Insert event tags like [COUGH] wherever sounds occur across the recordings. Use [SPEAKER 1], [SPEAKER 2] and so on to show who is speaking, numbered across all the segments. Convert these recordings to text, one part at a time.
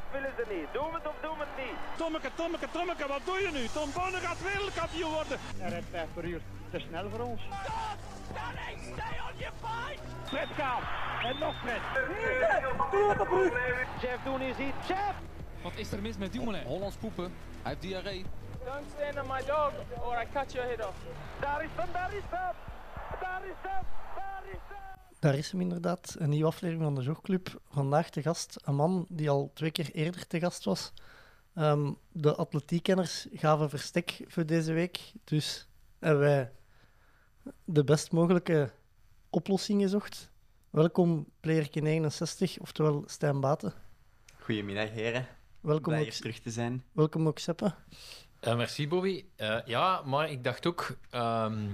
[SPEAKER 1] is. Doen we het of doen we het niet?
[SPEAKER 2] Tommeke, Tommeke, Tommeke, wat doe je nu? Tom Bonne gaat wereldkampioen worden.
[SPEAKER 3] Hij rijdt 5 per uur. Te snel voor ons.
[SPEAKER 4] Stop! Danny, stay on your fight!
[SPEAKER 3] Fred Kaap. En nog Fred.
[SPEAKER 1] Jeff Doen is hier. Jeff!
[SPEAKER 5] Wat is er mis met Dumoulin?
[SPEAKER 6] Hollands poepen. Hij heeft diarree.
[SPEAKER 4] Don't stand on my dog or I cut your head off.
[SPEAKER 1] Daar is hem, daar is hem! Daar is hem! Daar is hem!
[SPEAKER 7] Daar is hem inderdaad, een nieuwe aflevering van de Jogclub. Vandaag te gast een man die al twee keer eerder te gast was. Ehm, de atletiekenners gaven verstek voor deze week, dus hebben wij de best mogelijke oplossing gezocht. Welkom Playerke 69, oftewel Stijn Baten.
[SPEAKER 8] Goedemiddag, heren.
[SPEAKER 7] Welkom
[SPEAKER 8] Blij
[SPEAKER 7] ook,
[SPEAKER 8] hier terug te zijn.
[SPEAKER 7] welkom ook Seppe.
[SPEAKER 9] Eh, merci, Bobby. Eh, ja, maar ik dacht ook... ehm,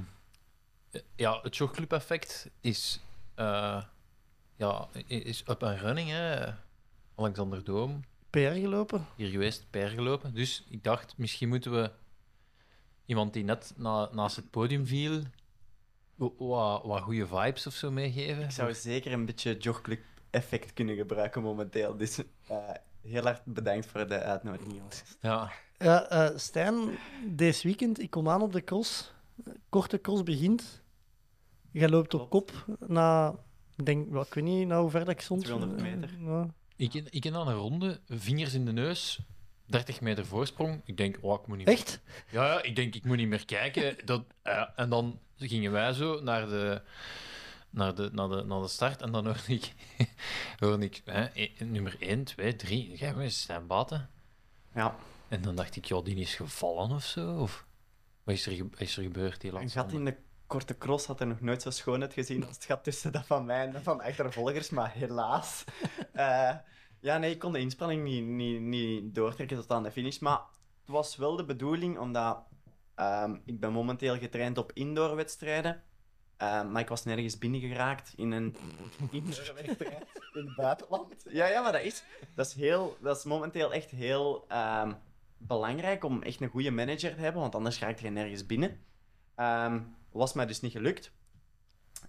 [SPEAKER 9] eh, ja, het showclub-effect is, eh, ja, i- is up and running, hè. Alexander Doom,
[SPEAKER 7] PR gelopen.
[SPEAKER 9] hier geweest, per gelopen. Dus ik dacht, misschien moeten we iemand die net na, naast het podium viel... wa- wa- Wat goede vibes of zo meegeven.
[SPEAKER 8] Ik zou zeker een beetje jogclub-effect kunnen gebruiken momenteel. Dus eh, heel hard bedankt voor de uitnodiging, jongens.
[SPEAKER 9] Ja,
[SPEAKER 7] Ja, eh, Stijn, deze weekend, ik kom aan op de cross. Korte cross begint. Jij loopt op kop na, ik denk, wel, ik weet niet nou, hoe ver dat ik stond. Eh, nou,
[SPEAKER 8] 200 meter.
[SPEAKER 7] Ja.
[SPEAKER 9] ik, ik in aan een ronde, vingers in de neus, 30 meter voorsprong. Ik denk, oh, ik moet niet
[SPEAKER 7] Echt?
[SPEAKER 9] Ja, ja, ik denk, ik moet niet meer kijken. Dat, eh, en dan gingen wij zo naar de, naar de, naar de, naar de start. En dan hoorde ik, [LAUGHS] hoorde ik hè, e- nummer 1, 2, 3. Jij was Stijn Baten.
[SPEAKER 8] Ja,
[SPEAKER 9] En dan dacht ik, joh, die is gevallen of zo. Of, wat is er, ge- is er gebeurd die
[SPEAKER 8] een
[SPEAKER 9] laatste
[SPEAKER 8] gat in
[SPEAKER 9] ronde?
[SPEAKER 8] de korte cross had er nog nooit zo schoon uit gezien als het gat tussen dat van mij en dat van de achtervolgers, maar helaas. Eh, ja, nee, ik kon de inspanning niet, niet, niet doortrekken tot aan de finish, maar het was wel de bedoeling, omdat ehm, ik ben momenteel getraind op indoorwedstrijden, Ehm maar ik was nergens binnengeraakt in een indoorwedstrijd in het buitenland. Ja, ja, maar dat is, dat is, heel, dat is momenteel echt heel ehm, belangrijk om echt een goede manager te hebben, want anders raak je nergens binnen. Ehm, was mij dus niet gelukt.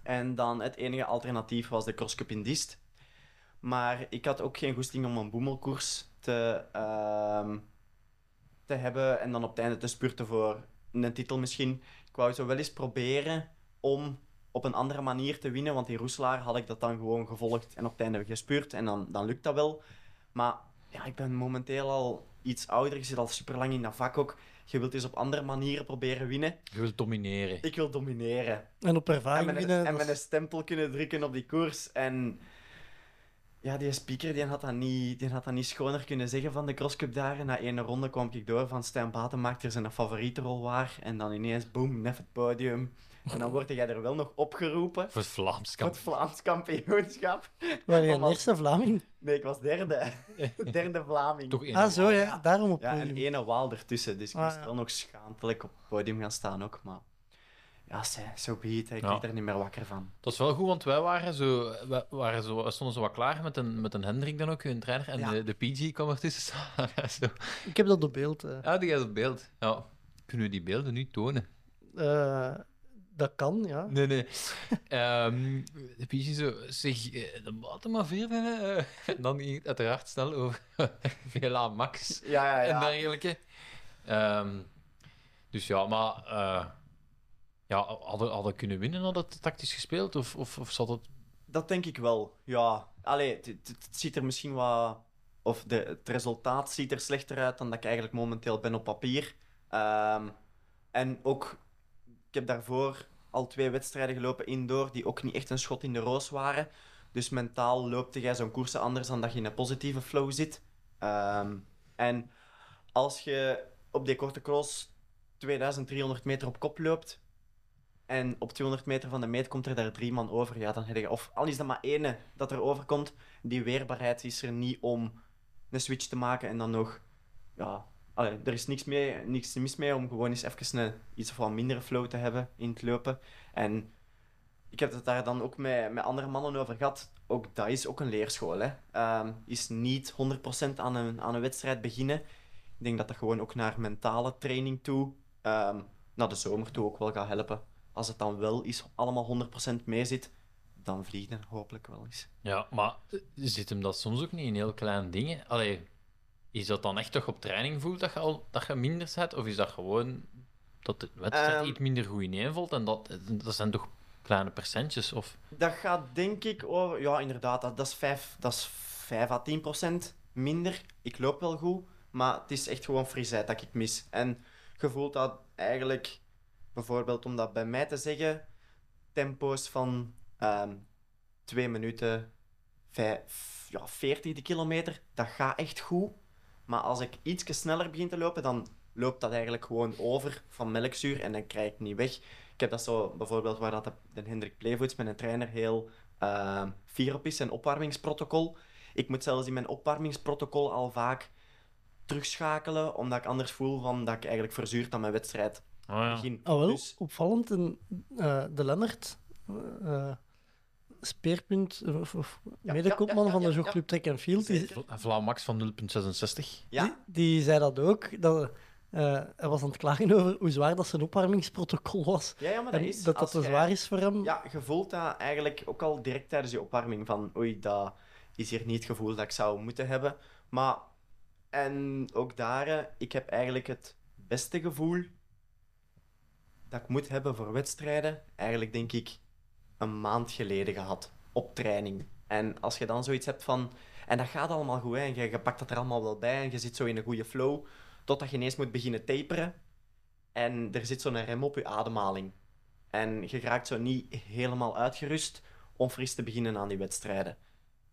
[SPEAKER 8] En dan het enige alternatief was de crosscup in Diest. Maar ik had ook geen goesting om een boemelkoers te, ehm, te hebben en dan op het einde te spurten voor een titel misschien. Ik wou zo wel eens proberen om op een andere manier te winnen, want in Roeselaar had ik dat dan gewoon gevolgd en op het einde gespuurd en dan, dan lukt dat wel. Maar ja, ik ben momenteel al iets ouder, ik zit al super lang in dat vak ook. Je wilt eens op andere manieren proberen winnen.
[SPEAKER 9] Je wilt domineren.
[SPEAKER 8] Ik wil domineren.
[SPEAKER 7] En op
[SPEAKER 8] En
[SPEAKER 7] ervaring
[SPEAKER 8] met,
[SPEAKER 7] winnen,
[SPEAKER 8] een, en
[SPEAKER 7] dat
[SPEAKER 8] met een
[SPEAKER 7] is-
[SPEAKER 8] stempel kunnen drukken op die koers. En ja, die speaker die had, dat niet, die had dat niet schoner kunnen zeggen van de crosscup daar. En na één ronde kwam ik door van Stijn Baten maakt er zijn favoriete rol waar. En dan ineens, boom, nef het podium. En dan word jij er wel nog opgeroepen.
[SPEAKER 9] Voor het Vlaams
[SPEAKER 8] Voor het
[SPEAKER 9] kampioen.
[SPEAKER 8] Vlaams kampioenschap.
[SPEAKER 7] Waar je een
[SPEAKER 8] allemaal-
[SPEAKER 7] eerste Vlaming.
[SPEAKER 8] Nee, ik was
[SPEAKER 9] [LAUGHS]
[SPEAKER 8] derde. Derde Vlaming.
[SPEAKER 9] Toch één.
[SPEAKER 7] Ah, zo ja, daarom op.
[SPEAKER 8] Ja, en
[SPEAKER 7] podium.
[SPEAKER 8] ene waal ertussen. Dus ik
[SPEAKER 7] Ah,
[SPEAKER 8] moest
[SPEAKER 7] ja.
[SPEAKER 8] wel nog schaamtelijk op het podium gaan staan ook. Maar ja, zo so be it, hè. Ik
[SPEAKER 9] Ja.
[SPEAKER 8] word er niet meer wakker van.
[SPEAKER 9] Dat is wel goed, want wij waren zo, wij waren zo, wij stonden zo wat klaar met een, met een Hendrik dan ook, hun trainer. En
[SPEAKER 8] Ja.
[SPEAKER 9] de, de PG kwam ertussen staan. [LAUGHS] Zo.
[SPEAKER 7] Ik heb dat op beeld. eh.
[SPEAKER 9] Ah, die is op beeld. Ja. Kunnen we die beelden nu tonen?
[SPEAKER 7] Eh, dat kan, ja.
[SPEAKER 9] Nee, nee. Ehm de Pietje zo, zeg, eh, de maat maar veer hè. eh. En dan ging het uiteraard snel over [LAUGHS] Vela Max
[SPEAKER 8] Ja, ja,
[SPEAKER 9] en
[SPEAKER 8] ja.
[SPEAKER 9] dergelijke. Ehm, dus ja, maar eh, ja, hadden, hadden kunnen winnen, had het tactisch gespeeld? Of, of, of zat het...
[SPEAKER 8] Dat denk ik wel, ja. Allee, het, het- het ziet er misschien wat... Of de, het resultaat ziet er slechter uit dan dat ik eigenlijk momenteel ben op papier. Ehm, en ook, ik heb daarvoor al twee wedstrijden gelopen indoor die ook niet echt een schot in de roos waren. Dus mentaal loopte jij zo'n koersen anders dan dat je in een positieve flow zit. Ehm, en als je op die korte cross 2300 meter op kop loopt, en op 200 meter van de meet komt er daar drie man over. Ja, dan heb je, of al is dat maar ene dat er overkomt, die weerbaarheid is er niet om een switch te maken en dan nog. Ja, allee, er is niks, mee, niks mis mee om gewoon eens even een, iets of wat minder flow te hebben in het lopen. En ik heb het daar dan ook met, met andere mannen over gehad. Ook dat is ook een leerschool. Hè. Ehm, is niet 100% aan een, aan een wedstrijd beginnen. Ik denk dat dat gewoon ook naar mentale training toe, ehm, naar de zomer toe ook wel gaat helpen als het dan wel is, allemaal 100% mee zit, dan vliegt het hopelijk wel eens.
[SPEAKER 9] Ja, maar eh, zit hem dat soms ook niet in heel kleine dingen? Allee, Is dat dan echt toch op training voelt dat je, al, dat je minder zet? Of is dat gewoon dat de wedstrijd
[SPEAKER 8] Ehm.
[SPEAKER 9] iets minder goed ineenvalt? En dat, dat zijn toch kleine percentjes? Of...
[SPEAKER 8] Dat gaat denk ik over... Ja, inderdaad, dat, dat, is 5, dat is 5 à 10 procent minder. Ik loop wel goed, maar het is echt gewoon frisheid dat ik mis. En je voelt dat eigenlijk, bijvoorbeeld om dat bij mij te zeggen, tempo's van ehm 2 minuten vijf- ja, 40 de kilometer, dat gaat echt goed. Maar als ik iets sneller begin te lopen, dan loopt dat eigenlijk gewoon over van melkzuur en dan krijg ik het niet weg. Ik heb dat zo bijvoorbeeld waar dat de, de Hendrik Plevoets met een trainer heel eh, fier op is, zijn opwarmingsprotocol. Ik moet zelfs in mijn opwarmingsprotocol al vaak terugschakelen, omdat ik anders voel van dat ik eigenlijk verzuurd aan mijn wedstrijd
[SPEAKER 9] Oh ja.
[SPEAKER 8] begin.
[SPEAKER 7] Ah, wel,
[SPEAKER 8] Dus-
[SPEAKER 7] opvallend. En, eh, de Lennart, eh, speerpunt, eh, of, of
[SPEAKER 8] ja,
[SPEAKER 7] medekopman
[SPEAKER 8] ja, ja,
[SPEAKER 7] van de
[SPEAKER 8] ja,
[SPEAKER 7] Jogclub Track and Field, die,
[SPEAKER 8] Zeker.
[SPEAKER 9] Vla- Vlaam Max van 0,66.
[SPEAKER 8] Ja,
[SPEAKER 7] die, die zei dat ook. Dat, eh, hij was aan het klagen over hoe zwaar dat zijn opwarmingsprotocol was.
[SPEAKER 8] ja, ja, maar dat
[SPEAKER 7] En
[SPEAKER 8] is...
[SPEAKER 7] dat dat
[SPEAKER 8] Ah, als
[SPEAKER 7] te
[SPEAKER 8] jij-
[SPEAKER 7] zwaar is voor hem.
[SPEAKER 8] Ja, je voelt dat eigenlijk ook al direct tijdens je opwarming van oei, dat is hier niet het gevoel dat ik zou moeten hebben. Maar, en ook daar, eh, ik heb eigenlijk het beste gevoel dat ik moet hebben voor wedstrijden, eigenlijk denk ik een maand geleden gehad op training. En als je dan zoiets hebt van, en dat gaat allemaal goed, hè, en je, je pakt dat er allemaal wel bij en je zit zo in een goede flow, totdat je ineens moet beginnen taperen en er zit zo'n rem op je ademhaling. En je raakt zo niet helemaal uitgerust om fris te beginnen aan die wedstrijden.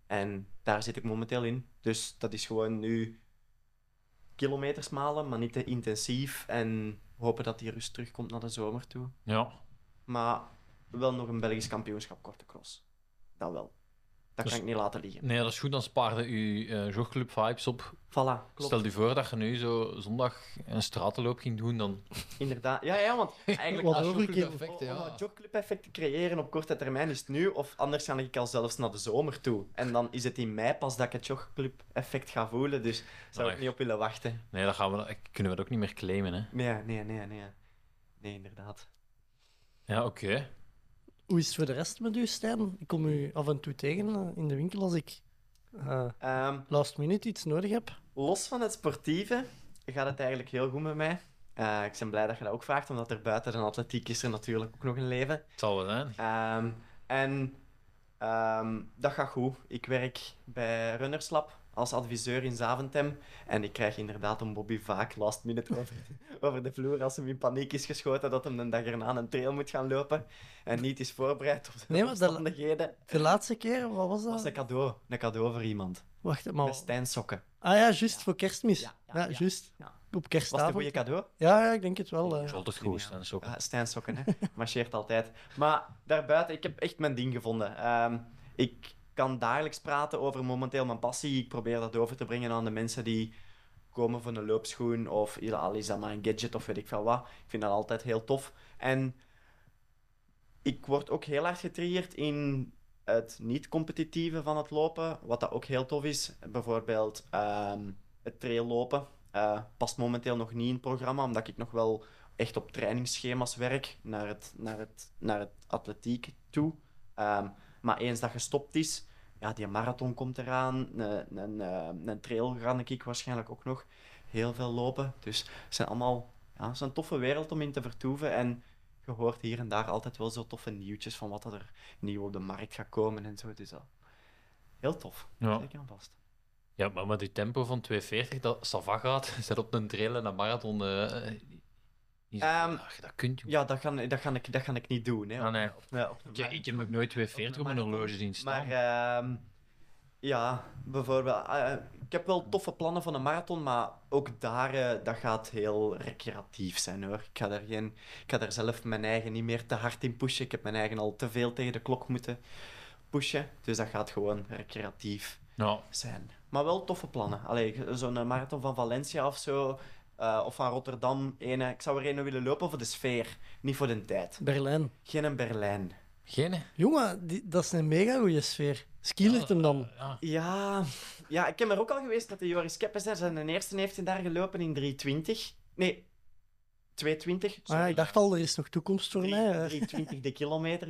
[SPEAKER 8] En daar zit ik momenteel in. Dus dat is gewoon nu kilometers malen, maar niet te intensief. En hopen dat die rust terugkomt naar de zomer toe.
[SPEAKER 9] Ja.
[SPEAKER 8] Maar wel nog een Belgisch kampioenschap korte cross. Dat wel. Dat
[SPEAKER 9] Dus-
[SPEAKER 8] kan ik niet laten liggen.
[SPEAKER 9] Nee, dat is goed. Dan spaarde u eh jogclub vibes op.
[SPEAKER 8] Voilà, klopt.
[SPEAKER 9] Stel je voor dat je nu zo zondag een stratenloop ging doen, dan...
[SPEAKER 8] Inderdaad. Ja, ja,
[SPEAKER 9] [LAUGHS]
[SPEAKER 8] want eigenlijk...
[SPEAKER 7] Wat
[SPEAKER 8] als-
[SPEAKER 7] overkill.
[SPEAKER 6] perfect,
[SPEAKER 8] Om
[SPEAKER 6] ja.
[SPEAKER 8] dat jobclub-effect te creëren op korte termijn is het nu, of anders ga ik al zelfs naar de zomer toe. En dan is het in mei pas dat ik het jobclub-effect ga voelen, dus zou ik
[SPEAKER 9] Ach.
[SPEAKER 8] niet op willen wachten.
[SPEAKER 9] Nee, dan gaan we, dat- kunnen we dat ook niet meer claimen, hè.
[SPEAKER 8] Nee, nee, nee, nee. Nee, inderdaad.
[SPEAKER 9] Ja, oké.
[SPEAKER 7] Hoe is het voor de rest met u, Stijn? Ik kom u af en toe tegen eh, in de winkel als ik eh,
[SPEAKER 8] Ehm,
[SPEAKER 7] last minute iets nodig heb.
[SPEAKER 8] los van het sportieve gaat het eigenlijk heel goed met mij. Eh, ik ben blij dat je dat ook vraagt, omdat er buiten de atletiek is er natuurlijk ook nog een leven.
[SPEAKER 9] Het zal wel zijn.
[SPEAKER 8] Ehm, en ehm, dat gaat goed. Ik werk bij Runnerslab als adviseur in Zaventem. En ik krijg inderdaad een Bobby vaak
[SPEAKER 7] [LAUGHS]
[SPEAKER 8] last minute over, over de vloer als hem in paniek is geschoten dat hem de dag erna een trail moet gaan lopen en niet is voorbereid op de
[SPEAKER 7] Nee, maar dat-
[SPEAKER 8] omstandigheden.
[SPEAKER 7] De laatste keer, wat was
[SPEAKER 8] Dat was
[SPEAKER 7] dat? Oh.
[SPEAKER 8] een cadeau. Een cadeau voor iemand.
[SPEAKER 7] Wacht,
[SPEAKER 8] Met
[SPEAKER 7] maar...
[SPEAKER 8] Stijn sokken.
[SPEAKER 7] Ah ja, juist, voor kerstmis. Ja,
[SPEAKER 8] Ja, ja, ja.
[SPEAKER 7] juist.
[SPEAKER 8] Ja.
[SPEAKER 7] Op
[SPEAKER 8] Was het een
[SPEAKER 7] kerstavond.
[SPEAKER 8] goede cadeau?
[SPEAKER 7] Ja, ja, ik denk het wel. eh.
[SPEAKER 9] Dat is altijd goed, Stijn Sokken.
[SPEAKER 8] Ja, Stijn Sokken, Ah, hè. [LAUGHS] Marcheert altijd. Maar daarbuiten, ik heb echt mijn ding gevonden. Ehm, ik kan dagelijks praten over momenteel mijn passie. Ik probeer dat over te brengen aan de mensen die komen van een loopschoen of ja, al is dat maar een gadget of weet ik veel wat. Ik vind dat altijd heel tof. En ik word ook heel hard getriggerd in het niet-competitieve van het lopen, wat dat ook heel tof is. Bijvoorbeeld ehm, het traillopen. Eh, past momenteel nog niet in het programma, omdat ik nog wel echt op trainingsschema's werk naar het, naar het, naar het atletiek toe. Ehm, maar eens dat gestopt is, ja, die marathon komt eraan. Een, een, ehm, een trail ga ik waarschijnlijk ook nog heel veel lopen. Dus het zijn allemaal ja, het is een toffe wereld om in te vertoeven. En je hoort hier en daar altijd wel zo toffe nieuwtjes van wat dat er nieuw op de markt gaat komen en zo. Dus dat heel tof.
[SPEAKER 9] Ja.
[SPEAKER 8] Zeker aan vast.
[SPEAKER 9] Ja, maar met die tempo van 2,40 dat Sava gaat, [LAUGHS] zet op een trail en een marathon... eh, eh, niet zo-
[SPEAKER 8] Ehm,
[SPEAKER 9] Ach, dat kunt je.
[SPEAKER 8] Ja, dat ga, dat ga, ik, dat ga ik niet doen. Hè,
[SPEAKER 9] Ah, nee.
[SPEAKER 8] Ja, op de
[SPEAKER 9] Ik,
[SPEAKER 8] markt.
[SPEAKER 9] ik heb nog nooit 2,40 op mijn horloge zien staan.
[SPEAKER 8] Maar ehm, ja, bijvoorbeeld. eh, ik heb wel toffe plannen van een marathon, maar ook daar eh, dat gaat heel recreatief zijn hoor. Ik ga, daar geen, ik ga daar zelf mijn eigen niet meer te hard in pushen. Ik heb mijn eigen al te veel tegen de klok moeten pushen. Dus dat gaat gewoon recreatief
[SPEAKER 9] Ja,
[SPEAKER 8] zijn. Maar wel toffe plannen. Allee, zo'n eh, marathon van Valencia of zo. eh, of van Rotterdam. Ene, ik zou er een willen lopen voor de sfeer, niet voor de tijd.
[SPEAKER 7] Berlijn.
[SPEAKER 8] Geen een Berlijn.
[SPEAKER 9] geen... hè?
[SPEAKER 7] Jongen, die, dat is een mega goede sfeer. Skilert hem dan.
[SPEAKER 9] Ja.
[SPEAKER 8] Ja, ja, ik ben er ook al geweest dat de Joris Keppes hè, zijn eerste heeft hij daar gelopen in 320. Nee, 220.
[SPEAKER 7] Ah, ja,
[SPEAKER 8] sorry.
[SPEAKER 7] ik dacht al, er is nog toekomst voor mij.
[SPEAKER 8] Drie-
[SPEAKER 7] eh.
[SPEAKER 8] 320 de kilometer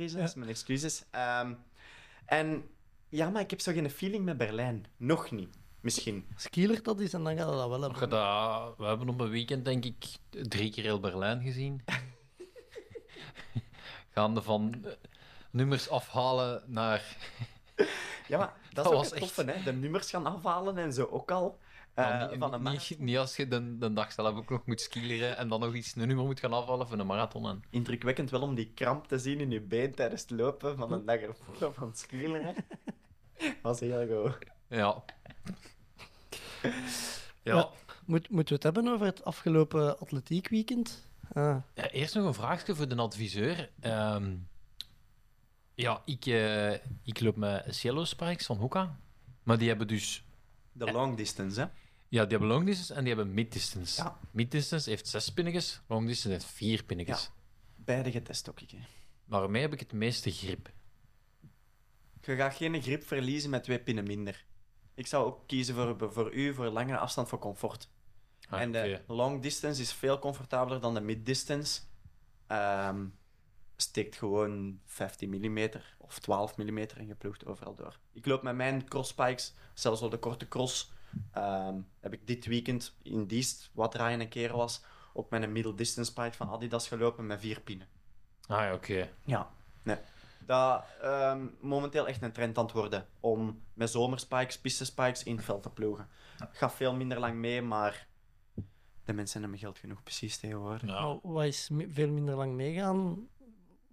[SPEAKER 7] [LAUGHS]
[SPEAKER 8] is het,
[SPEAKER 7] Ja.
[SPEAKER 8] dus mijn excuses. Ehm, en ja, maar ik heb zo geen feeling met Berlijn. Nog niet. Misschien.
[SPEAKER 7] Als Kielert dat is, en dan gaat hij dat wel
[SPEAKER 9] Nog je
[SPEAKER 7] hebben.
[SPEAKER 9] dat- we hebben op een weekend, denk ik, drie keer heel Berlijn
[SPEAKER 8] [LAUGHS]
[SPEAKER 9] gezien. Gaande van eh, nummers afhalen naar.
[SPEAKER 8] Ja, maar dat,
[SPEAKER 9] Dat
[SPEAKER 8] is ook
[SPEAKER 9] was
[SPEAKER 8] het
[SPEAKER 9] echt-
[SPEAKER 8] toffe, hè. De nummers gaan afhalen en zo ook al. eh,
[SPEAKER 9] Nou, niet-
[SPEAKER 8] van een
[SPEAKER 9] niet,
[SPEAKER 8] marathon.
[SPEAKER 9] niet als je de, de dag zelf ook nog moet skileren en dan nog iets een nummer moet gaan afhalen voor een marathon. En...
[SPEAKER 8] Indrukwekkend wel om die kramp te zien in je been tijdens het lopen van een dag ervoor of van het
[SPEAKER 7] [LAUGHS]
[SPEAKER 8] skileren. was heel goed.
[SPEAKER 9] Ja.
[SPEAKER 7] Ja.
[SPEAKER 9] ja.
[SPEAKER 7] Moet, moeten we het hebben over het afgelopen atletiekweekend? Ah,
[SPEAKER 9] Ja, eerst nog een vraagje voor de adviseur. Ehm, ja, ik, eh, ik loop met Cielo Sparks van Hoeka. Maar die hebben dus...
[SPEAKER 8] De long distance, hè.
[SPEAKER 9] Ja, die hebben long distance en die hebben mid distance.
[SPEAKER 8] Ja.
[SPEAKER 9] Mid distance heeft zes pinnetjes, long distance heeft vier pinnetjes.
[SPEAKER 8] Ja. Beide getest ook, ik. hè.
[SPEAKER 9] Waarmee heb ik het meeste grip?
[SPEAKER 8] Je gaat geen grip verliezen met twee pinnen minder. Ik zou ook kiezen voor, voor u, voor langere afstand, voor comfort.
[SPEAKER 9] Ah,
[SPEAKER 8] en eh, de
[SPEAKER 9] oké.
[SPEAKER 8] long distance is veel comfortabeler dan de mid distance. Ehm, steekt gewoon 15 mm of 12 mm en je ploegt overal door. Ik loop met mijn crosspikes, zelfs op de korte cross, ehm, heb ik dit weekend in Diest, wat draaien een keer was, ook met een middle distance pike van Adidas gelopen met vier pinnen.
[SPEAKER 9] Ah, ja, oké.
[SPEAKER 8] Ja, nee. Dat ehm, momenteel echt een trend aan het worden om met zomerspikes, pistespikes in het veld te ploegen. Gaat veel minder lang mee, maar de mensen hebben geld genoeg precies tegenwoordig.
[SPEAKER 9] Ja.
[SPEAKER 7] nou, wat is mi- veel minder lang meegaan?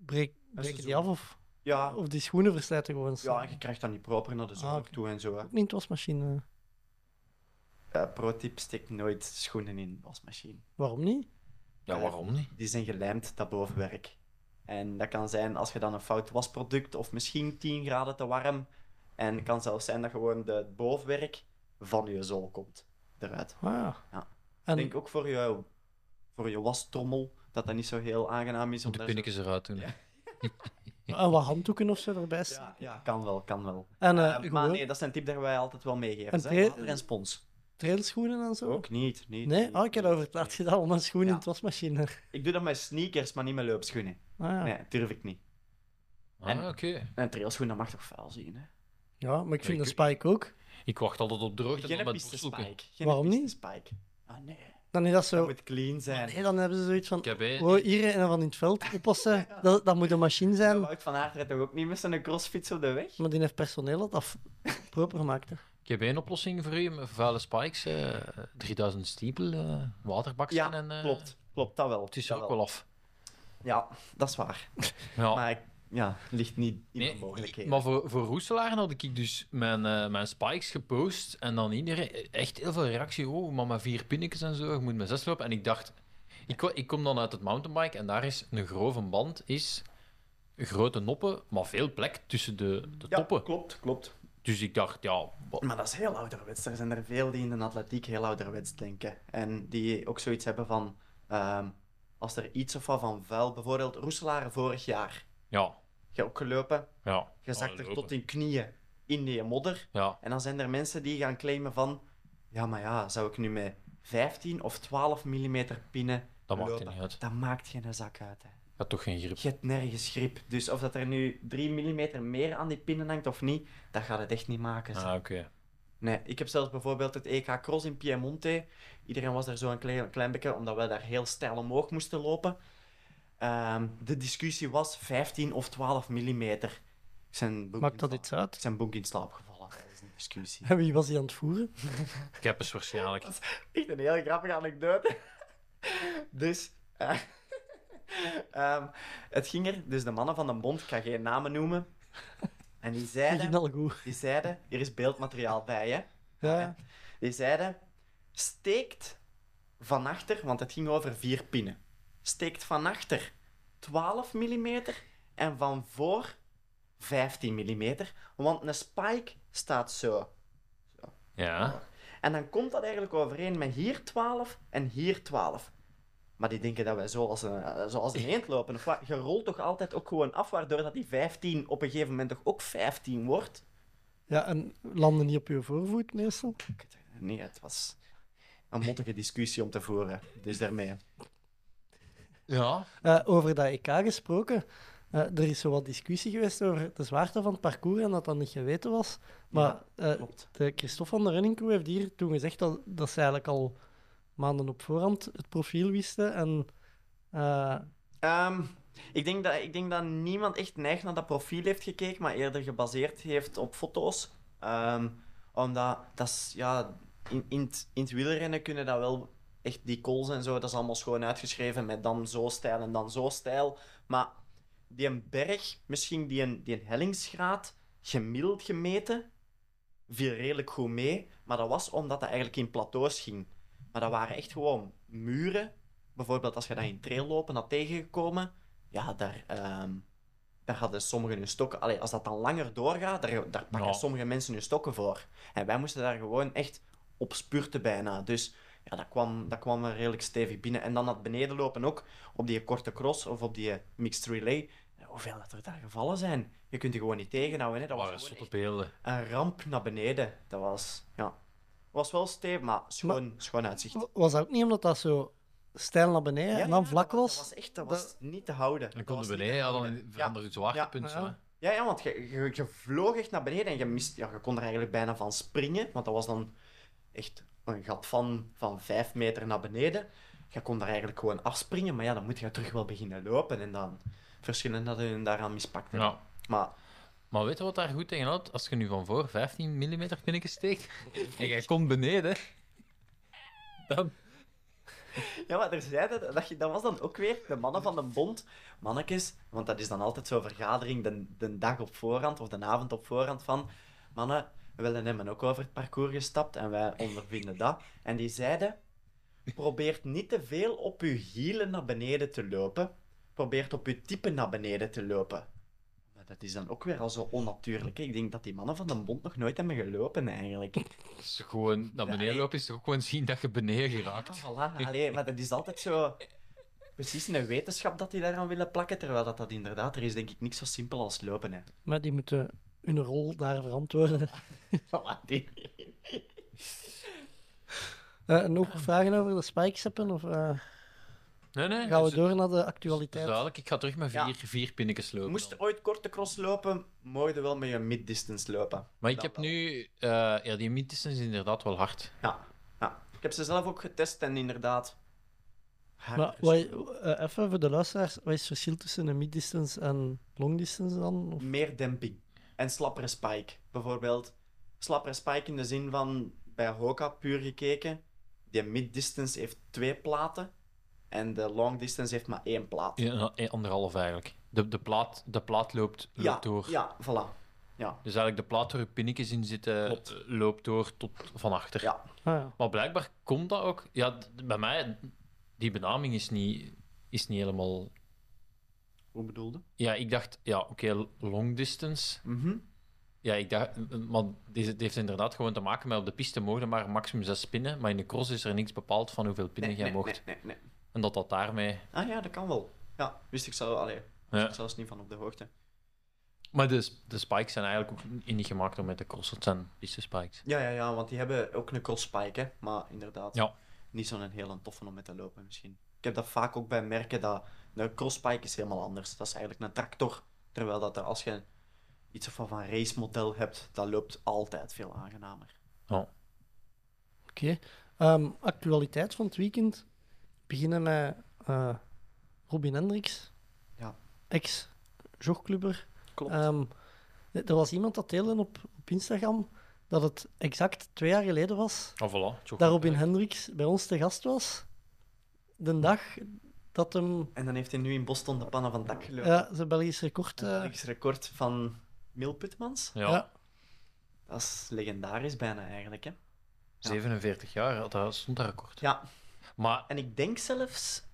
[SPEAKER 7] Breek, breken die
[SPEAKER 8] seizoen.
[SPEAKER 7] af of,
[SPEAKER 8] Ja,
[SPEAKER 7] of die schoenen verslijten gewoon?
[SPEAKER 8] ja,
[SPEAKER 7] snel?
[SPEAKER 8] en je krijgt dan niet proper naar de zomer
[SPEAKER 7] Ah, oké.
[SPEAKER 8] toe en zo. Hè.
[SPEAKER 7] Ook niet in de wasmachine.
[SPEAKER 8] Eh, pro tip, steek nooit schoenen in de wasmachine.
[SPEAKER 7] Waarom niet?
[SPEAKER 8] Eh,
[SPEAKER 9] ja, waarom niet?
[SPEAKER 8] Die zijn gelijmd, dat bovenwerk. En dat kan zijn als je dan een fout wasproduct of misschien 10 graden te warm. En het kan zelfs zijn dat gewoon de- het bovenwerk van je zool komt eruit.
[SPEAKER 7] Ah, ja.
[SPEAKER 8] Ja.
[SPEAKER 7] En
[SPEAKER 8] Ik denk ook voor je, voor je wastrommel dat dat niet zo heel aangenaam is. om
[SPEAKER 9] De
[SPEAKER 8] daar zo-
[SPEAKER 9] pinnetjes eruit doen.
[SPEAKER 7] en wat handdoeken of zo erbij.
[SPEAKER 8] Ja,
[SPEAKER 7] steken.
[SPEAKER 8] ja, kan wel, kan wel.
[SPEAKER 7] En eh,
[SPEAKER 8] Eh, maar
[SPEAKER 7] gewoon
[SPEAKER 8] nee, dat is een tip dat wij altijd wel meegeven.
[SPEAKER 7] En
[SPEAKER 8] hè.
[SPEAKER 7] twee-
[SPEAKER 8] Water en spons.
[SPEAKER 7] trailschoenen en zo?
[SPEAKER 8] Ook niet. niet
[SPEAKER 7] Nee?
[SPEAKER 8] niet,
[SPEAKER 7] Oh, ik heb
[SPEAKER 8] niet.
[SPEAKER 7] dat over het laatst [LAUGHS] gedaan om mijn schoenen
[SPEAKER 8] Ja.
[SPEAKER 7] in de wasmachine.
[SPEAKER 8] Ik doe dat met sneakers, maar niet met loopschoenen.
[SPEAKER 7] Ah, ja.
[SPEAKER 8] Nee, durf ik niet.
[SPEAKER 9] Ah, oké.
[SPEAKER 8] En trailschoen, dat mag toch vuil zien, hè?
[SPEAKER 7] ja, maar ik vind
[SPEAKER 9] Ik-
[SPEAKER 7] een spike ook.
[SPEAKER 9] Ik wacht altijd op droogte en
[SPEAKER 8] Geen
[SPEAKER 9] dan met
[SPEAKER 8] piste
[SPEAKER 9] borstdoeken.
[SPEAKER 8] spike. Geen
[SPEAKER 7] Waarom
[SPEAKER 8] piste
[SPEAKER 7] niet?
[SPEAKER 8] spike. Ah, nee.
[SPEAKER 7] Dan is dat
[SPEAKER 8] Dat
[SPEAKER 7] zo...
[SPEAKER 8] moet clean zijn.
[SPEAKER 7] Nee, dan hebben ze zoiets
[SPEAKER 9] Ik
[SPEAKER 7] van...
[SPEAKER 9] heb eh,
[SPEAKER 7] Oh, hier en dan van in het veld oppassen. Dat, dat moet een machine zijn.
[SPEAKER 8] Wout van Aert rijdt toch ook niet met zijn crossfiets op de weg?
[SPEAKER 7] Maar die heeft personeel dat af proper maakte.
[SPEAKER 9] Ik heb één oplossing voor u, met vuile spikes, eh, 3000 stiepel, eh waterbakjes
[SPEAKER 8] Ja,
[SPEAKER 9] en... eh,
[SPEAKER 8] Klopt. Klopt, dat wel.
[SPEAKER 9] Het is
[SPEAKER 8] dat
[SPEAKER 9] ook wel af.
[SPEAKER 8] Ja, dat is waar.
[SPEAKER 9] Ja.
[SPEAKER 8] Maar ik- ja, ligt niet in
[SPEAKER 9] Nee,
[SPEAKER 8] mijn mogelijkheden.
[SPEAKER 9] Maar voor, voor Roeselaar had ik dus mijn, eh, mijn spikes gepost en dan iedereen, echt heel veel reactie. Oh, maar met vier pinnetjes en zo, je moet met zes lopen. En ik dacht, ik, ko- ik kom dan uit het mountainbike en daar is een grove band, is grote noppen, maar veel plek tussen de, de toppen.
[SPEAKER 8] klopt, klopt.
[SPEAKER 9] Dus ik dacht, ja, wat-
[SPEAKER 8] Maar dat is heel ouderwets. Er zijn er veel die in de atletiek heel ouderwets denken. En die ook zoiets hebben van... ehm, als er iets of wat van vuil... Bijvoorbeeld Roeselaar vorig jaar.
[SPEAKER 9] ja,
[SPEAKER 8] Je hebt ook gelopen.
[SPEAKER 9] ja.
[SPEAKER 8] Je zakt er
[SPEAKER 9] lopen.
[SPEAKER 8] tot in knieën in die modder.
[SPEAKER 9] Ja,
[SPEAKER 8] En dan zijn er mensen die gaan claimen van... Ja, maar ja, zou ik nu met 15 of 12 mm pinnen
[SPEAKER 9] dat maakt
[SPEAKER 8] lopen?
[SPEAKER 9] er niet uit.
[SPEAKER 8] Dat maakt geen zak uit, hè.
[SPEAKER 9] Ik had toch geen grip.
[SPEAKER 8] Je hebt nergens grip. Dus of dat er nu 3 mm meer aan die pinnen hangt of niet, dat gaat het echt niet maken. zeg.
[SPEAKER 9] Ah, oké.
[SPEAKER 8] Nee, ik heb zelfs bijvoorbeeld het EK Cross in Piemonte. Iedereen was daar zo een klein, klein beetje, omdat wij daar heel stijl omhoog moesten lopen. Ehm, de discussie was 15 of 12 mm. Ik zijn boek in
[SPEAKER 7] Maakt dat
[SPEAKER 8] slaap-
[SPEAKER 7] iets uit?
[SPEAKER 8] Ik zijn boek in slaap gevallen tijdens die
[SPEAKER 7] [LAUGHS]
[SPEAKER 8] discussie.
[SPEAKER 7] En wie was die aan het voeren?
[SPEAKER 9] Ik heb eens waarschijnlijk.
[SPEAKER 8] Echt een heel grappige anekdote. [LAUGHS] Dus, eh, [LAUGHS] ehm, het ging er, dus de mannen van de bond, ik ga geen namen noemen, en die
[SPEAKER 7] Ik
[SPEAKER 8] zeiden,
[SPEAKER 7] ging al goed.
[SPEAKER 8] die zeiden, er is beeldmateriaal bij, hè.
[SPEAKER 7] Ja, ja.
[SPEAKER 8] Die zeiden, steekt van achter, want het ging over vier pinnen, steekt van achter 12 mm en van voor 15 mm, want een spike staat zo.
[SPEAKER 9] Ja.
[SPEAKER 8] En dan komt dat eigenlijk overeen met hier 12 en hier 12. Maar die denken dat wij zo als een, eh, zo als een eend lopen. Of wat? Je rolt toch altijd ook gewoon af, waardoor dat die 15 op een gegeven moment toch ook 15 wordt?
[SPEAKER 7] ja, en landen niet op je voorvoet meestal.
[SPEAKER 8] Ik weet het- Nee, het was een mottige discussie om te voeren. Dus daarmee.
[SPEAKER 9] Ja.
[SPEAKER 7] Eh, over dat EK gesproken. Eh, er is zo wat discussie geweest over de zwaarte van het parcours en dat dat niet geweten was. Maar eh,
[SPEAKER 8] Klopt.
[SPEAKER 7] de Christophe van de Running Crew heeft hier toen gezegd dat, dat ze eigenlijk al maanden op voorhand het profiel wisten. En eh,
[SPEAKER 8] Ehm, ik, denk dat, ik denk dat niemand echt neig naar dat profiel heeft gekeken, maar eerder gebaseerd heeft op foto's. Ehm, omdat dat is, ja, in, in, het, in het wielrennen kunnen dat wel echt die calls en zo, dat is allemaal schoon uitgeschreven met dan zo stijl en dan zo stijl. Maar die een berg, misschien die, een, die een hellingsgraad, gemiddeld gemeten, viel redelijk goed mee. Maar dat was omdat dat eigenlijk in plateaus ging. Maar dat waren echt gewoon muren bijvoorbeeld als je daar in trail lopen had tegengekomen, ja, daar, ehm, daar hadden sommigen hun stokken... Allee, als dat dan langer doorgaat, daar, daar pakken
[SPEAKER 9] Ja.
[SPEAKER 8] sommige mensen hun stokken voor. En wij moesten daar gewoon echt op spurten bijna. Dus ja, dat kwam, dat kwam er redelijk stevig binnen. En dan dat beneden lopen ook, op die korte cross of op die eh, mixed relay, hoeveel dat er daar gevallen zijn. Je kunt die gewoon niet tegenhouden. Hè? Dat
[SPEAKER 9] Dat
[SPEAKER 8] was
[SPEAKER 9] waren
[SPEAKER 8] gewoon
[SPEAKER 9] zotte
[SPEAKER 8] echt
[SPEAKER 9] beelden.
[SPEAKER 8] een ramp naar beneden. Dat was, ja... Was wel stevig, maar schoon, schoon uitzicht.
[SPEAKER 7] wa- was dat ook niet omdat dat zo stijl naar beneden en dan vlak
[SPEAKER 8] dat-
[SPEAKER 7] was?
[SPEAKER 8] Dat was echt dat
[SPEAKER 7] Dat-
[SPEAKER 8] was niet te houden.
[SPEAKER 9] Dan
[SPEAKER 8] Dat
[SPEAKER 9] konden
[SPEAKER 8] was
[SPEAKER 9] we
[SPEAKER 8] niet
[SPEAKER 9] beneden,
[SPEAKER 8] te
[SPEAKER 9] ja,
[SPEAKER 8] houden.
[SPEAKER 9] dan veranderde het zwaartepunt.
[SPEAKER 7] Ja. Ja.
[SPEAKER 9] zo, hè.
[SPEAKER 8] Ja, ja want je, je, je vloog echt naar beneden en je, mist, ja, je kon er eigenlijk bijna van springen. Want dat was dan echt een gat van, van vijf meter naar beneden. Je kon daar eigenlijk gewoon afspringen, maar ja, dan moet je terug wel beginnen lopen. En dan verschillen dat hun daaraan mispakt. hebben.
[SPEAKER 9] Ja.
[SPEAKER 8] Maar
[SPEAKER 9] Maar weet je wat daar goed tegen houdt? Als je nu van voor 15 mm pinnetjes
[SPEAKER 8] [LAUGHS]
[SPEAKER 9] steekt en jij komt beneden, dan...
[SPEAKER 8] Ja, maar er zeiden, dat, je- dat was dan ook weer de mannen van de bond. Mannetjes, want dat is dan altijd zo'n vergadering de, de dag op voorhand of de avond op voorhand van... Mannen, wel en hebben ook over het parcours gestapt en wij ondervinden dat. En die zeiden, probeert niet te veel op uw hielen naar beneden te lopen. Probeert op uw type naar beneden te lopen. Maar dat is dan ook weer al zo onnatuurlijk. hè. Ik denk dat die mannen van de bond nog nooit hebben gelopen eigenlijk.
[SPEAKER 9] Is gewoon naar beneden lopen is toch ook gewoon zien dat je beneden geraakt.
[SPEAKER 8] Ah, voilà. Allee, maar dat is altijd zo... Precies een wetenschap dat die daaraan willen plakken, terwijl dat, dat inderdaad... Er is denk ik niks zo simpel als lopen, hè. [LAUGHS]
[SPEAKER 7] Maar die moeten hun rol daar verantwoorden.
[SPEAKER 8] Voilà, die.
[SPEAKER 7] [LAUGHS] Eh, nog vragen over de spikes hebben? Of eh,
[SPEAKER 9] Nee, nee.
[SPEAKER 7] gaan we
[SPEAKER 9] dus-
[SPEAKER 7] door naar de
[SPEAKER 9] dus
[SPEAKER 7] actualiteit?
[SPEAKER 9] dadelijk, ik ga terug met vier,
[SPEAKER 8] Ja.
[SPEAKER 9] vier pinnetjes lopen.
[SPEAKER 8] Moest
[SPEAKER 9] dan.
[SPEAKER 8] je ooit korte cross lopen, mocht je wel met je mid-distance lopen.
[SPEAKER 9] Maar ik
[SPEAKER 8] Dat
[SPEAKER 9] heb
[SPEAKER 8] wel.
[SPEAKER 9] nu... eh, ja, die mythes is inderdaad wel hard.
[SPEAKER 8] Ja, ja. Ik heb ze zelf ook getest en inderdaad... hard
[SPEAKER 7] Maar wat,
[SPEAKER 8] gestuurd.
[SPEAKER 7] eh, even voor de luisteraars, wat is het verschil tussen een mid-distance en long-distance dan? Of-
[SPEAKER 8] meer demping. En slappere spike. Bijvoorbeeld, slappere spike in de zin van bij Hoka puur gekeken. Die mid-distance heeft twee platen. En de long distance heeft maar één plaat.
[SPEAKER 9] Ja, eh, Anderhalf eigenlijk. De, de, plaat, de plaat loopt, loopt
[SPEAKER 8] ja,
[SPEAKER 9] door.
[SPEAKER 8] ja, voilà. Ja.
[SPEAKER 9] Dus eigenlijk de plaat waar je pinnetjes in zitten,
[SPEAKER 8] Klopt.
[SPEAKER 9] eh, loopt door tot van achter.
[SPEAKER 8] Ja.
[SPEAKER 7] Ah, ja.
[SPEAKER 9] Maar blijkbaar komt dat ook. Ja, d- bij mij, die benaming is niet, is niet helemaal.
[SPEAKER 8] Hoe bedoelde?
[SPEAKER 9] Ja, ik dacht, ja, oké, long distance.
[SPEAKER 8] Mhm.
[SPEAKER 9] Ja, ik dacht, maar deze- het heeft inderdaad gewoon te maken met op de piste mogen maar maximum zes pinnen. Maar in de cross is er niks bepaald van hoeveel pinnen
[SPEAKER 8] Nee,
[SPEAKER 9] jij
[SPEAKER 8] nee,
[SPEAKER 9] mocht.
[SPEAKER 8] nee, nee, nee.
[SPEAKER 9] En dat dat daarmee.
[SPEAKER 8] Ah ja, dat kan wel. Ja, wist ik zo. Allee, wist
[SPEAKER 9] Ja.
[SPEAKER 8] ik zelfs niet van op de hoogte.
[SPEAKER 9] Maar de, s- de spikes zijn eigenlijk ook niet gemaakt om met de cross. Het zijn piste spikes.
[SPEAKER 8] Ja, ja, ja, want die hebben ook een cross spike, hè. Maar inderdaad,
[SPEAKER 9] Ja.
[SPEAKER 8] niet zo'n hele toffe om mee te lopen misschien. Ik heb dat vaak ook bij merken, dat een cross spike is helemaal anders. Dat is eigenlijk een tractor. Terwijl dat er, als je iets of van een race model hebt, dat loopt altijd veel aangenamer.
[SPEAKER 7] Oké. Ehm, actualiteit van het weekend. Beginnen met eh, Robin Hendricks.
[SPEAKER 8] Ja.
[SPEAKER 7] Ex-jogclubber.
[SPEAKER 8] Klopt.
[SPEAKER 7] Ehm, er was iemand dat deelde op, op Instagram dat het exact twee jaar geleden was
[SPEAKER 9] Ah, voilà. Tjoh,
[SPEAKER 7] dat Robin
[SPEAKER 9] eh,
[SPEAKER 7] Hendricks bij ons te gast was. De dag dat hem
[SPEAKER 8] En dan heeft hij nu in Boston de pannen van het dak gelopen.
[SPEAKER 7] ja, zijn Belgisch record... eh,
[SPEAKER 8] Het record van Mil Putmans.
[SPEAKER 9] Ja,
[SPEAKER 7] ja.
[SPEAKER 8] Dat is legendarisch bijna eigenlijk, hè.
[SPEAKER 9] 47 jaar had dat, stond dat record.
[SPEAKER 8] Ja,
[SPEAKER 9] Maar
[SPEAKER 8] en ik denk zelfs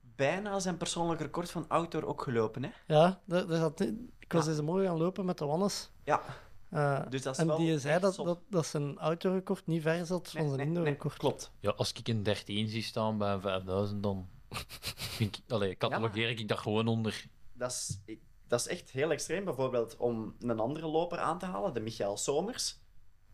[SPEAKER 8] bijna zijn persoonlijk record van outdoor ook gelopen, hè.
[SPEAKER 7] Ja, daar, daar zat, ik was
[SPEAKER 8] Ja.
[SPEAKER 7] deze morgen gaan lopen met de Wannes.
[SPEAKER 8] Ja.
[SPEAKER 7] Eh,
[SPEAKER 8] Dus dat is
[SPEAKER 7] en
[SPEAKER 8] wel
[SPEAKER 7] die zei
[SPEAKER 8] echt
[SPEAKER 7] dat,
[SPEAKER 8] zot.
[SPEAKER 7] dat, dat zijn autorecord niet ver zat van
[SPEAKER 8] Nee,
[SPEAKER 7] zijn
[SPEAKER 8] nee,
[SPEAKER 7] indoorrecord.
[SPEAKER 8] nee, klopt.
[SPEAKER 9] Ja, als ik een 13 zie staan bij een 5000, dan vind ik, allee, catalogeer ik dat gewoon onder.
[SPEAKER 8] dat is, ik- dat is echt heel extreem. Bijvoorbeeld om een andere loper aan te halen, de Michael Somers.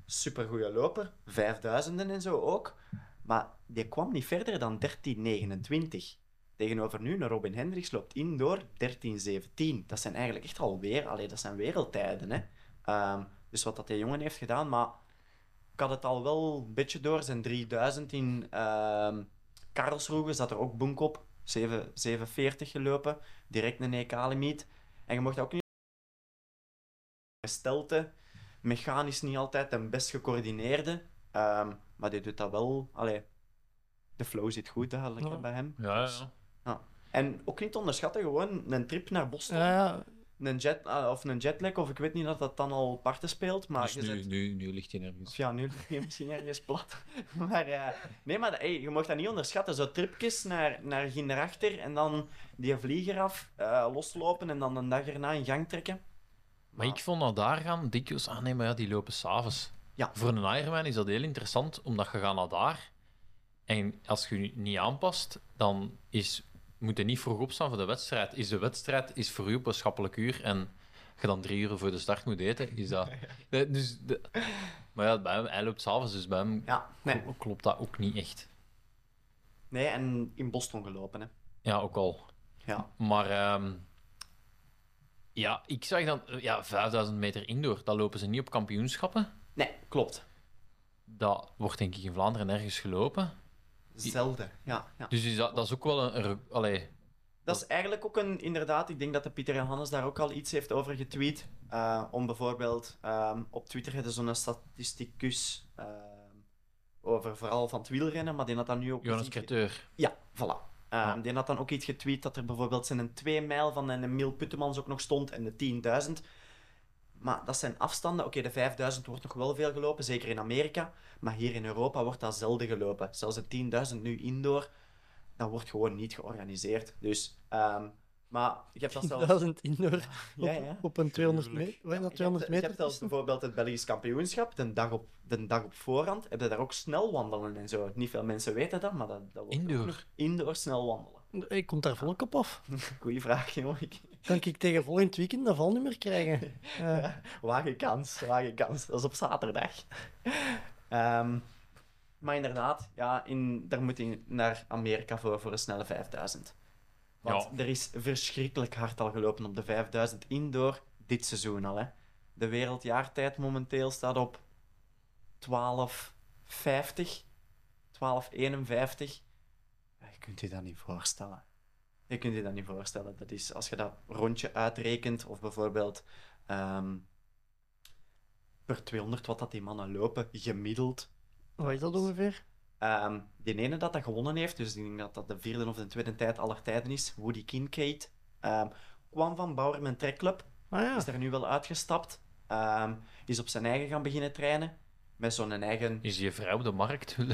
[SPEAKER 8] Supergoeie loper, vijfduizenden en zo ook. Maar die kwam niet verder dan 1329. Tegenover nu, een Robin Hendricks loopt in door 13-17. Dat zijn eigenlijk echt alweer, allee, dat zijn wereldtijden. Hè? Ehm, dus wat dat die jongen heeft gedaan, maar ik had het al wel een beetje door. Zijn 3000 in ehm Karlsruhe zat er ook bonk op. 7, 740 gelopen, direct een EK-limiet. En je mocht ook niet gestelte, mechanisch niet altijd en best gecoördineerde. Ehm, maar die doet dat wel. Allee, de flow zit goed duidelijk hè,
[SPEAKER 7] Ja.
[SPEAKER 8] bij hem.
[SPEAKER 9] Ja, ja.
[SPEAKER 8] En ook niet te onderschatten, gewoon een trip naar Boston.
[SPEAKER 7] Ja, ja.
[SPEAKER 8] Een jet, ah, of een jetlag, of ik weet niet dat dat dan al parten speelt. Maar
[SPEAKER 9] Dus
[SPEAKER 8] Ah, je
[SPEAKER 9] nu,
[SPEAKER 8] zet-
[SPEAKER 9] nu, nu ligt hij nergens.
[SPEAKER 8] of ja, nu ligt hij misschien ergens plat. [LAUGHS] Maar eh, nee, maar dat- hey, je mag dat niet onderschatten. Zo tripjes naar, naar achter en dan die vlieger af, eh, loslopen en dan een dag erna in gang trekken. Ah,
[SPEAKER 9] Maar ik vond dat daar gaan dikwijls... Ah nee, maar ja, die lopen s'avonds.
[SPEAKER 8] Ja.
[SPEAKER 9] Voor een Ironman is dat heel interessant, omdat je gaat naar daar. En als je je niet aanpast, dan is, moet je niet vroeg opstaan voor de wedstrijd. Is de wedstrijd is voor u op een schappelijk uur en je dan drie uur voor de start moet eten, is
[SPEAKER 8] [LAUGHS]
[SPEAKER 9] dat... [LAUGHS] Nee, dus de- maar ja, bij hem, hij loopt s'avonds, dus bij hem
[SPEAKER 8] Ja, nee.
[SPEAKER 9] kl- klopt dat ook niet echt.
[SPEAKER 8] Nee, en in Boston gelopen, hè.
[SPEAKER 9] Ja, ook al.
[SPEAKER 8] Ja.
[SPEAKER 9] Maar ehm, ja, ik zag dan eh, ja, 5000 meter indoor. Dat lopen ze niet op kampioenschappen.
[SPEAKER 8] Nee, klopt.
[SPEAKER 9] Dat wordt denk ik in Vlaanderen nergens gelopen.
[SPEAKER 8] Zelden, ja. ja.
[SPEAKER 9] Dus is dat, dat is ook wel een. een re- allee,
[SPEAKER 8] Dat is eigenlijk ook een, inderdaad, ik denk dat de Pieter Johannes daar ook al iets heeft over getweet. eh, om bijvoorbeeld, ehm, op Twitter hadden zo'n statisticus ehm, over vooral van het wielrennen, maar die had dan nu ook...
[SPEAKER 9] Jonas
[SPEAKER 8] iets ge-
[SPEAKER 9] Creteur.
[SPEAKER 8] Ja, voilà. Ehm,
[SPEAKER 7] Ah.
[SPEAKER 8] Die had dan ook iets getweet dat er bijvoorbeeld zijn een 2 mijl van een Emil Puttemans ook nog stond en de 10.000. Maar dat zijn afstanden. Oké, de 5000 wordt nog wel veel gelopen, zeker in Amerika. Maar hier in Europa wordt dat zelden gelopen. Zelfs de 10.000 nu indoor, dat wordt gewoon niet georganiseerd. Dus, ehm, maar je hebt dat zelfs...
[SPEAKER 7] 1000 indoor
[SPEAKER 8] Ja, ja.
[SPEAKER 7] op een 200 meter.
[SPEAKER 9] Tuurlijk.
[SPEAKER 7] Wat is dat,
[SPEAKER 8] Je hebt-
[SPEAKER 7] 200
[SPEAKER 8] Je hebt
[SPEAKER 7] meter?
[SPEAKER 8] zelfs bijvoorbeeld het Belgisch kampioenschap, de dag op, de dag op voorhand, heb je daar ook snel wandelen en zo. Niet veel mensen weten dat, maar dat, dat wordt ook
[SPEAKER 9] Indoor.
[SPEAKER 8] nog indoor snel wandelen.
[SPEAKER 7] Ik kom daar volk op af.
[SPEAKER 8] [LAUGHS] Goeie vraag, jongen. Ik-
[SPEAKER 7] Kan ik tegen volgend weekend een valnummer
[SPEAKER 8] [LAUGHS]
[SPEAKER 7] krijgen? Eh,
[SPEAKER 8] Wagen kans, wagen kans. Dat is op zaterdag. Ehm, maar inderdaad, ja, in, daar moet je naar Amerika voor, voor een snelle 5000. Want er is verschrikkelijk hard al gelopen op de 5000 indoor dit seizoen al. Hè. De wereldjaartijd momenteel staat op 1250, 1251. Ja, Je kunt je dat niet voorstellen. Je kunt je dat niet voorstellen. Dat is als je dat rondje uitrekent, of bijvoorbeeld ehm, per 200 wat dat die mannen lopen, gemiddeld.
[SPEAKER 7] wat is dat ongeveer?
[SPEAKER 8] Ehm die ene dat dat gewonnen heeft, dus ik denk dat dat de vierde of de tweede tijd aller tijden is, Woody Kincaid, ehm, kwam van Bauerman Trekclub,
[SPEAKER 7] Ah ja,
[SPEAKER 8] is er nu wel uitgestapt, ehm, is op zijn eigen gaan beginnen trainen, met zo'n eigen...
[SPEAKER 9] Is die vrouw op de markt? [LAUGHS]
[SPEAKER 8] eh, [LAUGHS]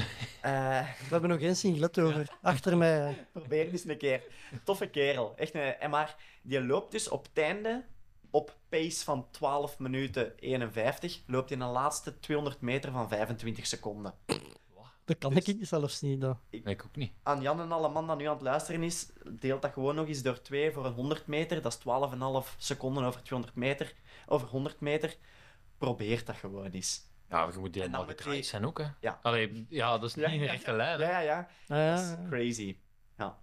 [SPEAKER 7] we hebben nog geen singlet over. Achter mij. eh.
[SPEAKER 8] Probeer eens een keer. Toffe kerel. Echt een, en maar die loopt dus op het einde, op pace van 12 minuten 51, loopt in de laatste 200 meter van 25 seconden.
[SPEAKER 7] Dat kan
[SPEAKER 8] Dus-
[SPEAKER 7] ik zelfs niet. Dat.
[SPEAKER 9] Nee, ik ook niet.
[SPEAKER 8] Aan Jan en alle man dat nu aan het luisteren is, deelt dat gewoon nog eens door 2 voor een 100 meter. Dat is 12,5 seconden over 200 meter. Over 100 meter. Probeer dat gewoon eens.
[SPEAKER 9] Ja, je moet die
[SPEAKER 8] En dan
[SPEAKER 9] helemaal
[SPEAKER 8] moet
[SPEAKER 9] gedraaid
[SPEAKER 8] die-
[SPEAKER 9] zijn ook, hè?
[SPEAKER 8] Ja.
[SPEAKER 9] Allee, ja, dat is niet
[SPEAKER 8] Ja,
[SPEAKER 9] een
[SPEAKER 8] ja,
[SPEAKER 9] rechte lijn. hè.
[SPEAKER 8] Ja, ja, ja.
[SPEAKER 7] Ah ja,
[SPEAKER 8] Dat is crazy. Ja.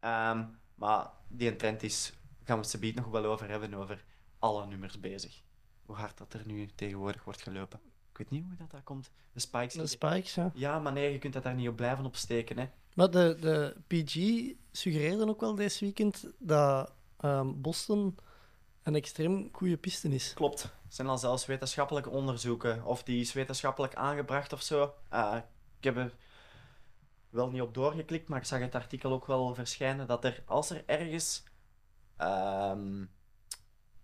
[SPEAKER 8] Ehm, maar die trend is, gaan we het zometeen nog wel over hebben, over alle nummers bezig. Hoe hard dat er nu tegenwoordig wordt gelopen. Ik weet niet hoe dat, dat komt. De spikes.
[SPEAKER 7] de spikes, ja.
[SPEAKER 8] Ja, maar nee, je kunt dat daar niet op blijven opsteken. Hè.
[SPEAKER 7] Maar de, de PG suggereerde ook wel deze weekend dat ehm, Boston een extreem goede piste is.
[SPEAKER 8] Klopt. Er zijn al zelfs wetenschappelijke onderzoeken. Of die is wetenschappelijk aangebracht of zo. Eh, ik heb er wel niet op doorgeklikt, maar ik zag het artikel ook wel verschijnen dat er, als er ergens ehm,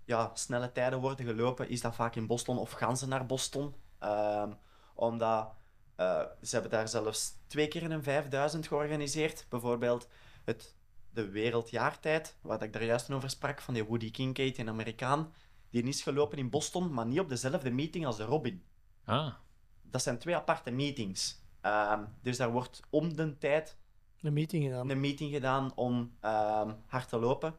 [SPEAKER 8] ja, snelle tijden worden gelopen, is dat vaak in Boston of gaan ze naar Boston. Ehm, omdat eh, ze hebben daar zelfs twee keer een 5000 georganiseerd. Bijvoorbeeld het, de wereldjaartijd, waar ik daar juist over sprak, van die Woody Kincaid, een Amerikaan. Die is gelopen in Boston, maar niet op dezelfde meeting als de Robin.
[SPEAKER 9] Ah,
[SPEAKER 8] Dat zijn twee aparte meetings. Ehm, dus daar wordt om de tijd
[SPEAKER 7] Een meeting gedaan.
[SPEAKER 8] een meeting gedaan om ehm, hard te lopen.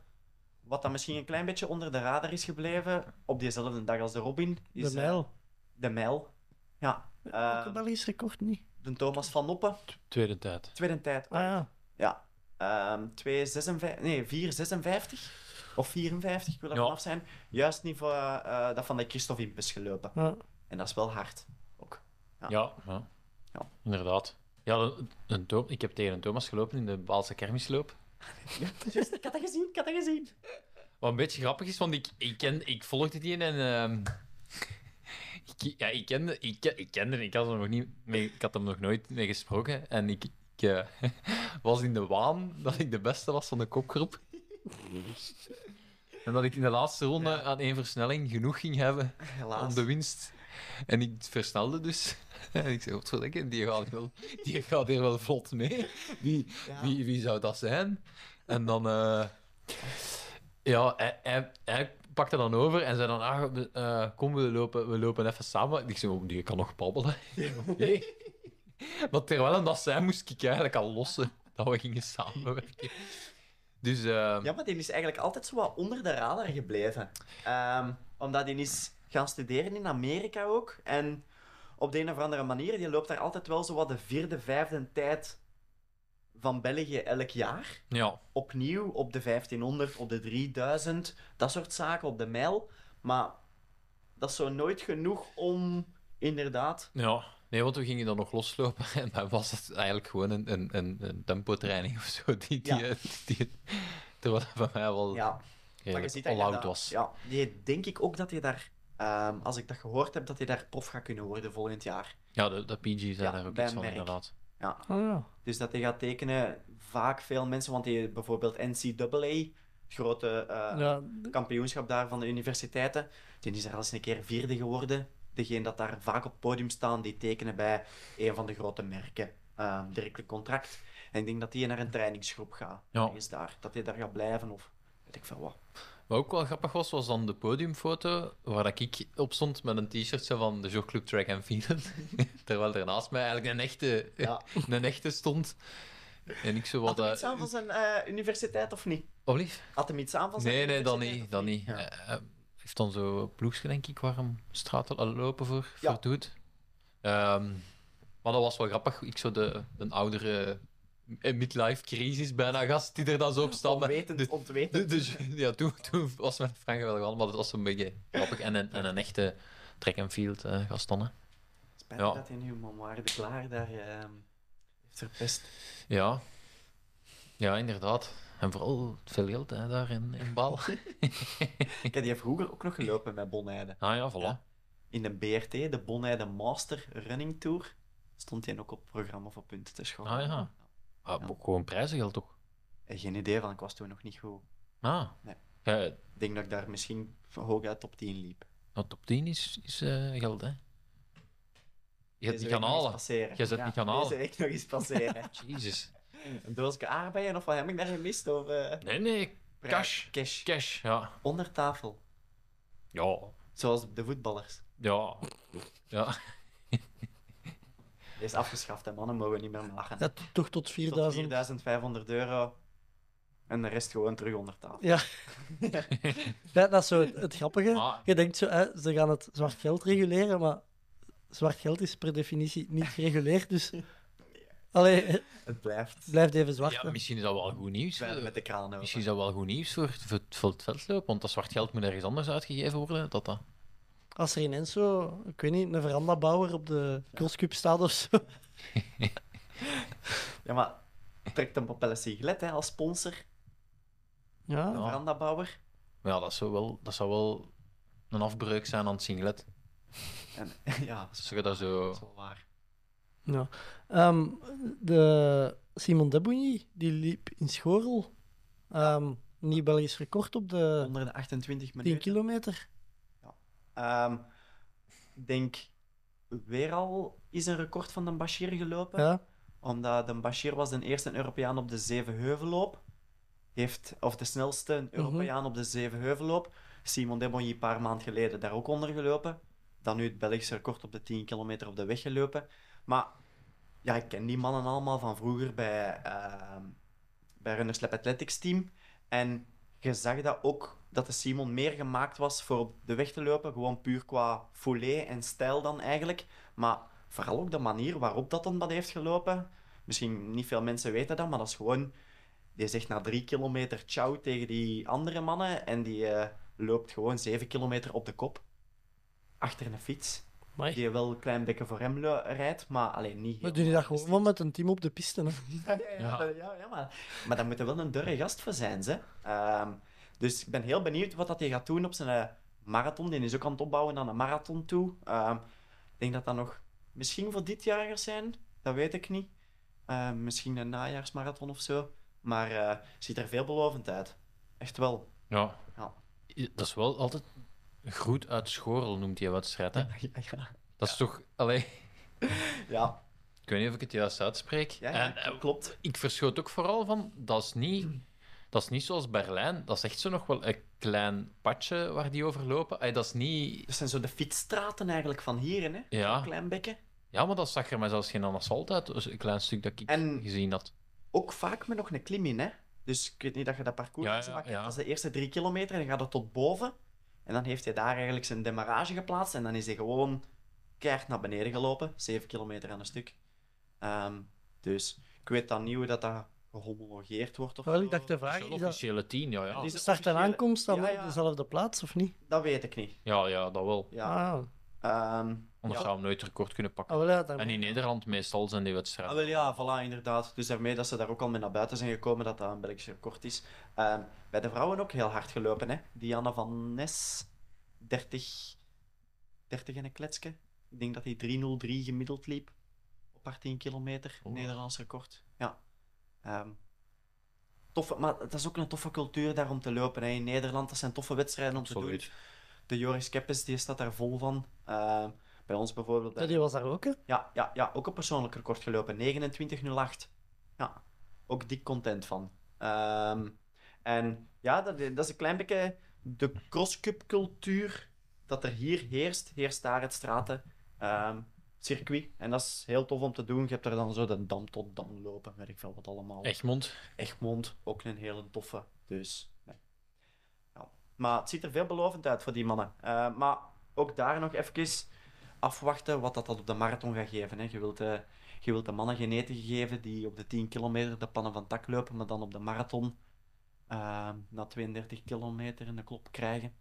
[SPEAKER 8] Wat dan misschien een klein beetje onder de radar is gebleven, op diezelfde dag als de Robin, is
[SPEAKER 7] de
[SPEAKER 8] eh,
[SPEAKER 7] mijl.
[SPEAKER 8] de mijl. Ja.
[SPEAKER 7] Ook
[SPEAKER 8] Ehm,
[SPEAKER 7] een Belgisch record niet.
[SPEAKER 8] de Thomas van Noppen,
[SPEAKER 9] tweede tijd.
[SPEAKER 8] tweede tijd.
[SPEAKER 7] Ah ja.
[SPEAKER 8] Ja. Ehm, ehm 2, 56, nee, 4, 56 of 54, ik wil er
[SPEAKER 9] Ja.
[SPEAKER 8] vanaf zijn. Juist niveau eh, eh, dat van de Christophe Imp is gelopen.
[SPEAKER 7] Ja.
[SPEAKER 8] En dat is wel hard. Ook.
[SPEAKER 9] Ja, ja.
[SPEAKER 8] Ja.
[SPEAKER 9] inderdaad. Ja, een, een Tho- ik heb tegen een Thomas gelopen in de Baalse kermisloop.
[SPEAKER 8] Juist, ik had dat gezien, ik had dat gezien.
[SPEAKER 9] Wat een beetje grappig is, want ik, ik, ken, ik volgde die en... ehm, [LAUGHS] ik, ja, ik kende, ik, ke- ik kende, ik had hem nog niet, mee, ik had hem nog nooit mee gesproken en ik, ik eh, [LAUGHS] was in de waan dat ik de beste was van de kopgroep. En dat ik in de laatste ronde aan één versnelling genoeg ging hebben om
[SPEAKER 8] Helaas.
[SPEAKER 9] de winst. En ik versnelde dus. [LAUGHS] En ik zei, godverdikke, die gaat, wel, die gaat hier wel vlot mee. Wie,
[SPEAKER 8] Ja.
[SPEAKER 9] wie, wie zou dat zijn? En dan... eh, ja, hij, hij, hij pakte dan over en zei dan, ah, we- eh, kom, we lopen, we lopen even samen. Ik zei, oh, die kan nog babbelen. [LAUGHS] Nee. Maar terwijl hem dat zei, moest ik eigenlijk al lossen dat we gingen samenwerken. Dus... eh,
[SPEAKER 8] Ja, maar die is eigenlijk altijd zo wat onder de radar gebleven. Ehm, omdat die is gaan studeren in Amerika ook. En op de een of andere manier, die loopt daar altijd wel zo wat de vierde, vijfde tijd van België elk jaar.
[SPEAKER 9] ja.
[SPEAKER 8] Opnieuw op de 1500, op de 3000, dat soort zaken, op de mijl. Maar dat is zo nooit genoeg om inderdaad...
[SPEAKER 9] Ja, nee, want we gingen dan nog loslopen [LAUGHS] en dan was het eigenlijk gewoon een, een, een, een tempotraining of zo. Die, die, eh,
[SPEAKER 8] Ja.
[SPEAKER 9] die, terwijl dat bij mij wel
[SPEAKER 8] Ja, maar je
[SPEAKER 9] redelijk
[SPEAKER 8] ziet dat je
[SPEAKER 9] all-out
[SPEAKER 8] dat-
[SPEAKER 9] was. Ja.
[SPEAKER 8] Ja, die, denk ik ook dat je daar, ehm, als ik dat gehoord heb, dat je daar prof gaat kunnen worden volgend jaar.
[SPEAKER 9] de, de PG zei
[SPEAKER 8] Ja,
[SPEAKER 9] daar ook
[SPEAKER 8] bij
[SPEAKER 9] iets van,
[SPEAKER 8] merk.
[SPEAKER 9] inderdaad.
[SPEAKER 7] Oh, ja.
[SPEAKER 8] Dus dat die gaat tekenen vaak veel mensen, want die bijvoorbeeld NCAA, het grote eh,
[SPEAKER 7] Ja,
[SPEAKER 8] kampioenschap daar van de universiteiten, die is daar al eens een keer vierde geworden. Degene dat daar vaak op het podium staan, die tekenen bij een van de grote merken. eh, direct een contract. En ik denk dat die naar een trainingsgroep gaat.
[SPEAKER 9] Ja.
[SPEAKER 8] Is daar, dat die daar gaat blijven of weet ik veel wat.
[SPEAKER 9] Wat ook wel grappig was, was dan de podiumfoto waar dat ik op stond met een t-shirtje van de Jogclub Track and Field. [LAUGHS] terwijl er naast mij eigenlijk een echte,
[SPEAKER 8] Ja.
[SPEAKER 9] [LAUGHS] een echte stond. En ik zo
[SPEAKER 8] Had
[SPEAKER 9] wat...
[SPEAKER 8] hem
[SPEAKER 9] eh,
[SPEAKER 8] iets aan van zijn eh, universiteit of niet?
[SPEAKER 9] oh, lief?
[SPEAKER 8] Had hem iets aan van zijn
[SPEAKER 9] Nee, nee, dan
[SPEAKER 8] universiteit
[SPEAKER 9] niet.
[SPEAKER 8] of
[SPEAKER 9] Dan niet.
[SPEAKER 8] Ja.
[SPEAKER 9] Eh, eh, heeft dan zo ploegje, denk ik, waar hem straat al lopen voor,
[SPEAKER 8] Ja.
[SPEAKER 9] voor doet. Ehm, maar dat was wel grappig. Ik zo de, een oudere eh, midlife-crisis bijna gast die er dan zo op stond.
[SPEAKER 8] Onwetend,
[SPEAKER 9] De-
[SPEAKER 8] ontwetend.
[SPEAKER 9] de- de- dus- [LAUGHS] ja, toen, toen was mijn Frank wel gewoon, maar dat was een beetje grappig. En een, en een echte track-and-field eh, gast dan, hè.
[SPEAKER 8] Spijtig
[SPEAKER 9] Ja.
[SPEAKER 8] dat hij nu Mamar de Klaar daar ehm heeft verpest.
[SPEAKER 9] [LAUGHS] Ja. Ja, inderdaad. En vooral veel geld hè, daar in,
[SPEAKER 8] [LAUGHS]
[SPEAKER 9] in Baal.
[SPEAKER 8] Ik heb die vroeger ook nog gelopen met Bonheide.
[SPEAKER 9] Ah ja, voilà.
[SPEAKER 8] Ja. In de BRT, de Bonheide Master Running Tour, stond hij ook op het programma voor punten te schoppen.
[SPEAKER 9] Ah, ja. Ah, maar Gewoon prijzengeld, toch?
[SPEAKER 8] En geen idee van, ik was toen nog niet goed.
[SPEAKER 9] Ah.
[SPEAKER 8] Nee.
[SPEAKER 9] Ja,
[SPEAKER 8] Ik denk dat ik daar misschien hooguit top 10 liep.
[SPEAKER 9] Nou, top 10 is, is eh, geld, hè? Je
[SPEAKER 8] Deze
[SPEAKER 9] hebt niet
[SPEAKER 8] week
[SPEAKER 9] gaan
[SPEAKER 8] nog eens
[SPEAKER 9] halen.
[SPEAKER 8] Passeren.
[SPEAKER 9] Jij zet niet gaan
[SPEAKER 8] Deze
[SPEAKER 9] halen.
[SPEAKER 8] week nog eens
[SPEAKER 9] [LAUGHS]
[SPEAKER 8] passeren.
[SPEAKER 9] Jezus.
[SPEAKER 8] een doosje aardbeien of wat heb ik daar gemist? Of, eh,
[SPEAKER 9] Nee, nee. Cash.
[SPEAKER 8] Cash.
[SPEAKER 9] Cash, ja.
[SPEAKER 8] Onder tafel.
[SPEAKER 9] Ja.
[SPEAKER 8] Zoals de voetballers.
[SPEAKER 9] Ja. Ja.
[SPEAKER 8] Die is afgeschaft en mannen mogen niet meer maken.
[SPEAKER 7] ja, t- toch tot
[SPEAKER 8] Tot
[SPEAKER 7] 4000.
[SPEAKER 8] 4500 euro. En de rest gewoon terug onder tafel.
[SPEAKER 7] Ja. [LAUGHS] ja, dat is zo het, het grappige.
[SPEAKER 9] Ah.
[SPEAKER 7] Je denkt zo, hè, ze gaan het zwart geld reguleren, maar zwart geld is per definitie niet gereguleerd, dus... Allee, het
[SPEAKER 8] Het blijft.
[SPEAKER 7] blijft even zwart.
[SPEAKER 9] ja,
[SPEAKER 7] hè.
[SPEAKER 9] misschien is dat wel goed nieuws.
[SPEAKER 8] Zwijnen
[SPEAKER 9] voor-
[SPEAKER 8] met de kraan
[SPEAKER 9] Misschien
[SPEAKER 8] open.
[SPEAKER 9] is dat wel goed nieuws voor, voor, het- voor het veldloop, want dat zwart geld moet ergens anders uitgegeven worden. Dat dat.
[SPEAKER 7] Als er ineens zo, ik weet niet, een verandabouwer op de crosscup staat of zo. [LAUGHS]
[SPEAKER 8] Ja, maar trekt een papelle sigaret hè, als sponsor,
[SPEAKER 7] Ja,
[SPEAKER 9] Ja.
[SPEAKER 8] verandabouwer. [LAUGHS]
[SPEAKER 9] Maar ja, dat zou wel, dat zou wel een afbreuk zijn aan het singlet.
[SPEAKER 8] En, ja, dat
[SPEAKER 9] Als je dat zo...
[SPEAKER 8] is wel waar.
[SPEAKER 7] Ja. Ehm, de Simon Debouny, die liep in Schorl. Ehm Nieuw Belgisch record op de
[SPEAKER 8] Onder de 28
[SPEAKER 7] 10
[SPEAKER 8] minuten.
[SPEAKER 7] kilometer.
[SPEAKER 8] Ehm, Ik denk, weer al is een record van de Bashir gelopen.
[SPEAKER 7] Ja.
[SPEAKER 8] Omdat de Bashir was de eerste Europeaan op de Zevenheuvelloop. Heeft, of de snelste Europeaan op de Zevenheuvelloop. Simon Debonny een paar maanden geleden daar ook onder gelopen. Dan nu het Belgische record op de 10 kilometer op de weg gelopen. Maar ja, ik ken die mannen allemaal van vroeger bij, ehm bij Runners Lab Athletics team. En je zag dat ook, dat de Simon meer gemaakt was voor op de weg te lopen. Gewoon puur qua foulée en stijl dan eigenlijk. Maar vooral ook de manier waarop dat dan dat heeft gelopen. Misschien niet veel mensen weten dat, maar dat is gewoon Die zegt na drie kilometer ciao tegen die andere mannen. En die eh, loopt gewoon zeven kilometer op de kop. Achter een fiets.
[SPEAKER 7] Amai.
[SPEAKER 8] Die wel een klein beetje voor hem lo- rijdt, maar alleen niet.
[SPEAKER 7] We
[SPEAKER 8] heel
[SPEAKER 7] doen die dat
[SPEAKER 8] hard.
[SPEAKER 7] gewoon met een team op de piste. Hè.
[SPEAKER 8] Ja, [LAUGHS] ja, ja, ja, ja, maar, maar daar moet er wel een durre gast voor zijn. Ze. Ehm, dus ik ben heel benieuwd wat dat hij gaat doen op zijn eh, marathon. Die is ook aan het opbouwen aan een marathon toe. Ehm, ik denk dat dat nog misschien voor dit jaar zijn. Dat weet ik niet. Ehm, misschien een najaarsmarathon of zo. Maar eh, ziet er veelbelovend uit. Echt wel.
[SPEAKER 9] Ja.
[SPEAKER 8] Ja.
[SPEAKER 9] Dat is wel altijd groet uit schorel, noemt die wedstrijd. Hè?
[SPEAKER 8] Ja, ja.
[SPEAKER 9] Dat is toch... Allee,
[SPEAKER 8] ja,
[SPEAKER 9] ik weet niet of ik het juist uitspreek.
[SPEAKER 8] ja,
[SPEAKER 9] En, eh,
[SPEAKER 8] klopt.
[SPEAKER 9] ik verschoot ook vooral van, dat is niet... Dat is niet zoals Berlijn. Dat is echt zo nog wel een klein padje waar die over lopen. Ey, dat is niet...
[SPEAKER 8] Dat zijn zo de fietsstraten eigenlijk van hier, hè?
[SPEAKER 9] Ja.
[SPEAKER 8] Klein bekken.
[SPEAKER 9] ja, maar dat zag er mij zelfs geen asfalt uit. Dus een klein stuk dat ik
[SPEAKER 8] En-
[SPEAKER 9] gezien had.
[SPEAKER 8] ook vaak met nog een klim in, hè? Dus ik weet niet dat je dat parcours
[SPEAKER 9] Ja,
[SPEAKER 8] hebt
[SPEAKER 9] ja,
[SPEAKER 8] gemaakt.
[SPEAKER 9] ja.
[SPEAKER 8] Dat is de eerste drie kilometer en dan gaat het tot boven. En dan heeft hij daar eigenlijk zijn demarrage geplaatst. En dan is hij gewoon keihard naar beneden gelopen. Zeven kilometer aan een stuk. Ehm, dus ik weet dan niet hoe dat, dat gehomologeerd wordt. Of
[SPEAKER 7] Wel,
[SPEAKER 8] zo.
[SPEAKER 7] ik dacht eh, de
[SPEAKER 9] Dat is
[SPEAKER 7] vraag
[SPEAKER 9] wel
[SPEAKER 7] is dat
[SPEAKER 9] officiële tien, ja, ja.
[SPEAKER 8] Die Ah, is
[SPEAKER 7] start en
[SPEAKER 8] officiële-
[SPEAKER 7] aankomst dan
[SPEAKER 8] Ja,
[SPEAKER 7] op
[SPEAKER 8] ja.
[SPEAKER 7] dezelfde plaats of niet?
[SPEAKER 8] Dat weet ik niet.
[SPEAKER 9] Ja, ja, dat wel.
[SPEAKER 8] Ja.
[SPEAKER 7] Ah,
[SPEAKER 8] Ehm, ja.
[SPEAKER 9] Anders zou hem nooit het record kunnen pakken.
[SPEAKER 7] ah, wel, ja, dan...
[SPEAKER 9] En in Nederland meestal zijn die
[SPEAKER 8] Ah,
[SPEAKER 9] wedstrijden.
[SPEAKER 8] wel ja, voilà, inderdaad. Dus daarmee dat ze daar ook al mee naar buiten zijn gekomen dat dat een Belgisch record is. Ehm, bij de vrouwen ook heel hard gelopen, hè. Diana van Nes, 30, 30 en een kletske. Ik denk dat hij 3.03 gemiddeld liep op haar 10 kilometer.
[SPEAKER 9] Oeh.
[SPEAKER 8] Nederlands record. Ja. Ehm, toffe, maar dat is ook een toffe cultuur daar om te lopen. Hè. In Nederland, dat zijn toffe wedstrijden om te doen.
[SPEAKER 9] Absoluut.
[SPEAKER 8] De Joris Keppes, die staat daar vol van. Ehm, bij ons bijvoorbeeld...
[SPEAKER 7] Ja, die was daar ook, hè?
[SPEAKER 8] Ja, ja, ja, ook een persoonlijk record gelopen. 29.08. Ja, ook dik content van. Ehm, en ja, dat, dat is een klein beetje de crosscup cultuur dat er hier heerst. Heerst daar het straten, ehm, circuit. En dat is heel tof om te doen. Je hebt er dan zo de dam tot dam lopen, weet ik veel wat allemaal.
[SPEAKER 9] Egmond.
[SPEAKER 8] Egmond, ook een hele toffe. Dus, nee. ja. Maar het ziet er veelbelovend uit voor die mannen. Eh, maar ook daar nog even afwachten wat dat, dat op de marathon gaat geven. Hè. Je, wilt, eh, je wilt de mannen geneten geven die op de 10 kilometer de pannen van het dak lopen, maar dan op de marathon eh, na 32 kilometer in de klop krijgen.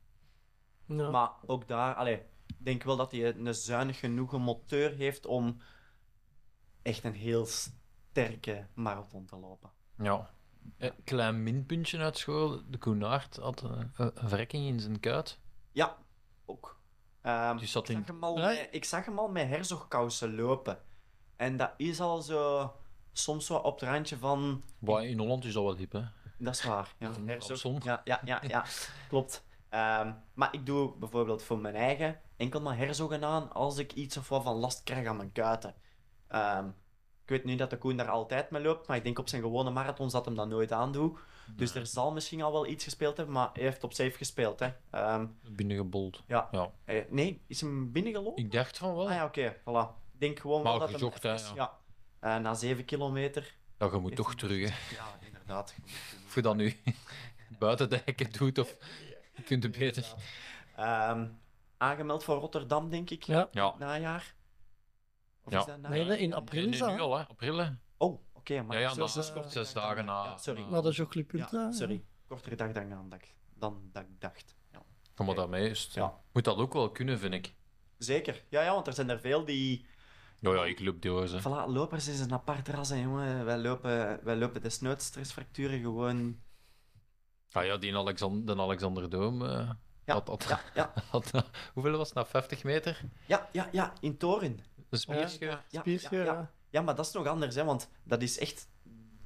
[SPEAKER 7] Ja.
[SPEAKER 8] Maar ook daar, allee, ik denk wel dat hij een zuinig genoeg moteur heeft om echt een heel sterke marathon te lopen.
[SPEAKER 9] Ja. Een klein minpuntje uit school. De Koenaert had eh, een, een verrekking in zijn kuit.
[SPEAKER 8] Ja, ook. Ehm,
[SPEAKER 9] Dus dat
[SPEAKER 8] ik, zag
[SPEAKER 9] in...
[SPEAKER 8] hem al
[SPEAKER 7] Ja.
[SPEAKER 8] met, ik zag hem al met herzogkousen lopen. En dat is al zo... Soms wel op het randje van...
[SPEAKER 9] Boah, in Holland is dat wel hip, hè?
[SPEAKER 8] Dat is waar. Ja,
[SPEAKER 9] Van
[SPEAKER 8] herzog.
[SPEAKER 9] Robson.
[SPEAKER 8] Ja, ja, ja,
[SPEAKER 9] [LAUGHS]
[SPEAKER 8] ja. klopt. Ehm, maar ik doe bijvoorbeeld voor mijn eigen enkel maar herzogen aan als ik iets of wat van last krijg aan mijn kuiten. Ehm, ik weet nu dat de Koen daar altijd mee loopt, maar ik denk op zijn gewone marathons dat hem dat nooit aandoet. Dus er zal misschien al wel iets gespeeld hebben, maar hij heeft op safe gespeeld. Hè. Ehm,
[SPEAKER 9] Binnengebold.
[SPEAKER 8] Ja.
[SPEAKER 9] ja.
[SPEAKER 8] eh, nee, is hem binnengelopen?
[SPEAKER 9] Ik dacht van wel.
[SPEAKER 8] Ah ja, oké, voilà. Ik denk gewoon
[SPEAKER 9] Maar
[SPEAKER 8] wel
[SPEAKER 9] ook
[SPEAKER 8] dat hem
[SPEAKER 9] gezocht, hè,
[SPEAKER 8] even- ja. Eh, na zeven kilometer.
[SPEAKER 9] Dat je moet toch terug, hè.
[SPEAKER 8] Ja, inderdaad.
[SPEAKER 9] [LAUGHS] Of je dat nu buiten de hekken doet of... Je kunt het beter.
[SPEAKER 8] Ehm, aangemeld voor Rotterdam, denk ik.
[SPEAKER 7] Ja.
[SPEAKER 9] Ja.
[SPEAKER 8] Najaar. Of
[SPEAKER 9] Ja.
[SPEAKER 8] is dat najaar?
[SPEAKER 7] Nee, nee, in april
[SPEAKER 9] Nee,
[SPEAKER 7] is dat.
[SPEAKER 9] nu
[SPEAKER 7] hè?
[SPEAKER 9] al, hè. April, hè.
[SPEAKER 8] Oh, oké. maar
[SPEAKER 9] Ja, ja,
[SPEAKER 8] zo-
[SPEAKER 9] dat
[SPEAKER 8] zo
[SPEAKER 9] is
[SPEAKER 8] kort
[SPEAKER 9] zes
[SPEAKER 8] dag
[SPEAKER 9] dagen
[SPEAKER 8] dan.
[SPEAKER 9] na-
[SPEAKER 8] Ja, sorry.
[SPEAKER 9] na-
[SPEAKER 7] Naar de Joclub
[SPEAKER 8] Ja,
[SPEAKER 7] Ultra. hè?
[SPEAKER 8] sorry. Kortere dag dan, dan, dat ik- dan dat ik dacht. Ja.
[SPEAKER 9] Kom maar daarmee is het-
[SPEAKER 8] Ja.
[SPEAKER 9] Moet dat ook wel kunnen, vind ik.
[SPEAKER 8] Zeker. Ja, ja, want er zijn er veel die...
[SPEAKER 9] Ja, ja, ik loop door, ze.
[SPEAKER 8] Voilà, lopers is een apart ras, hè, jongen. Wij lopen, wij lopen desnoods stressfracturen gewoon
[SPEAKER 9] Ah ja, die Alexander, de Alexander Doom. eh,
[SPEAKER 8] Ja,
[SPEAKER 9] had, had,
[SPEAKER 8] ja, ja.
[SPEAKER 9] [LAUGHS] had- hoeveel was het nou? 50 meter?
[SPEAKER 8] Ja, ja, ja, in Toren.
[SPEAKER 9] Een spierscheur?
[SPEAKER 8] Ja,
[SPEAKER 7] Spierscheur,
[SPEAKER 8] ja,
[SPEAKER 7] ja.
[SPEAKER 8] ja. Ja, maar dat is nog anders, hè, want dat is echt...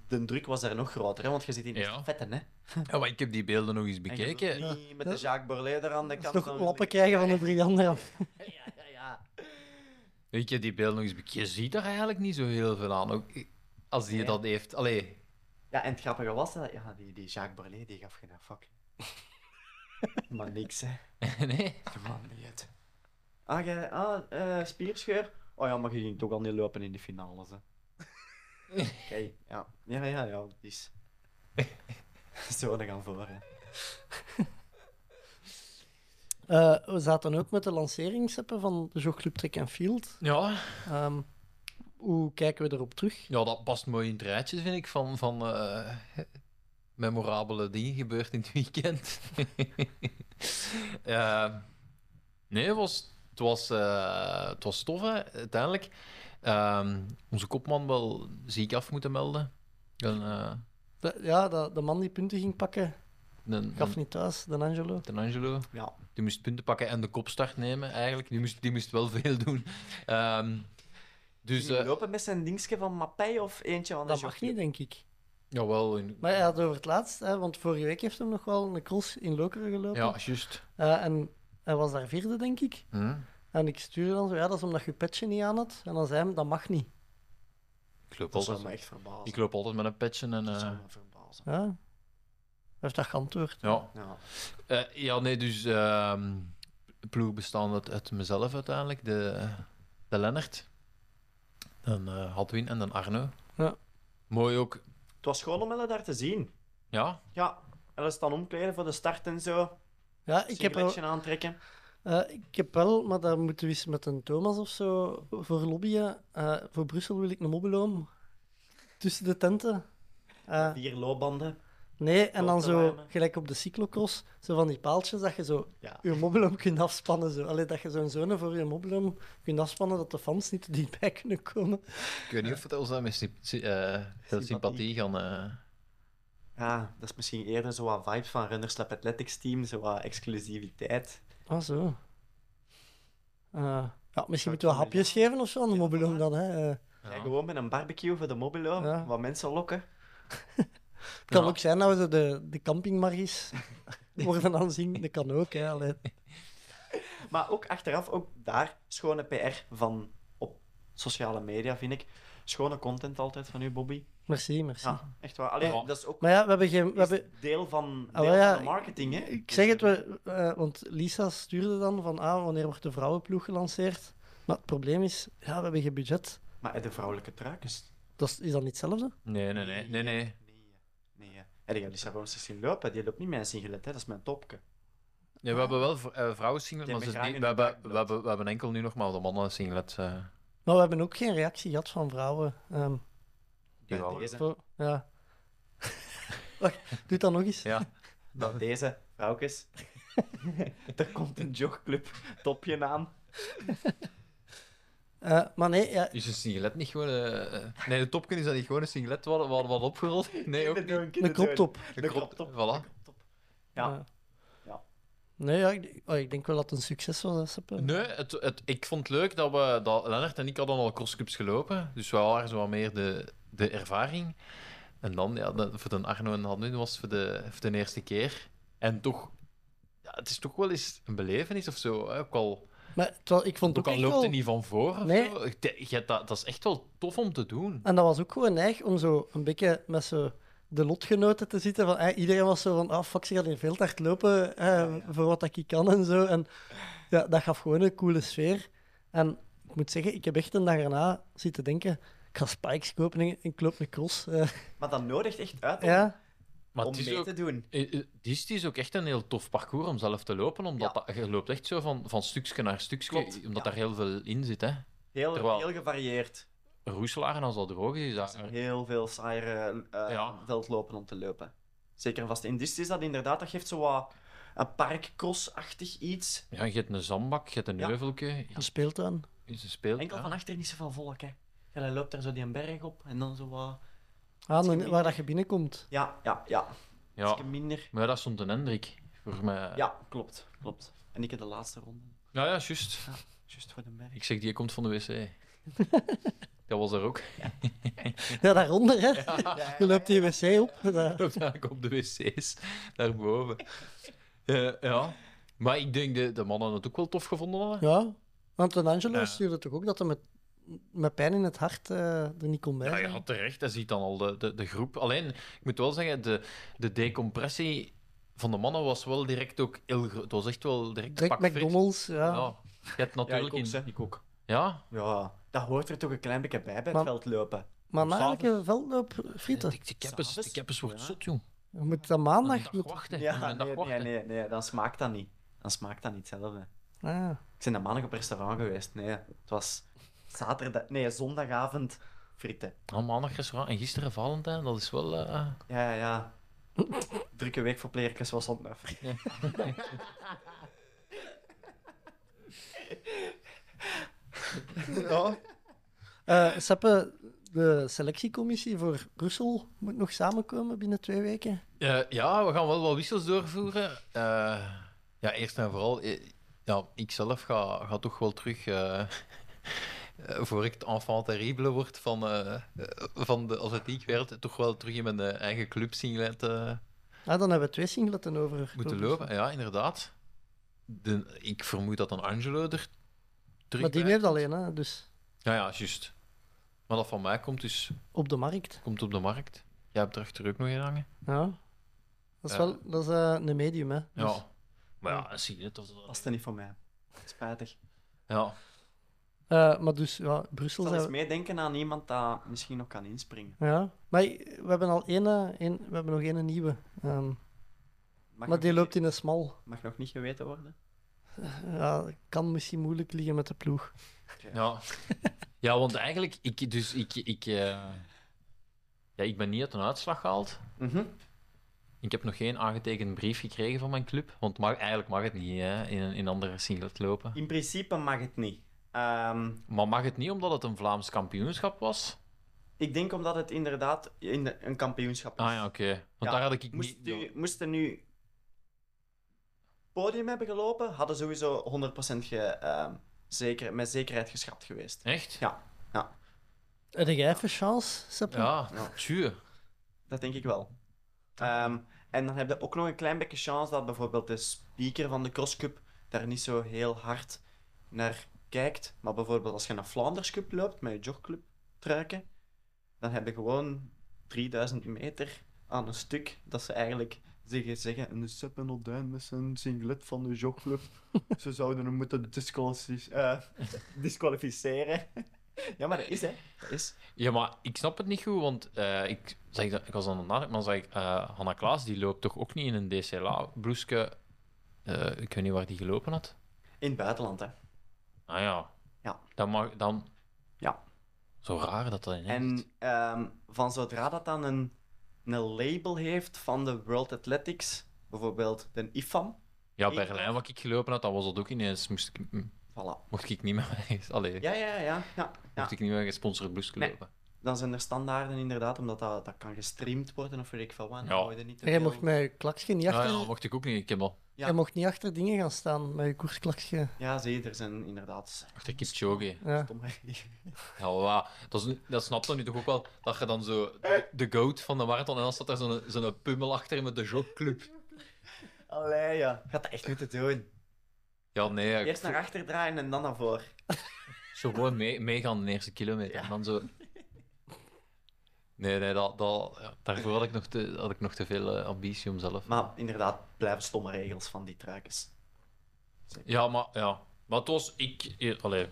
[SPEAKER 8] De druk was daar nog groter, hè, want je zit in
[SPEAKER 9] Ja.
[SPEAKER 8] echt vetten, hè.
[SPEAKER 9] Ja, maar ik heb die beelden nog eens
[SPEAKER 8] En je
[SPEAKER 9] bekeken.
[SPEAKER 8] wilt niet met de Jacques Borlet er aan de
[SPEAKER 7] Dat
[SPEAKER 8] kant.
[SPEAKER 7] is toch
[SPEAKER 8] van
[SPEAKER 7] lappen
[SPEAKER 8] liggen.
[SPEAKER 7] krijgen van de Briander af.
[SPEAKER 8] Ja, ja.
[SPEAKER 9] Ik heb die beelden nog eens bekeken. Je ziet daar eigenlijk niet zo heel veel aan. Ook i- als die
[SPEAKER 8] Nee.
[SPEAKER 9] dat heeft. Allee, [LAUGHS]
[SPEAKER 8] ja, en het grappige was dat... Ja, die, die Jacques Borlet, die gaf geen
[SPEAKER 7] [LAUGHS]
[SPEAKER 8] fuck. maar niks, hè.
[SPEAKER 9] nee.
[SPEAKER 8] Maar niet het. Ah, jij... Ah, eh, spierscheur. Oh ja, maar je ging toch al niet lopen in de finales,
[SPEAKER 9] [LAUGHS]
[SPEAKER 8] hè. Oké, ja. Ja, ja, ja, dat is... [LAUGHS] Zo, dan gaan voor, hè.
[SPEAKER 7] Eh, we zaten ook met de lanceringsappen van de Jogclub Track and Field.
[SPEAKER 9] Ja.
[SPEAKER 7] Ehm, hoe kijken we erop terug?
[SPEAKER 9] ja, dat past mooi in het rijtje, vind ik. Van, van eh, memorabele dingen gebeurd in het weekend. [LAUGHS] Eh, nee, het was, het was, eh, het was tof, hè, uiteindelijk. Ehm, onze kopman wel ziek af moeten melden. Een, eh,
[SPEAKER 7] De- ja, de, de man die punten ging pakken,
[SPEAKER 9] een,
[SPEAKER 8] Hm.
[SPEAKER 7] gaf niet thuis, de Angelo.
[SPEAKER 9] Angelo.
[SPEAKER 8] Ja.
[SPEAKER 9] Die moest punten pakken en de kopstart nemen, eigenlijk. Die moest, die moest wel veel doen. Ehm, dus,
[SPEAKER 8] Die
[SPEAKER 9] eh,
[SPEAKER 8] lopen met zijn dingetje van Mappij of eentje van de
[SPEAKER 7] Dat mag
[SPEAKER 8] jockey?
[SPEAKER 7] niet, denk ik.
[SPEAKER 9] jawel. in-
[SPEAKER 7] Maar hij had over het laatst, hè, want vorige week heeft hem nog wel een cross in Lokeren gelopen.
[SPEAKER 9] ja, juist.
[SPEAKER 7] Eh, en hij was daar vierde, denk ik.
[SPEAKER 9] Hm,
[SPEAKER 7] En ik stuurde dan zo, ja, dat is omdat je petje niet aan had. En dan zei hij, dat mag niet.
[SPEAKER 9] Ik loop,
[SPEAKER 8] Dat zou me
[SPEAKER 9] altijd,
[SPEAKER 8] echt verbazen.
[SPEAKER 9] ik loop altijd met een petje en...
[SPEAKER 8] Dat
[SPEAKER 9] eh,
[SPEAKER 8] zou me verbazen.
[SPEAKER 7] Ja. Hij heeft dat geantwoord.
[SPEAKER 9] ja,
[SPEAKER 8] Ja.
[SPEAKER 9] Eh, ja, nee, dus ehm ploeg bestaande uit, uit mezelf uiteindelijk, de, de Lennart, dan eh Hadwin en dan Arno.
[SPEAKER 7] Ja.
[SPEAKER 9] Mooi ook,
[SPEAKER 8] Het was gewoon om hen daar te zien.
[SPEAKER 9] ja,
[SPEAKER 8] Ja, en staan omkleden voor de start en zo.
[SPEAKER 7] Ja, ik heb, wel,
[SPEAKER 8] Singletje aantrekken.
[SPEAKER 7] eh, ik heb wel, maar daar moeten we eens met een Thomas of zo voor lobbyen. Eh, voor Brussel wil ik een mobbeloom. Tussen de tenten. Eh,
[SPEAKER 8] Vier loopbanden.
[SPEAKER 7] nee, en dan
[SPEAKER 8] Klopt,
[SPEAKER 7] zo,
[SPEAKER 8] Ryan.
[SPEAKER 7] gelijk op de cyclocross, zo van die paaltjes dat je zo
[SPEAKER 8] Ja.
[SPEAKER 7] je mobbeloom kunt afspannen. Zo. Allee, dat je zo'n zone voor je mobbeloom kunt afspannen, dat de fans niet te dichtbij kunnen komen.
[SPEAKER 9] ik weet niet of het ons daarmee sy- sy- eh, veel sympathie gaan... eh,
[SPEAKER 8] Ja, dat is misschien eerder zo wat vibes van Runners Lab Athletics team. Zo wat exclusiviteit.
[SPEAKER 7] Ah, zo. Eh, ja, misschien moeten we hapjes geven of zo aan de mobbeloom dan. Hè. Eh,
[SPEAKER 8] Ja, gewoon met een barbecue voor de mobilo.
[SPEAKER 7] Ja.
[SPEAKER 8] Wat mensen lokken.
[SPEAKER 7] Het kan
[SPEAKER 9] Ja.
[SPEAKER 7] ook zijn dat we zo de, de campingmargies worden aanzien. Dat kan ook, hè. Allee.
[SPEAKER 8] Maar ook achteraf, ook daar, schone PR van op sociale media, vind ik. Schone content altijd van u, Bobby.
[SPEAKER 7] Merci, merci.
[SPEAKER 8] Ja, echt waar. Allee,
[SPEAKER 9] Ja.
[SPEAKER 8] dat is ook
[SPEAKER 7] Maar ja, we hebben geen... We
[SPEAKER 8] Ah. is
[SPEAKER 7] hebben,
[SPEAKER 8] deel, van,
[SPEAKER 7] Ah,
[SPEAKER 8] deel
[SPEAKER 7] wel ja,
[SPEAKER 8] van de marketing, hè?
[SPEAKER 7] ik zeg het, we, eh, want Lisa stuurde dan van, ah, wanneer wordt de vrouwenploeg gelanceerd? Maar het probleem is, ja, we hebben geen budget.
[SPEAKER 8] Maar eh, de vrouwelijke truikens?
[SPEAKER 7] Dat is, is dat niet hetzelfde?
[SPEAKER 9] nee, nee, nee, nee, nee.
[SPEAKER 8] Nee, nee. hè. En ik heb Lisa Roos eens zien lopen. Die loopt niet met een singlet, hè? Dat is mijn topke.
[SPEAKER 9] Nee, we hebben wel vr- eh, vrouwen
[SPEAKER 8] Die
[SPEAKER 9] maar ze
[SPEAKER 8] hebben
[SPEAKER 9] is
[SPEAKER 8] graag
[SPEAKER 9] niet-
[SPEAKER 8] in
[SPEAKER 9] we,
[SPEAKER 8] de
[SPEAKER 9] hebben,
[SPEAKER 8] backblad.
[SPEAKER 9] we, hebben, we hebben enkel nu nog maar de mannen singlet. eh
[SPEAKER 7] Maar we hebben ook geen reactie gehad van vrouwen. Ehm,
[SPEAKER 9] die
[SPEAKER 8] Bij
[SPEAKER 9] wouden.
[SPEAKER 8] deze,
[SPEAKER 7] voor- ja. [LAUGHS] Wacht, doe dat nog eens.
[SPEAKER 9] Ja,
[SPEAKER 8] bij deze,
[SPEAKER 7] [LAUGHS]
[SPEAKER 8] vrouwkes. er komt een jogclub topje aan.
[SPEAKER 7] Eh, maar nee, ja,
[SPEAKER 9] is een singlet niet gewoon... eh, eh, nee, de topken is dat niet gewoon een singlet, wat, wat, wat opgerold? Nee, ook niet.
[SPEAKER 7] een kroptop.
[SPEAKER 9] Een crop top, voilà.
[SPEAKER 8] Ja.
[SPEAKER 7] Eh,
[SPEAKER 8] Ja.
[SPEAKER 7] Nee, ja, ik, oh, ik denk wel dat het een succes was. hè, Seppe.
[SPEAKER 9] Nee, het, het, ik vond het leuk dat we... Dat Lennart en ik hadden al crosscups gelopen. Dus we waren zo wat meer de, de ervaring. En dan, ja, dat- voor de Arno en Hanun was het voor de, voor de eerste keer. En toch... Ja, het is toch wel eens een belevenis of zo. Hè? Ook al,
[SPEAKER 7] Maar het wa- ik vond
[SPEAKER 9] ook
[SPEAKER 7] het ook echt
[SPEAKER 9] al loopt
[SPEAKER 7] wel...
[SPEAKER 9] het niet van voor of
[SPEAKER 7] Nee.
[SPEAKER 9] zo. Ik denk, ja, dat, dat is echt wel tof om te doen.
[SPEAKER 7] En dat was ook gewoon neig om zo een beetje met zo de lotgenoten te zitten. Van, eh, iedereen was zo van, ah, fuck, ze gaat in veel te hard lopen eh, voor wat dat ik kan en zo. En ja, dat gaf gewoon een coole sfeer. En ik moet zeggen, ik heb echt een dag erna zitten denken, ik ga spikes kopen en ik loop een cross. eh,
[SPEAKER 8] Maar dat nodigt echt uit om,
[SPEAKER 7] ja.
[SPEAKER 9] Maar
[SPEAKER 8] om
[SPEAKER 9] het is
[SPEAKER 8] mee
[SPEAKER 9] ook...
[SPEAKER 8] te doen.
[SPEAKER 9] eh, eh, Het is, het is ook echt een heel tof parcours om zelf te lopen, omdat dat, je loopt echt zo van, van stukje naar stukje,
[SPEAKER 8] Klopt,
[SPEAKER 9] omdat
[SPEAKER 8] ja.
[SPEAKER 9] daar heel veel in zit. Hè.
[SPEAKER 8] Heel,
[SPEAKER 9] Terwijl-
[SPEAKER 8] heel gevarieerd.
[SPEAKER 9] Roeselaar en als dat droog is, is
[SPEAKER 8] Er
[SPEAKER 9] dat
[SPEAKER 8] zijn heel veel saaiere eh
[SPEAKER 9] Ja.
[SPEAKER 8] veldlopen om te lopen. Zeker en vast. In Dist is dat inderdaad, dat geeft zo wat een parkcross-achtig iets.
[SPEAKER 9] Ja, je hebt een zandbak, je hebt een
[SPEAKER 8] Ja.
[SPEAKER 9] heuvelke, je
[SPEAKER 7] Een speeltuin.
[SPEAKER 9] is een speel.
[SPEAKER 8] Enkel van achter niet zoveel volk, hè. Ja, hij loopt daar zo die een berg op en dan zo wat...
[SPEAKER 7] Ah, een- waar dat je binnenkomt.
[SPEAKER 8] Ja, ja, ja.
[SPEAKER 9] Ja.
[SPEAKER 8] Ietsje minder.
[SPEAKER 9] Maar ja, dat stond een Hendrik voor mij.
[SPEAKER 8] Ja, klopt, klopt. En ik heb de laatste ronde.
[SPEAKER 9] ja, ja, juist.
[SPEAKER 8] Juist voor de berg.
[SPEAKER 9] Ik zeg, die komt van de
[SPEAKER 8] [LAUGHS]
[SPEAKER 9] wc. dat was er ook.
[SPEAKER 7] Ja, daaronder, hè. Je loopt die wc op. Dat-
[SPEAKER 9] Loopt eigenlijk op de wc's, daarboven. Eh, ja. Maar ik denk dat de, mannen het ook wel tof gevonden hadden.
[SPEAKER 7] Ja, want een Angelo
[SPEAKER 9] Ja.
[SPEAKER 7] stuurde toch ook dat hij met, met pijn in het hart eh, er niet kon bij
[SPEAKER 9] Ja,
[SPEAKER 7] zijn.
[SPEAKER 9] ja, terecht. Hij ziet dan al de, de, de groep. Alleen, ik moet wel zeggen, de, de decompressie van de mannen was wel direct ook heel groot. Het was echt wel direct,
[SPEAKER 7] Direct
[SPEAKER 9] pak frit.
[SPEAKER 7] McDonald's, ja.
[SPEAKER 9] Ja. Je hebt natuurlijk
[SPEAKER 8] ik ook,
[SPEAKER 9] in-
[SPEAKER 8] zeg. Ik ook.
[SPEAKER 9] Ja,
[SPEAKER 8] Ja, dat hoort er toch een klein beetje bij, bij het
[SPEAKER 7] Maar-
[SPEAKER 9] [LAUGHS]
[SPEAKER 8] veldlopen.
[SPEAKER 7] Maar na
[SPEAKER 9] S'avonds.
[SPEAKER 7] elke veldloop frieten.
[SPEAKER 9] Die, die keppes,
[SPEAKER 8] S'avonds?
[SPEAKER 9] die keppes wordt
[SPEAKER 8] Ja.
[SPEAKER 9] zot, jong.
[SPEAKER 7] Je moet dat
[SPEAKER 9] Nog
[SPEAKER 7] maandag...
[SPEAKER 9] een dag
[SPEAKER 7] moet-
[SPEAKER 9] wachten. Nog
[SPEAKER 8] Ja,
[SPEAKER 9] een dag
[SPEAKER 8] nee, nee,
[SPEAKER 9] wachten.
[SPEAKER 8] nee, nee, dan smaakt dat niet. Dan smaakt dat niet hetzelfde.
[SPEAKER 7] Ah,
[SPEAKER 8] Ik ben maandag op restaurant geweest. Nee, het was zaterdag... Nee, zondagavond frieten.
[SPEAKER 9] Ah, maandag restaurant en gisteren Valentijn, dat is wel... eh,
[SPEAKER 8] Ja, ja, ja. Drie keer week voor Playerkes was handnuiver. ja.
[SPEAKER 7] Eh Seppe, de selectiecommissie voor Brussel moet nog samenkomen binnen twee weken.
[SPEAKER 9] Eh, ja, we gaan wel wat wissels doorvoeren. Eh, ja, eerst en vooral, eh, ja, ik zelf ga, ga toch wel terug. eh, eh, voor ik het enfant terrible word van, eh, eh, van de atletiekwereld, toch wel terug in mijn eh, eigen club singlet eh,
[SPEAKER 7] Ah, dan hebben we twee singletten over.
[SPEAKER 9] moeten lopen. Ja, inderdaad. De, ik vermoed dat een Angelo er terug
[SPEAKER 7] Maar die
[SPEAKER 9] bij-
[SPEAKER 7] heeft alleen, hè? dus
[SPEAKER 9] Ja, ja, juist. Maar dat van mij komt dus
[SPEAKER 7] op de markt.
[SPEAKER 9] komt op de markt. Jij hebt er achter ook nog in hangen.
[SPEAKER 7] Ja. Dat is
[SPEAKER 9] Ja.
[SPEAKER 7] wel dat is, eh, een medium, hè? Dus-
[SPEAKER 9] Ja. Maar ja, zie je het? of dat-
[SPEAKER 8] Was het niet voor mij. Spijtig.
[SPEAKER 9] Ja.
[SPEAKER 7] Eh, maar dus, ja,
[SPEAKER 8] Ik
[SPEAKER 7] Brussel
[SPEAKER 8] zal eens
[SPEAKER 7] zijn we...
[SPEAKER 8] meedenken aan iemand dat misschien nog kan inspringen.
[SPEAKER 7] Ja. Maar we hebben al één, eh, één- we hebben nog één nieuwe. ehm,
[SPEAKER 8] Mag
[SPEAKER 7] maar
[SPEAKER 8] nog
[SPEAKER 7] die
[SPEAKER 8] niet-
[SPEAKER 7] loopt in een smal.
[SPEAKER 8] Mag nog niet geweten worden.
[SPEAKER 7] Ja, kan misschien moeilijk liggen met de ploeg.
[SPEAKER 9] Ja. [LAUGHS] ja, want eigenlijk, ik, dus ik, ik, eh, ja, ik ben niet uit een uitslag gehaald.
[SPEAKER 8] Mhm.
[SPEAKER 9] Ik heb nog geen aangetekend brief gekregen van mijn club. Want mag, eigenlijk mag het niet hè, in een in een andere singlet lopen.
[SPEAKER 8] In principe mag het niet. Ehm,
[SPEAKER 9] Maar mag het niet omdat het een Vlaams kampioenschap was?
[SPEAKER 8] ik denk omdat het inderdaad in de- een kampioenschap is.
[SPEAKER 9] Ah ja, oké. Want
[SPEAKER 8] Ja,
[SPEAKER 9] daar had ik
[SPEAKER 8] Moest
[SPEAKER 9] niet...
[SPEAKER 8] u- moesten nu podium hebben gelopen, hadden sowieso 100% ge, ehm, zeker, met zekerheid geschrapt geweest.
[SPEAKER 9] Echt?
[SPEAKER 8] Ja.
[SPEAKER 7] Heb jij even chance, Seppe?
[SPEAKER 9] Ja,
[SPEAKER 8] Ja.
[SPEAKER 9] tuur.
[SPEAKER 8] Dat denk ik wel. Ehm, en dan heb je ook nog een klein beetje kans dat bijvoorbeeld de speaker van de Cross Cup daar niet zo heel hard naar kijkt. Maar bijvoorbeeld als je naar Flanders Cup loopt met je jogclub truiken, dan heb je gewoon 3000 meter aan een stuk dat ze eigenlijk zeggen, zeggen een Sepp en Odijn met zijn singlet van de jogclub. ze zouden hem moeten disqualific- eh, [LAUGHS] disqualificeren. [LAUGHS] ja, maar dat is hè. Dat is.
[SPEAKER 9] Ja, maar ik snap het niet goed, want eh, ik, zag dat, ik was aan het nadenken, maar dan zag ik, eh, Hanna Klaas, die loopt toch ook niet in een DCLA-bloeske? Eh, ik weet niet waar die gelopen had.
[SPEAKER 8] In het buitenland hè.
[SPEAKER 9] Ah ja.
[SPEAKER 8] Ja.
[SPEAKER 9] Dan mag dan.
[SPEAKER 8] Ja.
[SPEAKER 9] Zo raar dat dat in
[SPEAKER 8] En ehm, van zodra dat dan een, een label heeft van de World Athletics, bijvoorbeeld de IFAM,
[SPEAKER 9] Ja,
[SPEAKER 8] ik-
[SPEAKER 9] Berlijn, wat ik gelopen had, dat was dat ook ineens. Moest ik, m-
[SPEAKER 8] voilà.
[SPEAKER 9] mocht ik niet meer. [LAUGHS] Allee,
[SPEAKER 8] Ja, ja, ja, ja, ja.
[SPEAKER 9] mocht ik niet meer gesponsord blouse
[SPEAKER 8] Nee.
[SPEAKER 9] lopen.
[SPEAKER 8] Dan zijn er standaarden inderdaad, omdat dat, dat kan gestreamd worden of weet ik veel wat. en
[SPEAKER 9] Ja.
[SPEAKER 8] dan word je niet te
[SPEAKER 7] Jij
[SPEAKER 8] veel-
[SPEAKER 7] mocht met je klaksje niet
[SPEAKER 9] Ja,
[SPEAKER 7] achter...
[SPEAKER 9] ja, dat mocht ik ook niet. Ik heb al
[SPEAKER 8] Ja.
[SPEAKER 7] Jij mocht niet achter dingen gaan staan met je koersklaksje.
[SPEAKER 8] Ja, zie je, er zijn inderdaad
[SPEAKER 9] achter Kipchoge.
[SPEAKER 7] Ja.
[SPEAKER 8] stomme
[SPEAKER 9] Ja, wa. dat, is, een- dat snapt dan nu toch ook wel. Dat je dan zo de, de goat van de marathon en dan staat daar zo'n zo'n pummel achter met de jogclub.
[SPEAKER 8] [LAUGHS] Allee, ja. Gaat dat echt moeten doen.
[SPEAKER 9] Ja, nee. ik-
[SPEAKER 8] Eerst naar achter draaien en dan naar voren.
[SPEAKER 9] [LAUGHS] Zo gewoon mee, meegaan de eerste kilometer. En dan zo. Nee, nee, dat, dat, ja, daarvoor had ik nog te, had ik nog te veel eh, ambitie om zelf.
[SPEAKER 8] Maar inderdaad, blijven stomme regels van die truikers.
[SPEAKER 9] Ja, maar ja. Maar het was, ik, eh, allee,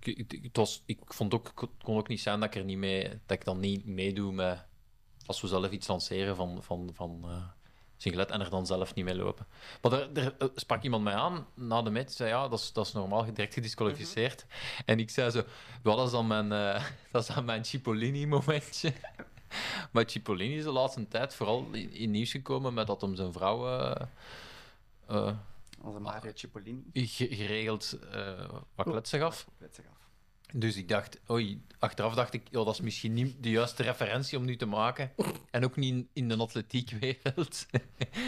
[SPEAKER 9] ik, ik- het was, ik vond ook, het kon ook niet zijn dat ik er niet mee, dat ik dan niet meedoe met, als we zelf iets lanceren van, van, van eh, singlet en er dan zelf niet mee lopen. Maar er, er eh, sprak iemand mij aan na de match, zei ja, dat is, dat is normaal direct gedisqualificeerd. En ik zei zo, "Wel, dat is dan mijn, eh, [LAUGHS] dat is dan mijn Cipollini-momentje. [LAUGHS] maar Cipollini is de laatste tijd vooral in, in nieuws gekomen met dat hem zijn vrouw... eh, eh,
[SPEAKER 8] Onze Mario Cipollini.
[SPEAKER 9] ge- geregeld eh wat kletsen gaf.
[SPEAKER 8] Weet zich af.
[SPEAKER 9] Dus ik dacht, oei, achteraf dacht ik, joh, dat is misschien niet de juiste referentie om nu te maken. En ook niet in, in de atletiekwereld.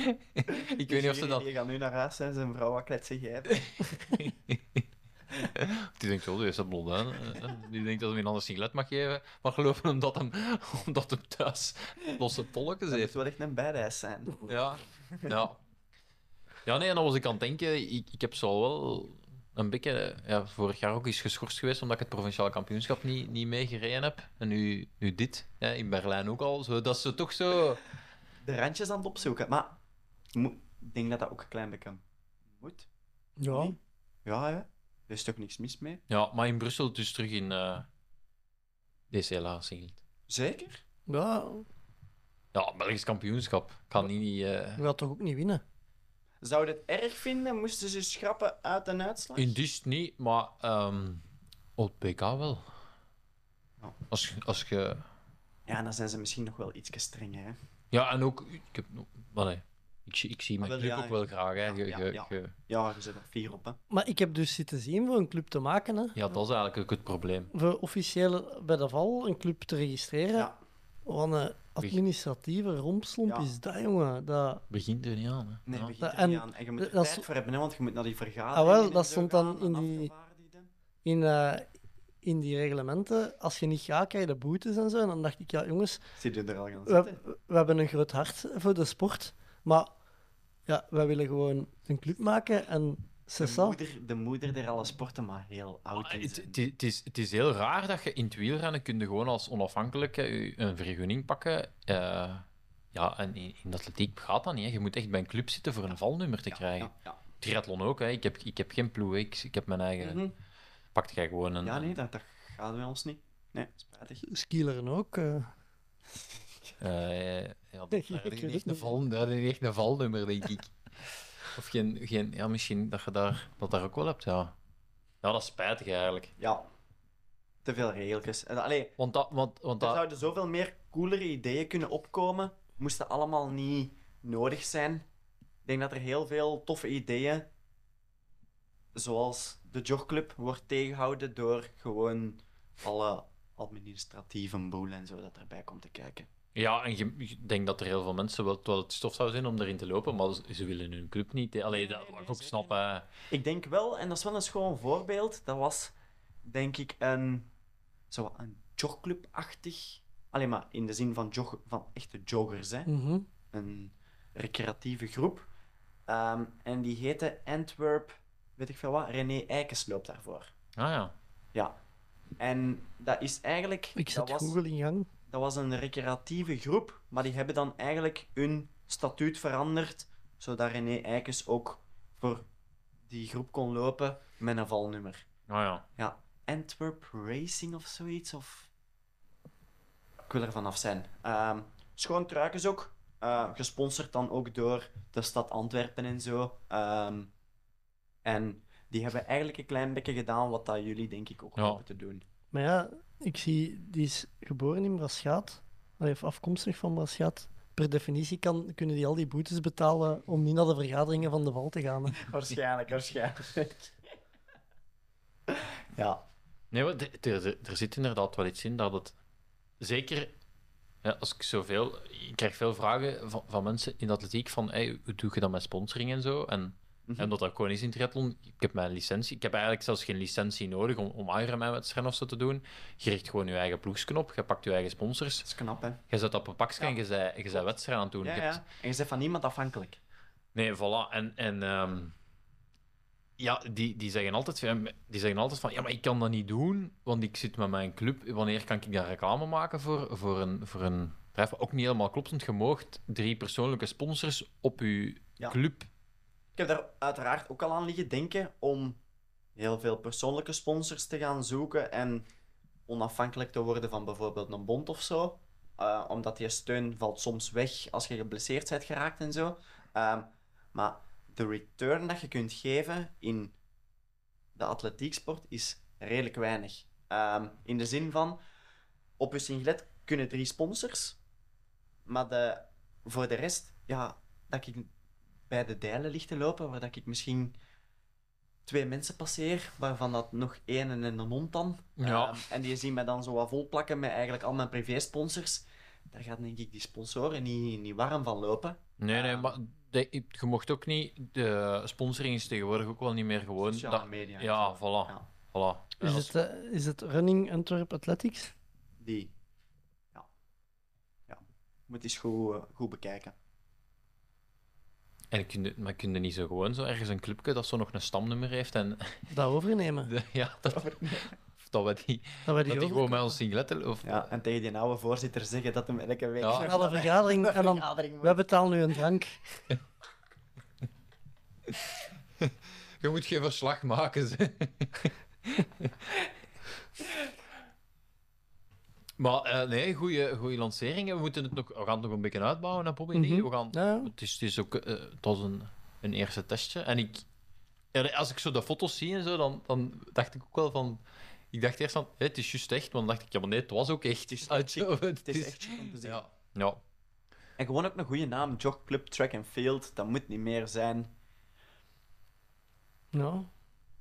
[SPEAKER 9] [LAUGHS] ik weet niet of ze dat.
[SPEAKER 8] Die gaan nu naar huis en zijn vrouw wat kletsen geven.
[SPEAKER 9] [LAUGHS] Die denkt, oh, die is dat blondijn. eh, eh. Die denkt dat hij een ander siglet mag geven. Maar geloven omdat hem, [LAUGHS] omdat hem thuis losse polletjes
[SPEAKER 8] Dat
[SPEAKER 9] heeft.
[SPEAKER 8] moet wel echt een badass zijn.
[SPEAKER 9] Ja. Ja. Ja, nee, en dan was ik aan het denken, ik, ik heb zo wel een beetje, ja, vorig jaar ook eens geschorst geweest, omdat ik het provinciaal kampioenschap niet, niet meegereden heb. En nu, nu dit, hè, in Berlijn ook al. Zo, dat is zo toch zo...
[SPEAKER 8] de randjes aan het opzoeken. Maar mo- ik denk dat dat ook een klein beetje moet.
[SPEAKER 7] Ja.
[SPEAKER 8] Nee? Ja, hè? Er is toch niks mis mee?
[SPEAKER 9] Ja, maar in Brussel dus terug in eh DCLA singlet.
[SPEAKER 8] Zeker?
[SPEAKER 7] Ja,
[SPEAKER 9] Ja, Belgisch kampioenschap. Kan niet... eh,
[SPEAKER 7] je gaat toch ook niet winnen?
[SPEAKER 8] Zou je het erg vinden? Moesten ze schrappen uit een uitslag?
[SPEAKER 9] in Dist niet, maar ehm op PK wel.
[SPEAKER 8] Ja.
[SPEAKER 9] Als, als je...
[SPEAKER 8] Ja, dan zijn ze misschien nog wel iets strenger. Hè?
[SPEAKER 9] Ja, en ook... Ik, heb, allee, ik, zie- ik zie mijn
[SPEAKER 8] Ah, wel,
[SPEAKER 9] club
[SPEAKER 8] ja,
[SPEAKER 9] ook wel graag. Hè. Ge-
[SPEAKER 8] ja,
[SPEAKER 9] ge-
[SPEAKER 8] ja.
[SPEAKER 9] ge-
[SPEAKER 8] Ja, je zit er vier op, hè.
[SPEAKER 7] Maar ik heb dus zitten zien voor een club te maken. Hè.
[SPEAKER 9] ja, dat is eigenlijk ook het probleem.
[SPEAKER 7] Voor officieel bij de val een club te registreren.
[SPEAKER 8] Ja.
[SPEAKER 7] Wat een administratieve rompslomp
[SPEAKER 8] Ja.
[SPEAKER 7] is dat, jongen. Dat,
[SPEAKER 9] Begint er niet aan. Hè.
[SPEAKER 8] Nee,
[SPEAKER 9] Ja.
[SPEAKER 8] begint er
[SPEAKER 7] En
[SPEAKER 8] niet aan. En je moet er
[SPEAKER 7] dat
[SPEAKER 8] tijd
[SPEAKER 7] is-
[SPEAKER 8] voor hebben, hè, want je moet naar die vergadering.
[SPEAKER 7] Ah, wel,
[SPEAKER 8] en
[SPEAKER 7] dat
[SPEAKER 8] zo
[SPEAKER 7] stond
[SPEAKER 8] gaan
[SPEAKER 7] dan
[SPEAKER 8] en
[SPEAKER 7] in die-
[SPEAKER 8] afgevaardigden.
[SPEAKER 7] in, eh, in die reglementen, als je niet gaat, krijg je de boetes en zo. En dan dacht ik, ja, jongens,
[SPEAKER 8] Zit je er al gaan
[SPEAKER 7] we,
[SPEAKER 8] zitten?
[SPEAKER 7] we hebben een groot hart voor de sport. Maar ja, wij willen gewoon een club maken. En c'est
[SPEAKER 8] De
[SPEAKER 7] ça.
[SPEAKER 8] moeder, de moeder der alle sporten, maar heel oud
[SPEAKER 9] Ah,
[SPEAKER 8] is.
[SPEAKER 9] Het, het, het is, het is heel raar dat je in het wielrennen kun je gewoon als onafhankelijke je een vergunning pakken. Eh, ja, en in, in de atletiek gaat dat niet. Hè. Je moet echt bij een club zitten voor een valnummer te krijgen.
[SPEAKER 8] Ja, ja.
[SPEAKER 9] Triathlon ook, hè. Ik, heb, ik heb geen ploeg. hè. Ik, ik heb mijn eigen.
[SPEAKER 8] Mhm.
[SPEAKER 9] Pakt jij gewoon een.
[SPEAKER 8] ja, nee, dat, dat gaat bij ons niet. Nee, spijtig.
[SPEAKER 7] Skileren ook. eh.
[SPEAKER 9] eh, ja, dat, daar heb
[SPEAKER 7] weet
[SPEAKER 9] je niet echt
[SPEAKER 7] het
[SPEAKER 9] een
[SPEAKER 7] niet.
[SPEAKER 9] val, daar heb je niet echt een valnummer, denk ik. Of geen, geen. Ja, misschien dat je daar, dat daar ook wel hebt, ja. Ja, dat is spijtig eigenlijk.
[SPEAKER 8] Ja. Te veel regeltjes. En, allee,
[SPEAKER 9] Want dat. Want, want
[SPEAKER 8] er
[SPEAKER 9] dat...
[SPEAKER 8] zouden zoveel meer coolere ideeën kunnen opkomen. Moesten allemaal niet nodig zijn. Ik denk dat er heel veel toffe ideeën, zoals de jogclub, wordt tegengehouden door gewoon alle administratieve boel en zo dat erbij komt te kijken.
[SPEAKER 9] Ja, en je- ik denk dat er heel veel mensen wel, het wel het stof zou zijn om erin te lopen, maar ze, ze willen hun club niet. hè. Allee, dat mag ik ook eh. snappen.
[SPEAKER 8] Ik denk wel, en dat is wel een schoon voorbeeld, dat was denk ik een, zo wat een jogclub-achtig. Alleen maar in de zin van, jog, van echte joggers, hè.
[SPEAKER 7] Mhm.
[SPEAKER 8] een recreatieve groep. Ehm, en die heette Antwerp, weet ik veel wat, René Eikens loopt daarvoor.
[SPEAKER 9] Ah ja.
[SPEAKER 8] Ja. En dat is eigenlijk...
[SPEAKER 7] Ik
[SPEAKER 8] dat
[SPEAKER 7] zet
[SPEAKER 8] was,
[SPEAKER 7] Google in gang.
[SPEAKER 8] dat was een recreatieve groep, maar die hebben dan eigenlijk hun statuut veranderd, zodat René Eikens ook voor die groep kon lopen met een valnummer.
[SPEAKER 9] Ah ja.
[SPEAKER 8] Ja, Antwerp Racing of zoiets, of... Ik wil er vanaf zijn. Ehm schoon truikens ook. eh, gesponsord dan ook door de stad Antwerpen en zo. Ehm, en die hebben eigenlijk een klein beetje gedaan wat dat jullie denk ik ook
[SPEAKER 9] Ja.
[SPEAKER 8] hopen te doen.
[SPEAKER 7] Maar ja, ik zie, die is geboren in Braschaat. Allee, Of afkomstig van Braschaat. Per definitie kan, kunnen die al die boetes betalen om niet naar de vergaderingen van de val te gaan. hè.
[SPEAKER 8] [LAUGHS] Waarschijnlijk, waarschijnlijk. ja.
[SPEAKER 9] Nee, want er- er, er- er zit inderdaad wel iets in dat het zeker. Ja, als ik zoveel. Ik krijg veel vragen van, van mensen in de atletiek van hey, hoe doe je dat met sponsoring en zo. En,
[SPEAKER 8] Mhm.
[SPEAKER 9] en dat dat gewoon is in triathlon. Ik heb mijn licentie. Ik heb eigenlijk zelfs geen licentie nodig om, om Ironman-wedstrijden of zo te doen. Je richt gewoon je eigen ploegsknop. Je pakt je eigen sponsors.
[SPEAKER 8] Dat is knap, hè?
[SPEAKER 9] Je zet op een pakje en je zij- je zij wedstrijden aan het doen.
[SPEAKER 8] Ja,
[SPEAKER 9] Je hebt-
[SPEAKER 8] ja. En je bent van niemand afhankelijk.
[SPEAKER 9] Nee, voilà. En, en ehm, ja, die, die, zeggen altijd, van- die zeggen altijd van, ja, maar ik kan dat niet doen, want ik zit met mijn club. Wanneer kan ik daar reclame maken voor, voor, een, voor een bedrijf? Wat ook niet helemaal klopt, want je moogt drie persoonlijke sponsors op je
[SPEAKER 8] Ja.
[SPEAKER 9] club.
[SPEAKER 8] Ik heb daar uiteraard ook al aan liggen denken om heel veel persoonlijke sponsors te gaan zoeken en onafhankelijk te worden van bijvoorbeeld een bond of zo. Eh, omdat die steun valt soms weg als je geblesseerd bent geraakt en zo. Ehm, maar de return dat je kunt geven in de atletieksport is redelijk weinig. Ehm, in de zin van, op je singlet kunnen drie sponsors, maar de, voor de rest, ja, dat ik bij de deilen ligt te lopen, waar dat ik misschien twee mensen passeer, waarvan dat nog één en een hond dan.
[SPEAKER 9] Ja.
[SPEAKER 8] Ehm, en die zien mij dan zo wat volplakken met eigenlijk al mijn privé-sponsors. Daar gaat denk ik die sponsoren niet, niet warm van lopen.
[SPEAKER 9] Nee, nee,
[SPEAKER 8] Ah.
[SPEAKER 9] maar de- je mocht ook niet... De sponsoring is tegenwoordig ook wel niet meer gewoon...
[SPEAKER 8] Sociale
[SPEAKER 9] dat-
[SPEAKER 8] media. en
[SPEAKER 9] ja,
[SPEAKER 8] zo.
[SPEAKER 9] voilà.
[SPEAKER 8] Ja.
[SPEAKER 9] voilà.
[SPEAKER 7] Is
[SPEAKER 9] Ja,
[SPEAKER 7] het, eh, is het Running Antwerp Athletics?
[SPEAKER 8] Die. Ja. Ja. Moet eens goed, eh, goed bekijken.
[SPEAKER 9] En kun je, maar kun je niet zo gewoon zo ergens een clubje dat zo nog een stamnummer heeft en... [LAUGHS]
[SPEAKER 7] Dat overnemen.
[SPEAKER 9] de- ja, dat... Dat we die,
[SPEAKER 7] Dat wij
[SPEAKER 9] dat
[SPEAKER 7] die
[SPEAKER 9] die
[SPEAKER 7] over...
[SPEAKER 9] gewoon met ons singlet... Of,
[SPEAKER 8] Ja, en tegen die oude voorzitter zeggen dat hem elke week
[SPEAKER 9] Ja.
[SPEAKER 8] nog
[SPEAKER 9] Naar
[SPEAKER 7] Naar de vergadering en dan,
[SPEAKER 8] vergadering moet.
[SPEAKER 7] wij betalen nu een drank.
[SPEAKER 9] Je moet geen verslag maken. Ze. [LAUGHS] maar eh, nee, goede lancering. We, moeten het nog, we gaan het nog een beetje uitbouwen, hè, Bobby.
[SPEAKER 7] Mhm.
[SPEAKER 9] We gaan,
[SPEAKER 7] Ja.
[SPEAKER 9] het, is, het is ook eh, het was een, een eerste testje. En ik, ja, als ik zo de foto's zie en zo, dan, dan dacht ik ook wel van. Ik dacht eerst van, hé, het is juist echt, maar dan dacht ik, ja, maar nee, [LAUGHS] het was ook echt.
[SPEAKER 8] Het is
[SPEAKER 9] Ah,
[SPEAKER 8] echt chic.
[SPEAKER 9] het
[SPEAKER 8] Het is
[SPEAKER 9] is-
[SPEAKER 8] echt chic om te zeggen.
[SPEAKER 9] Ja. ja.
[SPEAKER 8] En En gewoon ook een goede naam. Jogclub Track and Field. Dat moet niet meer zijn.
[SPEAKER 7] Ja.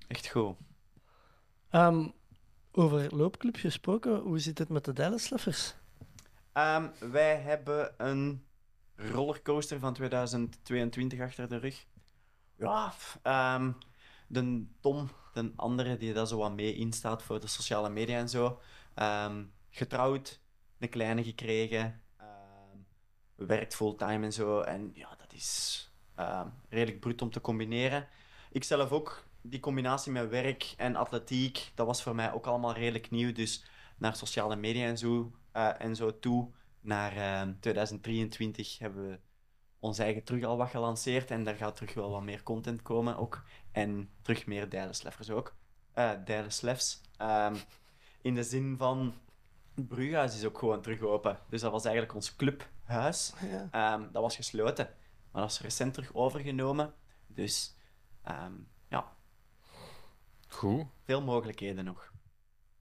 [SPEAKER 8] Echt goed.
[SPEAKER 7] nou. Ehm, over loopclub gesproken, hoe zit het met de Dallas Leffers?
[SPEAKER 8] Ehm, wij hebben een rollercoaster van 2022 achter de rug. Ja, pff, ehm, de Tom, de andere die daar zo wat mee instaat voor de sociale media en zo. ehm, getrouwd, een kleine gekregen, ehm, werkt fulltime en zo. En ja, dat is ehm, redelijk bruut om te combineren. Ik zelf ook, die combinatie met werk en atletiek, dat was voor mij ook allemaal redelijk nieuw. Dus naar sociale media en zo, eh, en zo toe. Naar eh, 2023 hebben we ons eigen terug al wat gelanceerd. En daar gaat terug wel wat meer content komen ook. En terug meer Dijlensleffers ook. eh Dijlenslefs. Ehm, in de zin van, het brughuis is ook gewoon terug open. Dus dat was eigenlijk ons clubhuis.
[SPEAKER 7] Ja.
[SPEAKER 8] Ehm, dat was gesloten. Maar dat is recent terug overgenomen. Dus ehm, ja,
[SPEAKER 9] Goed.
[SPEAKER 8] veel mogelijkheden nog.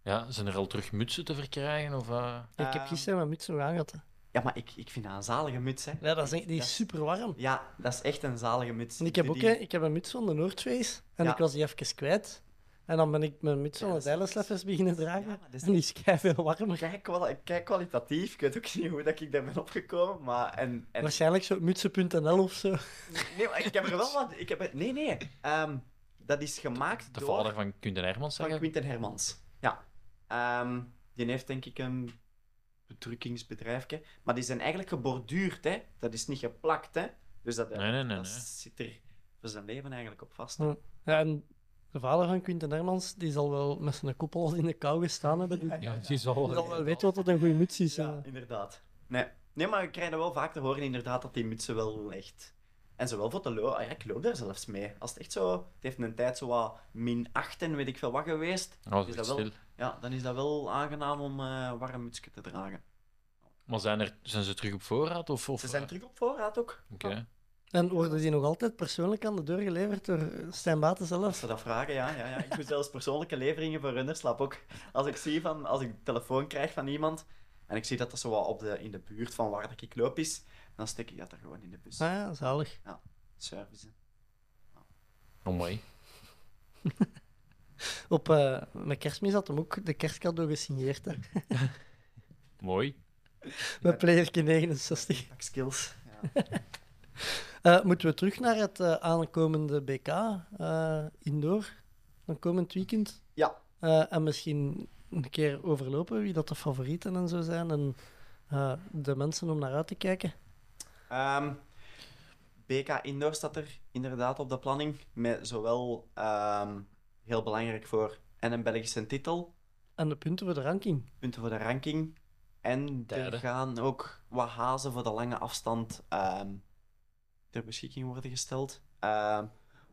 [SPEAKER 9] Ja, zijn er al terug mutsen te verkrijgen? Of, eh?
[SPEAKER 7] ik heb
[SPEAKER 8] Ehm.
[SPEAKER 7] gisteren mijn muts nog aangehad. hè.
[SPEAKER 8] Ja, maar ik, ik vind dat een zalige muts, hè.
[SPEAKER 7] Ja, dat is, echt- die
[SPEAKER 8] Dat
[SPEAKER 7] is super warm.
[SPEAKER 8] Ja, dat is echt een zalige muts.
[SPEAKER 7] En ik heb
[SPEAKER 8] doe
[SPEAKER 7] ook
[SPEAKER 8] die-
[SPEAKER 7] hè, ik heb een muts van de Noordface en
[SPEAKER 8] Ja.
[SPEAKER 7] ik was die even kwijt. En dan ben ik mijn muts
[SPEAKER 8] Ja,
[SPEAKER 7] van de
[SPEAKER 8] dat is-
[SPEAKER 7] Dallas Leffers beginnen dragen.
[SPEAKER 8] Ja, maar dat is-
[SPEAKER 7] En die is kei veel warmer.
[SPEAKER 8] Kijk, kwal- kijk kwalitatief. Ik weet ook niet hoe dat ik daar ben opgekomen, maar... En, en...
[SPEAKER 7] Waarschijnlijk zo mutsen.nl of zo.
[SPEAKER 8] [LAUGHS] Nee, maar ik heb er wel wat... Ik heb... er- Nee, nee. ehm, dat is gemaakt
[SPEAKER 9] De
[SPEAKER 8] door
[SPEAKER 9] vader van Quinten Hermans,
[SPEAKER 8] van
[SPEAKER 9] zeggen?
[SPEAKER 8] Quinten Hermans. Ja. Ehm, die heeft denk ik een bedrukkingsbedrijfje. Maar die zijn eigenlijk geborduurd, hè. Dat is niet geplakt, hè. Dus dat,
[SPEAKER 9] Nee, nee, nee,
[SPEAKER 8] dat
[SPEAKER 9] nee.
[SPEAKER 8] zit er voor zijn leven eigenlijk op vast.
[SPEAKER 7] Ja. Ja, en de vader van Quinten Hermans, die zal wel met zijn koepel al in de kou gestaan hebben. Die,
[SPEAKER 9] Ja, die is al...
[SPEAKER 7] die zal wel weten wat dat een goede muts is. eh?
[SPEAKER 8] Ja,
[SPEAKER 7] hè.
[SPEAKER 8] inderdaad. Nee. nee, maar we krijgen wel vaak te horen inderdaad dat die mutsen wel echt... En zowel voor de lo ah ja, ik loop daar zelfs mee. Als het echt zo... Het heeft een tijd zo wat min 8 en weet ik veel wat geweest.
[SPEAKER 9] Oh,
[SPEAKER 8] Is
[SPEAKER 9] is
[SPEAKER 8] dat wel-
[SPEAKER 9] stil.
[SPEAKER 8] Ja, dan is dat wel aangenaam om eh warm mutsje te dragen.
[SPEAKER 9] Maar zijn, er, zijn ze terug op voorraad? Of, eh, of...
[SPEAKER 8] Ze zijn terug op voorraad ook.
[SPEAKER 9] Oké.
[SPEAKER 7] En worden die nog altijd persoonlijk aan de deur geleverd door Stijn Baten
[SPEAKER 8] Als
[SPEAKER 7] zelf? Ah
[SPEAKER 8] ze dat vragen, ja, ja, ja. Ik doe zelfs persoonlijke leveringen voor Runnerslap ook. Als ik zie van... Als ik telefoon krijg van iemand... En ik zie dat dat zo wat op de, in de buurt van waar dat ik loop is... Dan stik ik dat er gewoon in de bus.
[SPEAKER 7] Ah ja, zalig.
[SPEAKER 8] Service.
[SPEAKER 9] Oh, mooi.
[SPEAKER 7] Op eh, mijn kerstmis had hem ook de kerstcadeau gesigneerd. Hè.
[SPEAKER 9] Mooi.
[SPEAKER 7] Met playerke 69.
[SPEAKER 8] Pak skills. Ja.
[SPEAKER 7] Eh, moeten we terug naar het eh, aankomende BK eh, indoor? Dan komend weekend?
[SPEAKER 8] Ja.
[SPEAKER 7] Eh, en misschien een keer overlopen wie dat de favorieten en zo zijn. En eh, de mensen om naar uit te kijken.
[SPEAKER 8] Ehm, BK Indoor staat er inderdaad op de planning. Met zowel ehm, heel belangrijk voor en een Belgische titel,
[SPEAKER 7] En de punten voor de ranking.
[SPEAKER 8] punten voor de ranking. En
[SPEAKER 9] Derde.
[SPEAKER 8] er gaan ook wat hazen voor de lange afstand ehm, ter beschikking worden gesteld. Ehm,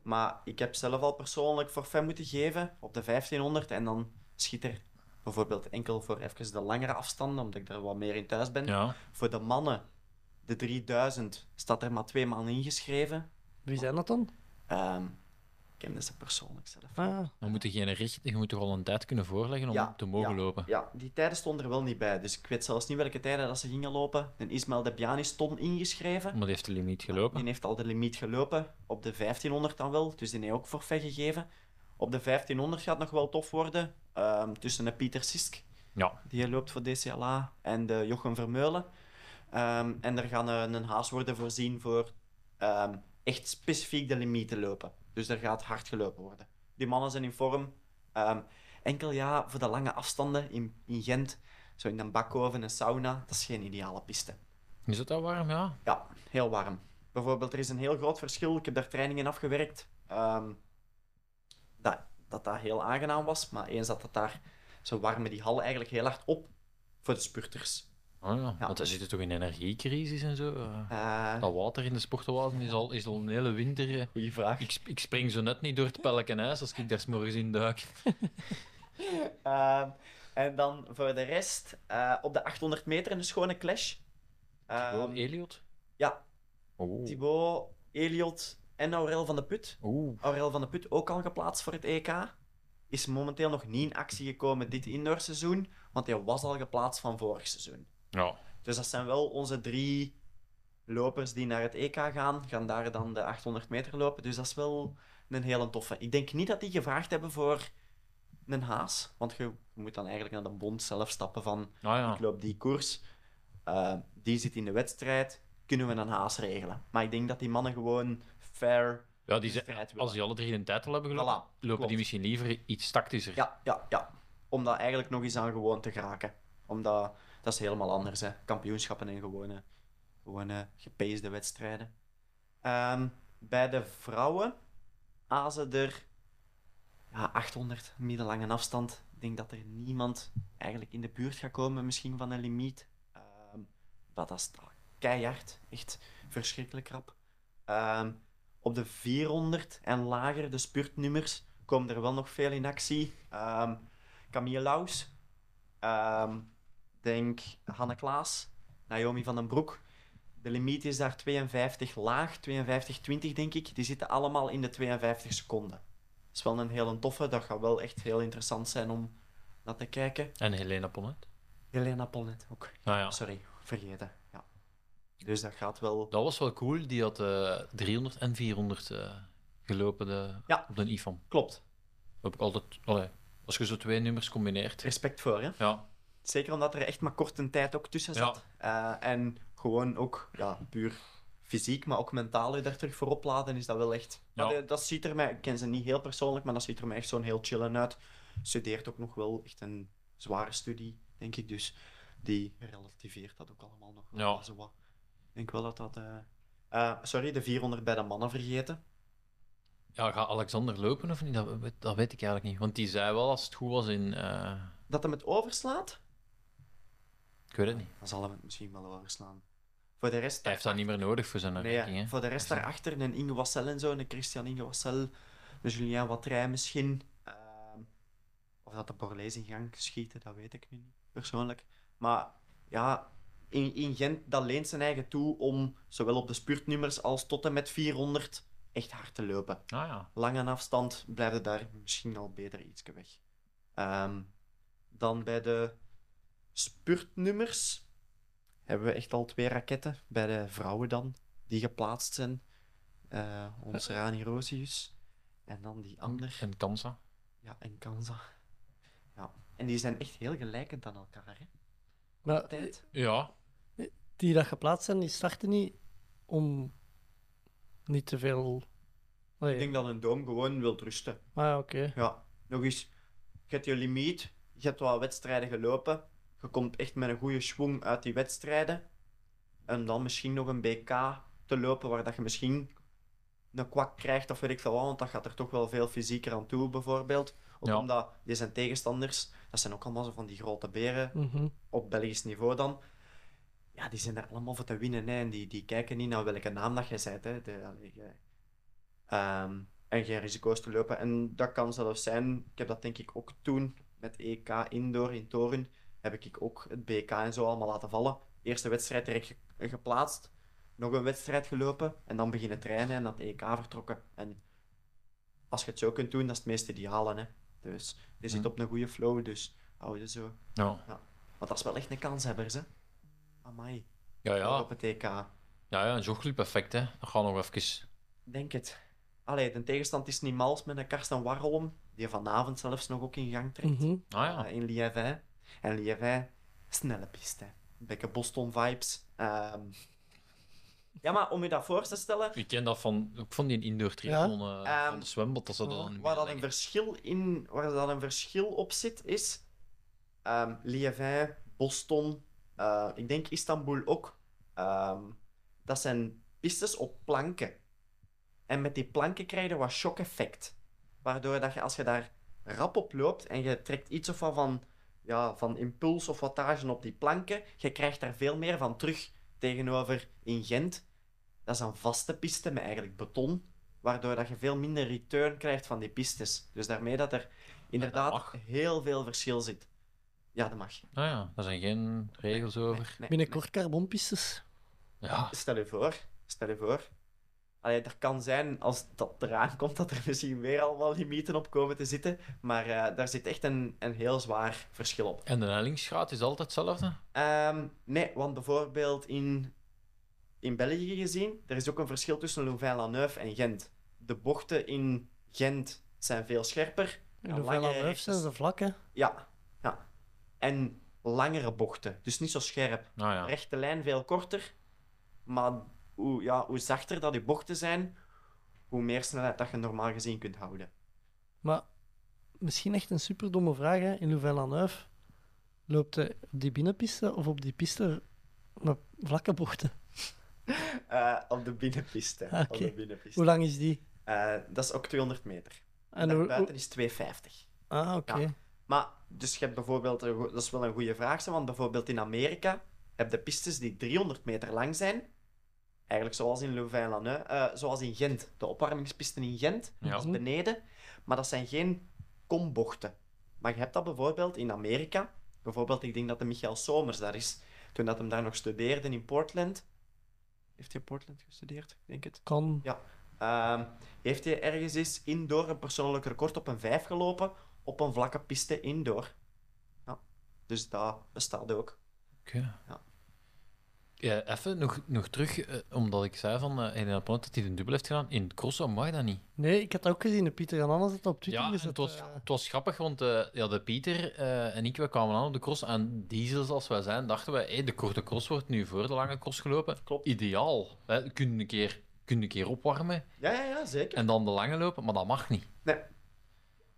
[SPEAKER 8] maar ik heb zelf al persoonlijk voor fan moeten geven op de 1500. En dan schiet er bijvoorbeeld enkel voor even de langere afstanden, omdat ik daar wat meer in thuis ben.
[SPEAKER 9] Ja.
[SPEAKER 8] Voor de mannen, de 3000, staat er maar twee man ingeschreven.
[SPEAKER 7] Wie zijn dat dan?
[SPEAKER 8] Ehm, ik ken deze persoonlijk zelf.
[SPEAKER 7] Ah,
[SPEAKER 9] Dan moet je geen richt, je moet toch al een tijd kunnen voorleggen om
[SPEAKER 8] Ja,
[SPEAKER 9] te mogen lopen.
[SPEAKER 8] Ja, die tijden stonden er wel niet bij, dus ik weet zelfs niet welke tijden dat ze gingen lopen. En Ismail Debiani stond ingeschreven.
[SPEAKER 9] Maar die heeft de limiet Mm, gelopen.
[SPEAKER 8] Die heeft al de limiet gelopen, op de 1500 dan wel, dus die heeft ook forfait gegeven. Op de 1500 gaat nog wel tof worden, ehm, tussen de Pieter Sisk,
[SPEAKER 9] Ja.
[SPEAKER 8] die loopt voor DCLA, en de Jochem Vermeulen. Ehm, en er gaan een, een haas worden voorzien voor ehm, echt specifiek de limiet te lopen. Dus er gaat hard gelopen worden. Die mannen zijn in vorm. Ehm, enkel ja, voor de lange afstanden in, in Gent, zo in een bakoven, een sauna, dat is geen ideale piste.
[SPEAKER 9] Is het al warm? Ja.
[SPEAKER 8] Ja, heel warm. Bijvoorbeeld, er is een heel groot verschil. Ik heb daar trainingen afgewerkt. ehm, dat, dat dat heel aangenaam was. Maar eens dat het daar... Ze warmen die hal eigenlijk heel hard op voor de spurters.
[SPEAKER 9] Oh, ja.
[SPEAKER 8] Ja.
[SPEAKER 9] Want daar zitten toch een energiecrisis en zo. eh.
[SPEAKER 8] Eh,
[SPEAKER 9] Dat water in de sportenwazen is al, is al een hele winter. eh.
[SPEAKER 8] Goeie vraag.
[SPEAKER 9] Ik, sp- ik spring zo net niet door het pelkenijs als ik daar 's morgens in duik.
[SPEAKER 8] Ehm, en dan voor de rest, eh, op de 800 meter een schone clash. Ehm,
[SPEAKER 9] Gewoon Eliot?
[SPEAKER 8] ja.
[SPEAKER 9] Oh.
[SPEAKER 8] Thibaut, Eliot en Aurel van de Put.
[SPEAKER 9] Oeh.
[SPEAKER 8] Aurel van de Put ook al geplaatst voor het EK. Is momenteel nog niet in actie gekomen dit indoorseizoen, want hij was al geplaatst van vorig seizoen.
[SPEAKER 9] Ja.
[SPEAKER 8] Dus dat zijn wel onze drie lopers die naar het EK gaan, gaan daar dan de 800 meter lopen. Dus dat is wel een hele toffe. Ik denk niet dat die gevraagd hebben voor een haas, want je moet dan eigenlijk naar de bond zelf stappen van
[SPEAKER 9] Nou ja.
[SPEAKER 8] ik loop die koers, eh, die zit in de wedstrijd, kunnen we een haas regelen. Maar ik denk dat die mannen gewoon fair...
[SPEAKER 9] Ja, die
[SPEAKER 8] de
[SPEAKER 9] zijn-
[SPEAKER 8] strijd willen.
[SPEAKER 9] als die alle drie een titel hebben gelopen,
[SPEAKER 8] Voilà,
[SPEAKER 9] lopen
[SPEAKER 8] klopt.
[SPEAKER 9] die misschien liever iets tactischer.
[SPEAKER 8] Ja, ja, ja. Om dat eigenlijk nog eens aan gewoon te geraken. Omdat dat is helemaal anders, hè. Kampioenschappen en gewone, gewone gepeesde wedstrijden. Ehm, bij de vrouwen azen er ja, 800 middellange afstand. Ik denk dat er niemand eigenlijk in de buurt gaat komen, misschien van een limiet. Ehm, maar dat is da- keihard. Echt verschrikkelijk rap. Ehm, op de 400 en lager, de spurtnummers, komen er wel nog veel in actie. Ehm Camille Laus, ehm, denk Hanne Klaas, Naomi van den Broek. De limiet is daar 52 laag, 52-20 denk ik. Die zitten allemaal in de 52 seconden. Dat is wel een hele toffe, dat gaat wel echt heel interessant zijn om naar te kijken.
[SPEAKER 9] En Helena Ponnet.
[SPEAKER 8] Helena Polnet ook.
[SPEAKER 9] Nou ja,
[SPEAKER 8] Sorry, vergeten. Ja. Dus dat gaat wel...
[SPEAKER 9] dat was wel cool. Die had eh, 300 en 400 eh, gelopen de,
[SPEAKER 8] Ja.
[SPEAKER 9] op de IFAM.
[SPEAKER 8] Klopt.
[SPEAKER 9] Heb ik altijd, allee, als je zo twee nummers combineert.
[SPEAKER 8] Respect voor, hè.
[SPEAKER 9] Ja,
[SPEAKER 8] Zeker omdat er echt maar kort een tijd ook tussen
[SPEAKER 9] Ja.
[SPEAKER 8] zat. Eh, en gewoon ook ja, puur fysiek, maar ook mentaal je daar terug voor opladen, is dat wel echt...
[SPEAKER 9] Ja.
[SPEAKER 8] Maar de- dat ziet er mij... Ik ken ze niet heel persoonlijk, maar dat ziet er mij echt zo'n heel chillen uit. Studeert ook nog wel echt een zware studie, denk ik. Dus die relativeert dat ook allemaal nog wel
[SPEAKER 9] Ja.
[SPEAKER 8] zo wat. Ik denk wel dat dat... eh, eh, sorry, de 400 bij de mannen vergeten.
[SPEAKER 9] ja gaat Alexander lopen of niet? Dat, weet- dat weet ik eigenlijk niet. Want die zei wel als het goed was in. eh,
[SPEAKER 8] Dat hem het overslaat,
[SPEAKER 9] ik weet het niet.
[SPEAKER 8] dan zal hem het misschien wel overslaan. Voor de rest...
[SPEAKER 9] Hij heeft dat niet meer nodig voor zijn
[SPEAKER 8] Nee,
[SPEAKER 9] ranking. hè.
[SPEAKER 8] voor de rest daarachter, een Inge Wassel en zo, een Christian Inge Wassel, een Julien Watrij misschien. Ehm, of dat de Borlees in gang schieten, dat weet ik nu niet, persoonlijk. Maar ja, in, in Gent, dat leent zijn eigen toe om zowel op de spurtnummers als tot en met 400 echt hard te lopen.
[SPEAKER 9] Ah ja.
[SPEAKER 8] Lang aan afstand blijven daar misschien al beter ietsje weg. Ehm, dan bij de spurtnummers hebben we echt al twee raketten. Bij de vrouwen dan, die geplaatst zijn. Eh ons Rani Rosius. En dan die ander.
[SPEAKER 9] En Kansa.
[SPEAKER 8] Ja, en Kanza. Ja. En die zijn echt heel gelijkend aan elkaar, hè?
[SPEAKER 7] Maar
[SPEAKER 8] Tijd.
[SPEAKER 9] Ja,
[SPEAKER 7] die dat geplaatst zijn, die starten niet om niet te veel...
[SPEAKER 8] Ik
[SPEAKER 7] Nee,
[SPEAKER 8] denk dat een doom gewoon wil rusten.
[SPEAKER 7] maar oké.
[SPEAKER 8] Ja, nog eens. Je hebt je limiet, je hebt wat wedstrijden gelopen. Je komt echt met een goede schwung uit die wedstrijden. En dan misschien nog een BK te lopen waar dat je misschien een kwak krijgt of weet ik veel wat. Want dat gaat er toch wel veel fysieker aan toe, bijvoorbeeld. Ook
[SPEAKER 9] Ja.
[SPEAKER 8] omdat die zijn tegenstanders, dat zijn ook allemaal zo van die grote beren
[SPEAKER 7] Mhm.
[SPEAKER 8] op Belgisch niveau dan. Ja, die zijn daar allemaal voor te winnen. Hè. En die, die kijken niet naar welke naam dat jij zet. Hè. De, allee, jij- Ehm, en geen risico's te lopen. En dat kan zelfs zijn. Ik heb dat denk ik ook toen met EK Indoor in Toren. Heb ik ook het BK en zo allemaal laten vallen. Eerste wedstrijd direct ge- geplaatst. Nog een wedstrijd gelopen. En dan beginnen trainen en dat EK vertrokken. En als je het zo kunt doen, dat is het meest ideale. Hè. Dus je zit
[SPEAKER 9] Mhm.
[SPEAKER 8] op een goede flow. Dus hou je zo.
[SPEAKER 9] ja.
[SPEAKER 8] Want dat is wel echt een kanshebber, hè? Amai.
[SPEAKER 9] Ja,
[SPEAKER 8] Ook
[SPEAKER 9] ja.
[SPEAKER 8] Op het EK.
[SPEAKER 9] ja, ja een jogclub effect, hè. Dat gaat nog even.
[SPEAKER 8] Denk het. Allee, de tegenstand is niet mals met een Karsten Warholm, die vanavond zelfs nog ook in gang trekt.
[SPEAKER 7] Mhm.
[SPEAKER 9] Ah ja.
[SPEAKER 8] Eh, in Liévin. En Liévin, snelle piste. Een beetje Boston-vibes. Ehm, Ja, maar om je dat voor te stellen,
[SPEAKER 9] Ik ken dat van, ook van die indoor triathlon eh,
[SPEAKER 8] Ehm,
[SPEAKER 9] van het zwembad, dat ze dan...
[SPEAKER 8] waar, dat een verschil in, waar dat een verschil op zit, is ehm Liévin, Boston, eh, ik denk Istanbul ook. Ehm, dat zijn pistes op planken. En met die planken krijg je wat shock-effect. Waardoor dat je, als je daar rap op loopt en je trekt iets of wat van, ja, van impuls of wattage op die planken, je krijgt daar veel meer van terug tegenover in Gent. Dat is een vaste piste met eigenlijk beton waardoor dat je veel minder return krijgt van die pistes. Dus daarmee dat er inderdaad
[SPEAKER 9] mag.
[SPEAKER 8] heel veel verschil zit. Ja, dat mag.
[SPEAKER 9] Ah ja, daar zijn geen regels over.
[SPEAKER 8] Nee,
[SPEAKER 7] Binnenkort carbonpistes.
[SPEAKER 9] Ja,
[SPEAKER 8] nee. Stel je voor, stel je voor. Allee, er kan zijn, als dat eraan komt, dat er misschien weer allemaal limieten op komen te zitten. Maar eh, daar zit echt een, een heel zwaar verschil op.
[SPEAKER 9] en de hellingsgraad is altijd hetzelfde?
[SPEAKER 8] Ehm, nee, want bijvoorbeeld in in België gezien, er is ook een verschil tussen Louvain-la-Neuve en Gent. De bochten in Gent zijn veel scherper.
[SPEAKER 7] In
[SPEAKER 8] en
[SPEAKER 7] de Vella
[SPEAKER 8] langere
[SPEAKER 7] Neuf zijn
[SPEAKER 8] rechtes-
[SPEAKER 7] ze vlak, hè.
[SPEAKER 8] Ja, ja. En langere bochten, dus niet zo scherp.
[SPEAKER 9] Nou ja.
[SPEAKER 8] Rechte lijn veel korter, maar hoe, ja, hoe zachter dat die bochten zijn, hoe meer snelheid dat je normaal gezien kunt houden.
[SPEAKER 7] Maar misschien echt een superdomme vraag, hè. In Louvain-la-Neuve loopt hij op die binnenpiste of op die piste met vlakke bochten?
[SPEAKER 8] Eh, op de binnenpiste. Op
[SPEAKER 7] Oké.
[SPEAKER 8] de binnenpiste.
[SPEAKER 7] Hoe lang is die?
[SPEAKER 8] Eh, dat is ook 200 meter. En
[SPEAKER 7] En hoe-
[SPEAKER 8] buiten
[SPEAKER 7] hoe-
[SPEAKER 8] is 250.
[SPEAKER 7] Ah, oké.
[SPEAKER 8] Ja. Maar, dus je hebt bijvoorbeeld, een go- dat is wel een goede vraag, hè, want bijvoorbeeld in Amerika heb je pistes die 300 meter lang zijn. Eigenlijk zoals in Louvain-la-Neuve, eh, zoals in Gent. De opwarmingspisten in Gent,
[SPEAKER 9] Ja.
[SPEAKER 7] Mhm.
[SPEAKER 8] dat is beneden. Maar dat zijn geen kombochten. Maar je hebt dat bijvoorbeeld in Amerika. Bijvoorbeeld, ik denk dat de Michael Somers daar is. Toen dat hem daar nog studeerde in Portland. Heeft hij in Portland gestudeerd? Ik denk het.
[SPEAKER 7] Kan.
[SPEAKER 8] Ehm, heeft hij ergens eens indoor een persoonlijk record op een 5 gelopen op een vlakke piste indoor. Ja, dus dat bestaat ook.
[SPEAKER 9] Oké.
[SPEAKER 8] Ja.
[SPEAKER 9] Ja, even nog, nog terug, eh, omdat ik zei van eh Elena Pont dat hij een dubbel heeft gedaan. In het crossen mag dat niet.
[SPEAKER 7] Nee, ik had dat ook gezien. De Pieter en Anna zat op Twitter
[SPEAKER 9] Ja, en
[SPEAKER 7] gezet.
[SPEAKER 9] het, was,
[SPEAKER 7] eh.
[SPEAKER 9] het was grappig, want eh, ja, de Pieter eh, en ik we kwamen aan op de cross. En diesels als wij zijn, dachten wij, hey, de korte cross wordt nu voor de lange cross gelopen.
[SPEAKER 8] Klopt.
[SPEAKER 9] Ideaal. Hè, kun, een keer, kun een keer opwarmen
[SPEAKER 8] Ja, ja, ja zeker.
[SPEAKER 9] en dan de lange lopen, maar dat mag niet.
[SPEAKER 8] Nee.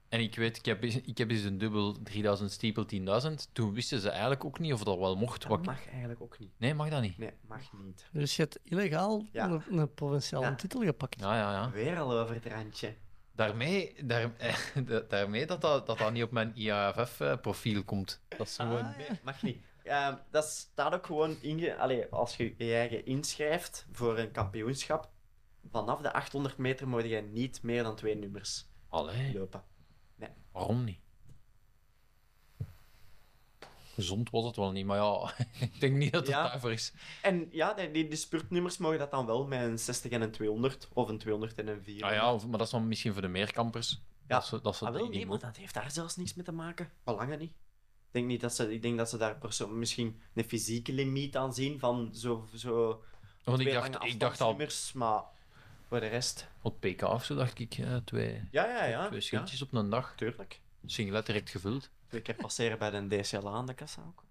[SPEAKER 9] En ik weet, ik heb, eens- ik heb eens een dubbel 3000 steeple 10.000. Toen wisten ze eigenlijk ook niet of dat wel mocht.
[SPEAKER 8] Dat
[SPEAKER 9] Wat ik-
[SPEAKER 8] mag eigenlijk ook niet.
[SPEAKER 9] Nee, mag dat niet.
[SPEAKER 8] Nee, mag niet.
[SPEAKER 7] Dus je hebt illegaal
[SPEAKER 8] Ja.
[SPEAKER 7] een, een provinciale
[SPEAKER 8] Ja.
[SPEAKER 7] titel gepakt.
[SPEAKER 9] Ja, ja, ja.
[SPEAKER 8] Weer al over het randje.
[SPEAKER 9] Daarmee, daar, [LAUGHS] da- daarmee dat, dat, dat dat niet op mijn IAFF-profiel eh, komt. Dat is gewoon...
[SPEAKER 7] Ah, ja.
[SPEAKER 8] Mag niet. Ehm, dat staat ook gewoon inge... Allee, als je je eigen inschrijft voor een kampioenschap, vanaf de 800 meter moet je niet meer dan twee nummers
[SPEAKER 9] Allee,
[SPEAKER 8] lopen.
[SPEAKER 9] waarom niet? Gezond was het wel niet, maar ja, [LAUGHS] ik denk niet dat het
[SPEAKER 8] Ja.
[SPEAKER 9] daarvoor is.
[SPEAKER 8] En ja, die, die, die spurtnummers mogen dat dan wel met een 60 en een 200, of een 200 en een 400.
[SPEAKER 9] Ah ja, of- maar dat is dan misschien voor de meerkampers. Dat ze, dat ze
[SPEAKER 8] Ah,
[SPEAKER 9] het
[SPEAKER 8] wel,
[SPEAKER 9] niet
[SPEAKER 8] nee, maar
[SPEAKER 9] mogen.
[SPEAKER 8] dat heeft daar zelfs niks mee te maken. Belangen niet. Ik denk, niet dat ze, ik denk dat ze daar perso- misschien een fysieke limiet aan zien van zo, zo
[SPEAKER 9] Want ik
[SPEAKER 8] twee
[SPEAKER 9] dacht,
[SPEAKER 8] lange
[SPEAKER 9] ik dacht al,
[SPEAKER 8] afstandsnummers, maar voor de rest...
[SPEAKER 9] op PK of zo dacht ik, eh, twee,
[SPEAKER 8] Ja, ja, Ah, ja.
[SPEAKER 9] twee schildjes op een dag.
[SPEAKER 8] Ja, tuurlijk.
[SPEAKER 9] Singlet direct gevuld.
[SPEAKER 8] Twee keer passeren bij de DCLA aan de kassa ook.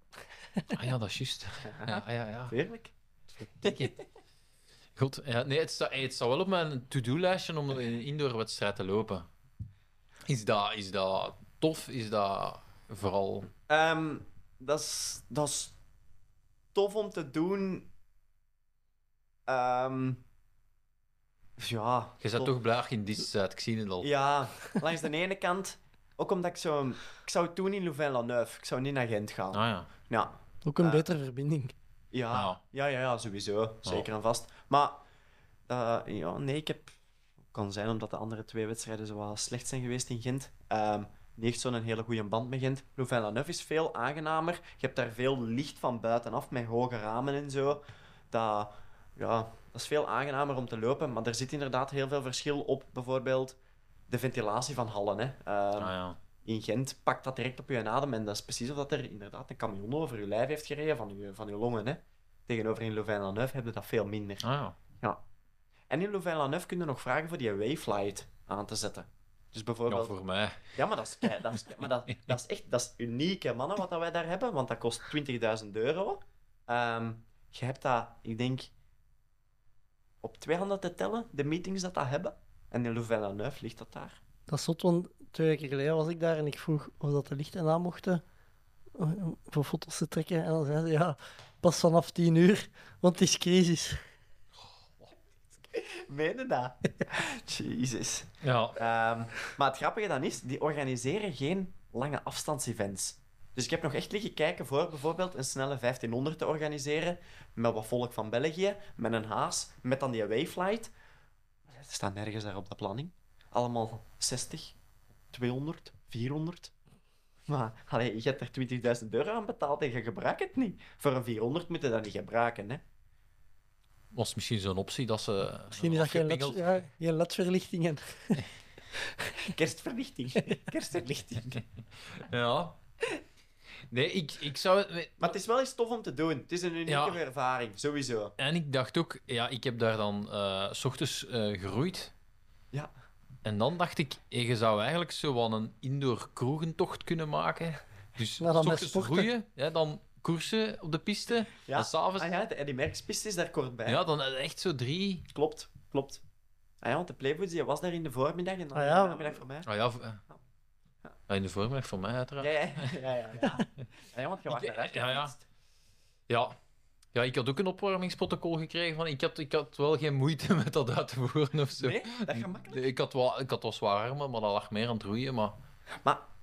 [SPEAKER 9] Ah ja, dat is juist. [LAUGHS] Ja, ah ja, ja.
[SPEAKER 8] Tuurlijk.
[SPEAKER 9] Ticket. Goed, ja, nee, het staat het staat wel op mijn to-do-lijstje om een indoorwedstrijd te lopen. Is dat, is dat tof? Is dat vooral...
[SPEAKER 8] Ehm, dat, is, dat is tof om te doen. Ehm, ja.
[SPEAKER 9] Je bent
[SPEAKER 8] tof.
[SPEAKER 9] toch blij dat je in dit staat, ik zie het al.
[SPEAKER 8] Ja, langs de ene kant. Ook omdat ik zo... Ik zou toen in Louvain-la-Neuve. Ik zou niet naar Gent gaan.
[SPEAKER 9] Ah ja.
[SPEAKER 8] Ja.
[SPEAKER 7] Ook een
[SPEAKER 8] Ah.
[SPEAKER 7] betere verbinding.
[SPEAKER 8] Ja,
[SPEAKER 9] Nou.
[SPEAKER 8] ja, ja, ja, sowieso. Zeker en vast. Maar eh, ja, nee, ik heb... kan zijn omdat de andere twee wedstrijden zo wat slecht zijn geweest in Gent. Ehm niet echt zo'n hele goede band met Gent. Louvain-la-Neuve is veel aangenamer. Je hebt daar veel licht van buitenaf, met hoge ramen en zo. Dat, ja, dat is veel aangenamer om te lopen. Maar er zit inderdaad heel veel verschil op bijvoorbeeld de ventilatie van hallen. Hè. Ehm,
[SPEAKER 9] Ah ja.
[SPEAKER 8] in Gent pakt dat direct op je adem. En dat is precies of dat er inderdaad een camion over je lijf heeft gereden van je, van je longen. Hè. Tegenover in Louvain-la-Neuve hebben dat veel minder.
[SPEAKER 9] Ah ja.
[SPEAKER 8] En in Louvain-la-Neuve kun je nog vragen voor die wayflight aan te zetten. Dus
[SPEAKER 9] Ja,
[SPEAKER 8] bijvoorbeeld... Ja,
[SPEAKER 9] voor mij.
[SPEAKER 8] maar, dat is, kei- dat is, kei- maar dat, dat is echt dat is uniek, hè, mannen, wat dat wij daar hebben. Want dat kost 20.000 euro. Ehm, je hebt dat, ik denk, op twee handen te tellen, de meetings dat dat hebben. En in Louvain-la-Neuve ligt dat daar.
[SPEAKER 7] Dat is zot, want twee weken geleden was ik daar en ik vroeg of dat de lichten aan mochten eh, voor foto's te trekken. En dan zeiden ze, ja, pas vanaf tien uur, want het is crisis.
[SPEAKER 8] Meen je dat? [LAUGHS] Jezus.
[SPEAKER 9] Ja.
[SPEAKER 8] Ehm, maar het grappige dan is, die organiseren geen lange afstandsevents. Dus ik heb nog echt liggen kijken voor bijvoorbeeld een snelle 1500 te organiseren. Met wat volk van België, met een haas, met dan die wayflight. Maar Er staan nergens daar op de planning. Allemaal 60, 200, 400. Maar allee, je hebt er 20.000 euro aan betaald en je gebruikt het niet. Voor een 400 moet je dat niet gebruiken. Hè?
[SPEAKER 9] Was misschien zo'n optie dat ze...
[SPEAKER 7] Misschien is dat geen, led,
[SPEAKER 9] afgepingeld-
[SPEAKER 7] ja, geen ledverlichting en
[SPEAKER 8] Kerstverlichting. Kerstverlichting.
[SPEAKER 9] Ja. Nee, ik, ik zou...
[SPEAKER 8] Maar het is wel eens tof om te doen. Het is een unieke
[SPEAKER 9] Ja.
[SPEAKER 8] ervaring, sowieso.
[SPEAKER 9] En ik dacht ook, ja, ik heb daar dan eh, s ochtends eh, geroeid.
[SPEAKER 8] Ja.
[SPEAKER 9] En dan dacht ik, eh, je zou eigenlijk zo wel een indoor kroegentocht kunnen maken. Dus s
[SPEAKER 7] Maar dan met
[SPEAKER 9] ochtends
[SPEAKER 7] sporten.
[SPEAKER 9] roeien, ja, dan koersen op de piste.
[SPEAKER 8] Ja.
[SPEAKER 9] En s'avonds...
[SPEAKER 8] Ah ja, de Eddy Merckx-piste is daar kort bij.
[SPEAKER 9] Ja, dan echt zo drie...
[SPEAKER 8] Klopt, klopt. Ah ja, want de Playboys die was daar in de voormiddag en dan
[SPEAKER 7] Ah
[SPEAKER 8] in
[SPEAKER 7] ja.
[SPEAKER 8] de namiddag voor mij.
[SPEAKER 9] Ah ja, v- eh. Ja, in de voormiddag voor mij uiteraard.
[SPEAKER 8] Ja, ja, ja. ja, ja. Ah ja, want je wacht
[SPEAKER 9] Ik-
[SPEAKER 8] daar echt
[SPEAKER 9] ja, ja.
[SPEAKER 8] gefietst.
[SPEAKER 9] Ja. Ja, ik had ook een opwarmingsprotocol gekregen. Van, ik, had, ik had wel geen moeite [LAUGHS] met dat uit te voeren of zo.
[SPEAKER 8] Nee, dat gaat makkelijk.
[SPEAKER 9] Nee, Ik had wel, ik had wel zwaar armen, maar dat lag meer aan het roeien. Maar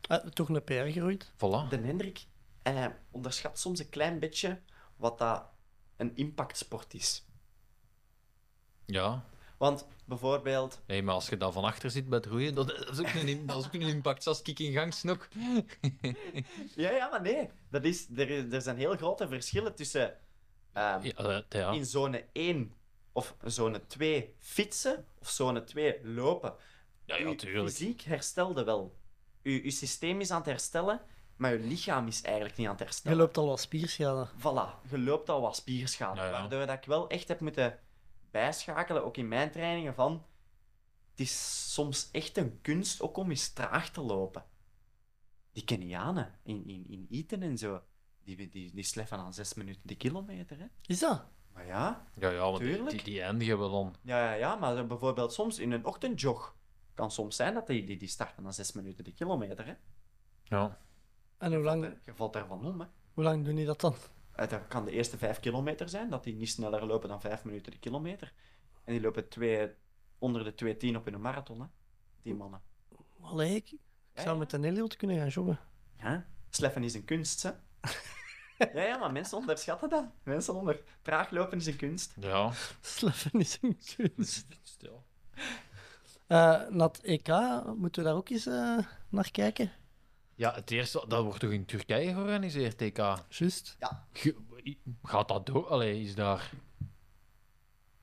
[SPEAKER 7] Eh, toch een PR geroeid.
[SPEAKER 9] voilà.
[SPEAKER 8] De Hendrik eh, onderschat soms een klein beetje wat dat een impactsport is.
[SPEAKER 9] Ja.
[SPEAKER 8] Want bijvoorbeeld,
[SPEAKER 9] Nee, maar als je dan van achter zit bij het roeien, dat dat is ook een, im- dat is ook een impact als ik in
[SPEAKER 8] [LAUGHS]
[SPEAKER 9] gang snok.
[SPEAKER 8] ja, ja, maar nee, dat is, er, is- er zijn heel grote verschillen tussen ehm,
[SPEAKER 9] Ja, eh, ja.
[SPEAKER 8] in zone 1 of zone 2 fietsen of zone 2 lopen.
[SPEAKER 9] Ja, ja,
[SPEAKER 8] Uw
[SPEAKER 9] tuurlijk.
[SPEAKER 8] fysiek herstelde wel. Uw, uw systeem is aan het herstellen, maar uw lichaam is eigenlijk niet aan het
[SPEAKER 7] Je
[SPEAKER 8] herstellen.
[SPEAKER 7] loopt al wat spierschade.
[SPEAKER 8] Voilà, je loopt al wat spierschade.
[SPEAKER 9] Ja, ja.
[SPEAKER 8] Waardoor dat ik wel echt heb moeten bijschakelen, ook in mijn trainingen, van... Het is soms echt een kunst ook om eens traag te lopen. Die Kenianen in, in, in Eten en zo, die, die, die sleffen aan zes minuten de kilometer, hè.
[SPEAKER 7] Is dat?
[SPEAKER 8] Maar ja,
[SPEAKER 9] Ja, ja, want die,
[SPEAKER 8] Tuurlijk.
[SPEAKER 9] die- die eindigen we dan.
[SPEAKER 8] ja, ja, ja, maar dan bijvoorbeeld soms in een ochtendjog kan soms zijn dat die, die, die starten aan zes minuten de kilometer, hè.
[SPEAKER 9] Ja.
[SPEAKER 7] En hoe lang,
[SPEAKER 8] Je valt daarvan om, hè.
[SPEAKER 7] hoe lang doen die dat dan?
[SPEAKER 8] Eh, Dat kan de eerste vijf kilometer zijn, dat die niet sneller lopen dan vijf minuten de kilometer. En die lopen twee, onder de 2.10 op hun marathon, hè? die mannen.
[SPEAKER 7] Allee, ik, ik
[SPEAKER 8] Ja,
[SPEAKER 7] zou
[SPEAKER 8] ja.
[SPEAKER 7] met een Elliot kunnen gaan joggen. [LAUGHS]
[SPEAKER 8] Ja? Sleffen is een kunst, hè? ja, ja, maar mensen onderschatten dat. Mensen onder... Traag lopen is een kunst.
[SPEAKER 9] Ja.
[SPEAKER 7] Sleffen is een kunst.
[SPEAKER 9] Stil.
[SPEAKER 7] Eh naar het EK, moeten we daar ook eens eh, naar kijken?
[SPEAKER 9] Ja, het eerste, dat wordt toch in Turkije georganiseerd, TK?
[SPEAKER 7] Juist.
[SPEAKER 9] Ge- Gaat dat door? Allee, is daar...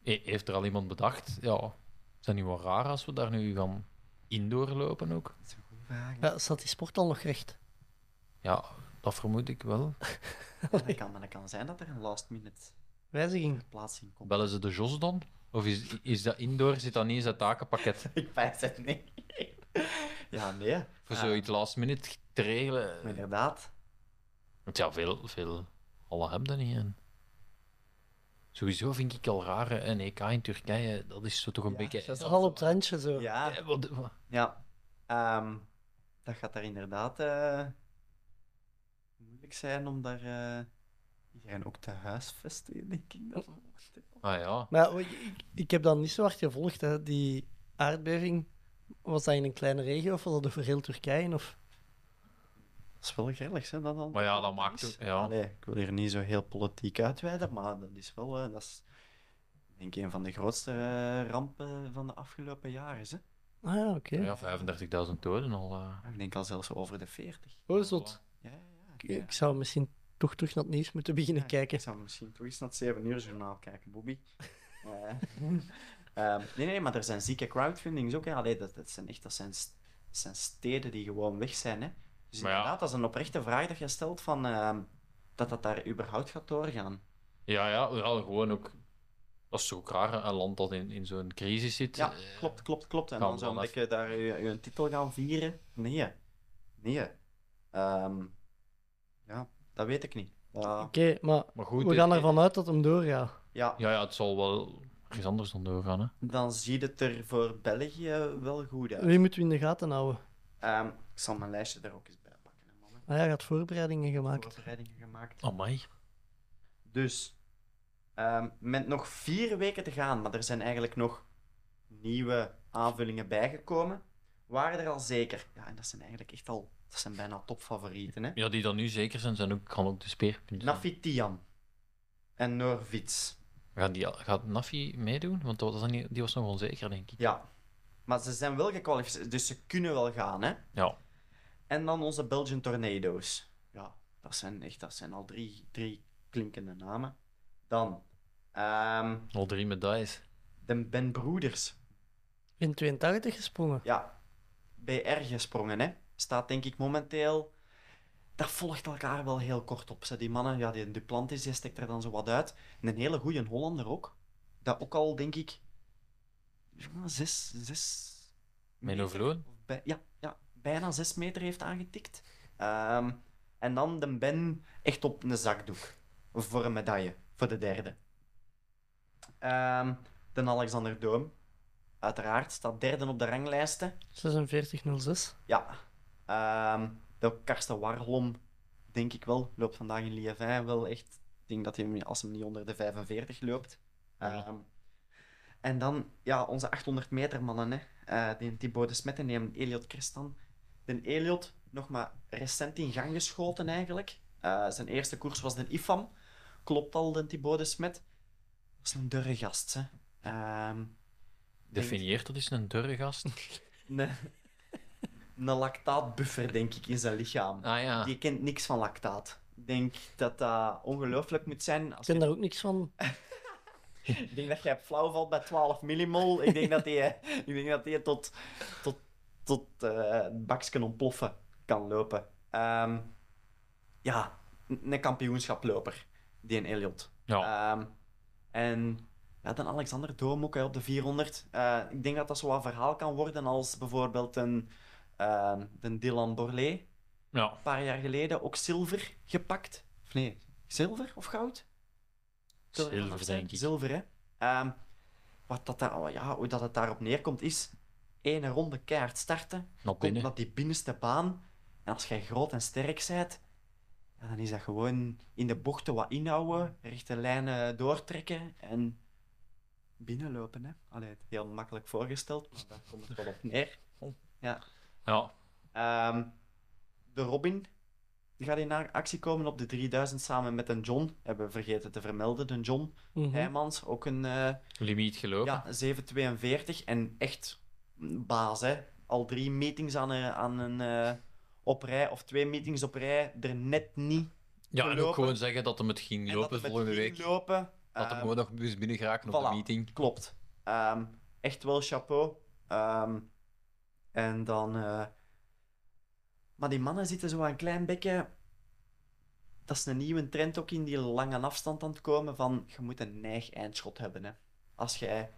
[SPEAKER 9] He- Heeft er al iemand bedacht? Ja, is dat niet wel raar als we daar nu gaan indoor lopen ook?
[SPEAKER 7] Ja, staat die sport al nog recht?
[SPEAKER 9] Ja, dat vermoed ik wel.
[SPEAKER 8] Ja, dat, kan, maar dat kan zijn dat er een last-minute
[SPEAKER 7] Wijziging.
[SPEAKER 8] plaatsing komt.
[SPEAKER 9] Bellen ze de Jos dan? Of is, is dat indoor, zit dat niet in zijn takenpakket?
[SPEAKER 8] Ik pijs het niet. ja, nee.
[SPEAKER 9] Voor
[SPEAKER 8] Ah,
[SPEAKER 9] zoiets last minute te
[SPEAKER 8] maar
[SPEAKER 9] regelen.
[SPEAKER 8] Inderdaad.
[SPEAKER 9] Want ja, veel, veel alle hebben dat niet. En sowieso vind ik al raar, hè, een EK in Turkije, dat is zo toch een
[SPEAKER 8] Ja,
[SPEAKER 9] beetje...
[SPEAKER 7] Dat is al op het randje zo.
[SPEAKER 8] Ja,
[SPEAKER 9] Eh, wat- wat-
[SPEAKER 8] Ja, ehm, dat gaat daar inderdaad eh, moeilijk zijn om daar eh, iedereen ook te huisvesten, denk ik. Dat
[SPEAKER 9] Ah ja.
[SPEAKER 7] Maar ik, ik- ik heb dat niet zo hard gevolgd. Hè. Die aardbeving, was dat in een kleine regio of was dat over heel Turkije? Of...
[SPEAKER 8] is wel grillig, hè? Dat dan,
[SPEAKER 9] Maar ja, dat maakt
[SPEAKER 8] is.
[SPEAKER 9] ook- ja.
[SPEAKER 8] Allee, ik wil hier niet zo heel politiek uitweiden, maar dat is wel, eh, dat is denk ik een van de grootste eh, rampen van de afgelopen jaren. Hè?
[SPEAKER 7] Ah ja, oké.
[SPEAKER 9] Ja, 35.000 doden al. eh.
[SPEAKER 8] Ik denk al zelfs over de 40.
[SPEAKER 7] Oh, zot.
[SPEAKER 8] Ja, ja, ja.
[SPEAKER 7] Ik,
[SPEAKER 8] Ja.
[SPEAKER 7] ik zou misschien toch terug naar het nieuws moeten beginnen
[SPEAKER 8] Ja,
[SPEAKER 7] kijken.
[SPEAKER 8] Ik zou misschien toch eens naar het 7 uur journaal kijken, Bobby. Eh, ehm, nee, nee, maar er zijn zieke crowdfundings ook. Hè. Allee, dat, dat, zijn echt, dat, zijn, s- dat zijn steden die gewoon weg zijn. Hè. Dus
[SPEAKER 9] Maar ja.
[SPEAKER 8] inderdaad, dat is een oprechte vraag dat je stelt van, ehm, dat dat daar überhaupt gaat doorgaan.
[SPEAKER 9] Ja, ja, ja, gewoon ook. Dat is toch ook raar, hè, een land dat in, in zo'n crisis zit.
[SPEAKER 8] Ja,
[SPEAKER 9] Eh,
[SPEAKER 8] klopt, klopt, klopt. En
[SPEAKER 9] Gaan
[SPEAKER 8] dan
[SPEAKER 9] we
[SPEAKER 8] zo'n
[SPEAKER 9] dan
[SPEAKER 8] beetje daar je, je titel gaan vieren. Nee, nee. Ehm, ja, dat weet ik niet. Eh,
[SPEAKER 7] Oké, maar
[SPEAKER 9] Maar goed, dus
[SPEAKER 7] we
[SPEAKER 9] dit-
[SPEAKER 7] gaan ervan uit dat hem doorgaat.
[SPEAKER 8] ja,
[SPEAKER 9] Ja, ja, het zal wel ergens anders dan doorgaan. Hè.
[SPEAKER 8] dan ziet het er voor België wel goed uit.
[SPEAKER 7] Wie moeten we in de gaten houden?
[SPEAKER 8] Ehm, ik zal mijn lijstje er ook eens bij pakken. Hè, mannen.
[SPEAKER 7] Ah ja, je had voorbereidingen gemaakt.
[SPEAKER 8] Voorbereidingen gemaakt.
[SPEAKER 9] Amai.
[SPEAKER 8] Dus, ehm, met nog vier weken te gaan, maar er zijn eigenlijk nog nieuwe aanvullingen bijgekomen, waren er al zeker. Ja, en dat zijn eigenlijk echt al, dat zijn bijna topfavorieten. Hè?
[SPEAKER 9] Ja, die dan nu zeker zijn, zijn ook, gaan ook de speerpunten. zijn.
[SPEAKER 8] Nafitian en Norvits.
[SPEAKER 9] Gaan die, al- gaat Nafi meedoen? Want dat was dan niet, die was nog onzeker, denk ik.
[SPEAKER 8] Ja, maar ze zijn wel gekwalificeerd, dus ze kunnen wel gaan. Hè?
[SPEAKER 9] Ja.
[SPEAKER 8] En dan onze Belgian Tornadoes. Ja, dat zijn echt, dat zijn al drie, drie klinkende namen. Dan, ehm,
[SPEAKER 9] Al drie medailles.
[SPEAKER 8] de Ben Broeders.
[SPEAKER 7] In 82 gesprongen.
[SPEAKER 8] Ja, BR gesprongen, hè. Staat denk ik momenteel daar volgt elkaar wel heel kort op. Ze, die mannen, ja, die Duplantis, die steekt er dan zo wat uit. En een hele goede Hollander ook. Dat ook al, denk ik, zes... zes
[SPEAKER 9] Menno
[SPEAKER 8] meter-
[SPEAKER 9] Vloon?
[SPEAKER 8] of bij- ja, ja, bijna zes meter heeft aangetikt. Ehm, en dan de Ben echt op een zakdoek. Voor een medaille, voor de derde. Ehm de Alexander Doom, uiteraard, staat derde op de ranglijsten.
[SPEAKER 7] 46-06.
[SPEAKER 8] Ja. Ehm, de Karsten Warholm, denk ik wel, loopt vandaag in Liévin wel echt. Ik denk dat hij, hem- als hij niet onder de 45 loopt. Ehm, en dan, ja, onze 800 meter mannen, hè. Eh, die Thibaut de Smet en die Eliot Christan. De Eliot, nog maar recent in gang geschoten eigenlijk. Eh, zijn eerste koers was de IFAM. Klopt al, de Thibaut de Smet. Dat is een durre gast, hè. Ehm,
[SPEAKER 9] Definieert dat is een durre gast?
[SPEAKER 8] [LAUGHS] een, een lactaatbuffer, denk ik, in zijn lichaam.
[SPEAKER 9] Ah ja.
[SPEAKER 8] Die kent niks van lactaat. Ik denk dat dat ongelooflijk moet zijn.
[SPEAKER 7] Ik
[SPEAKER 8] Als
[SPEAKER 7] ken daar ook niks van.
[SPEAKER 8] Ik denk dat jij flauw valt bij 12 millimol. Ik denk dat die, [LAUGHS] ik denk dat die tot, tot, tot eh het baksken ontploffen kan lopen. Ehm, ja, een een kampioenschaploper, die een Elliot.
[SPEAKER 9] ja.
[SPEAKER 8] Ehm, en ja, dan Alexander Doom ook hè, op de 400. Eh, ik denk dat dat zo'n verhaal kan worden als bijvoorbeeld een, ehm, een Dylan Borlé.
[SPEAKER 9] ja.
[SPEAKER 8] Een paar jaar geleden ook zilver gepakt. Of nee, zilver of goud?
[SPEAKER 9] Zilver,
[SPEAKER 8] of
[SPEAKER 9] denk ik.
[SPEAKER 8] Zilver, hè. Ehm, wat dat daar, oh ja, hoe dat het daarop neerkomt is... één ronde keihard starten,
[SPEAKER 9] Naar
[SPEAKER 8] komt
[SPEAKER 9] binnen.
[SPEAKER 8] naar die binnenste baan. En als jij groot en sterk bent, ja, dan is dat gewoon in de bochten wat inhouden, rechte lijnen doortrekken en binnenlopen. Hè. Allee, heel makkelijk voorgesteld, maar daar komt het wel op neer.
[SPEAKER 9] Ja.
[SPEAKER 8] Ehm, de Robin gaat in a- actie komen op de 3000 samen met een John. Hebben we vergeten te vermelden, de John
[SPEAKER 7] Mhm.
[SPEAKER 8] Heijmans. Ook een eh
[SPEAKER 9] Limiet gelopen.
[SPEAKER 8] ja, 742 en echt een baas. Hè. Al drie meetings aan een, aan een eh, op rij, of twee meetings op rij, er net niet.
[SPEAKER 9] Ja, en ook
[SPEAKER 8] gelopen.
[SPEAKER 9] gewoon zeggen dat hem het ging
[SPEAKER 8] En
[SPEAKER 9] lopen
[SPEAKER 8] dat het
[SPEAKER 9] volgende
[SPEAKER 8] ging
[SPEAKER 9] week.
[SPEAKER 8] Lopen,
[SPEAKER 9] Dat hem
[SPEAKER 8] Ehm,
[SPEAKER 9] gewoon nog moest binnen geraken op
[SPEAKER 8] voilà.
[SPEAKER 9] de meeting.
[SPEAKER 8] Klopt. Ehm, echt wel chapeau. Ehm, en dan. eh, Maar die mannen zitten zo aan een klein beetje. Dat is een nieuwe trend ook in die lange afstand aan het komen. Van je moet een neig eindschot hebben. Hè. Als jij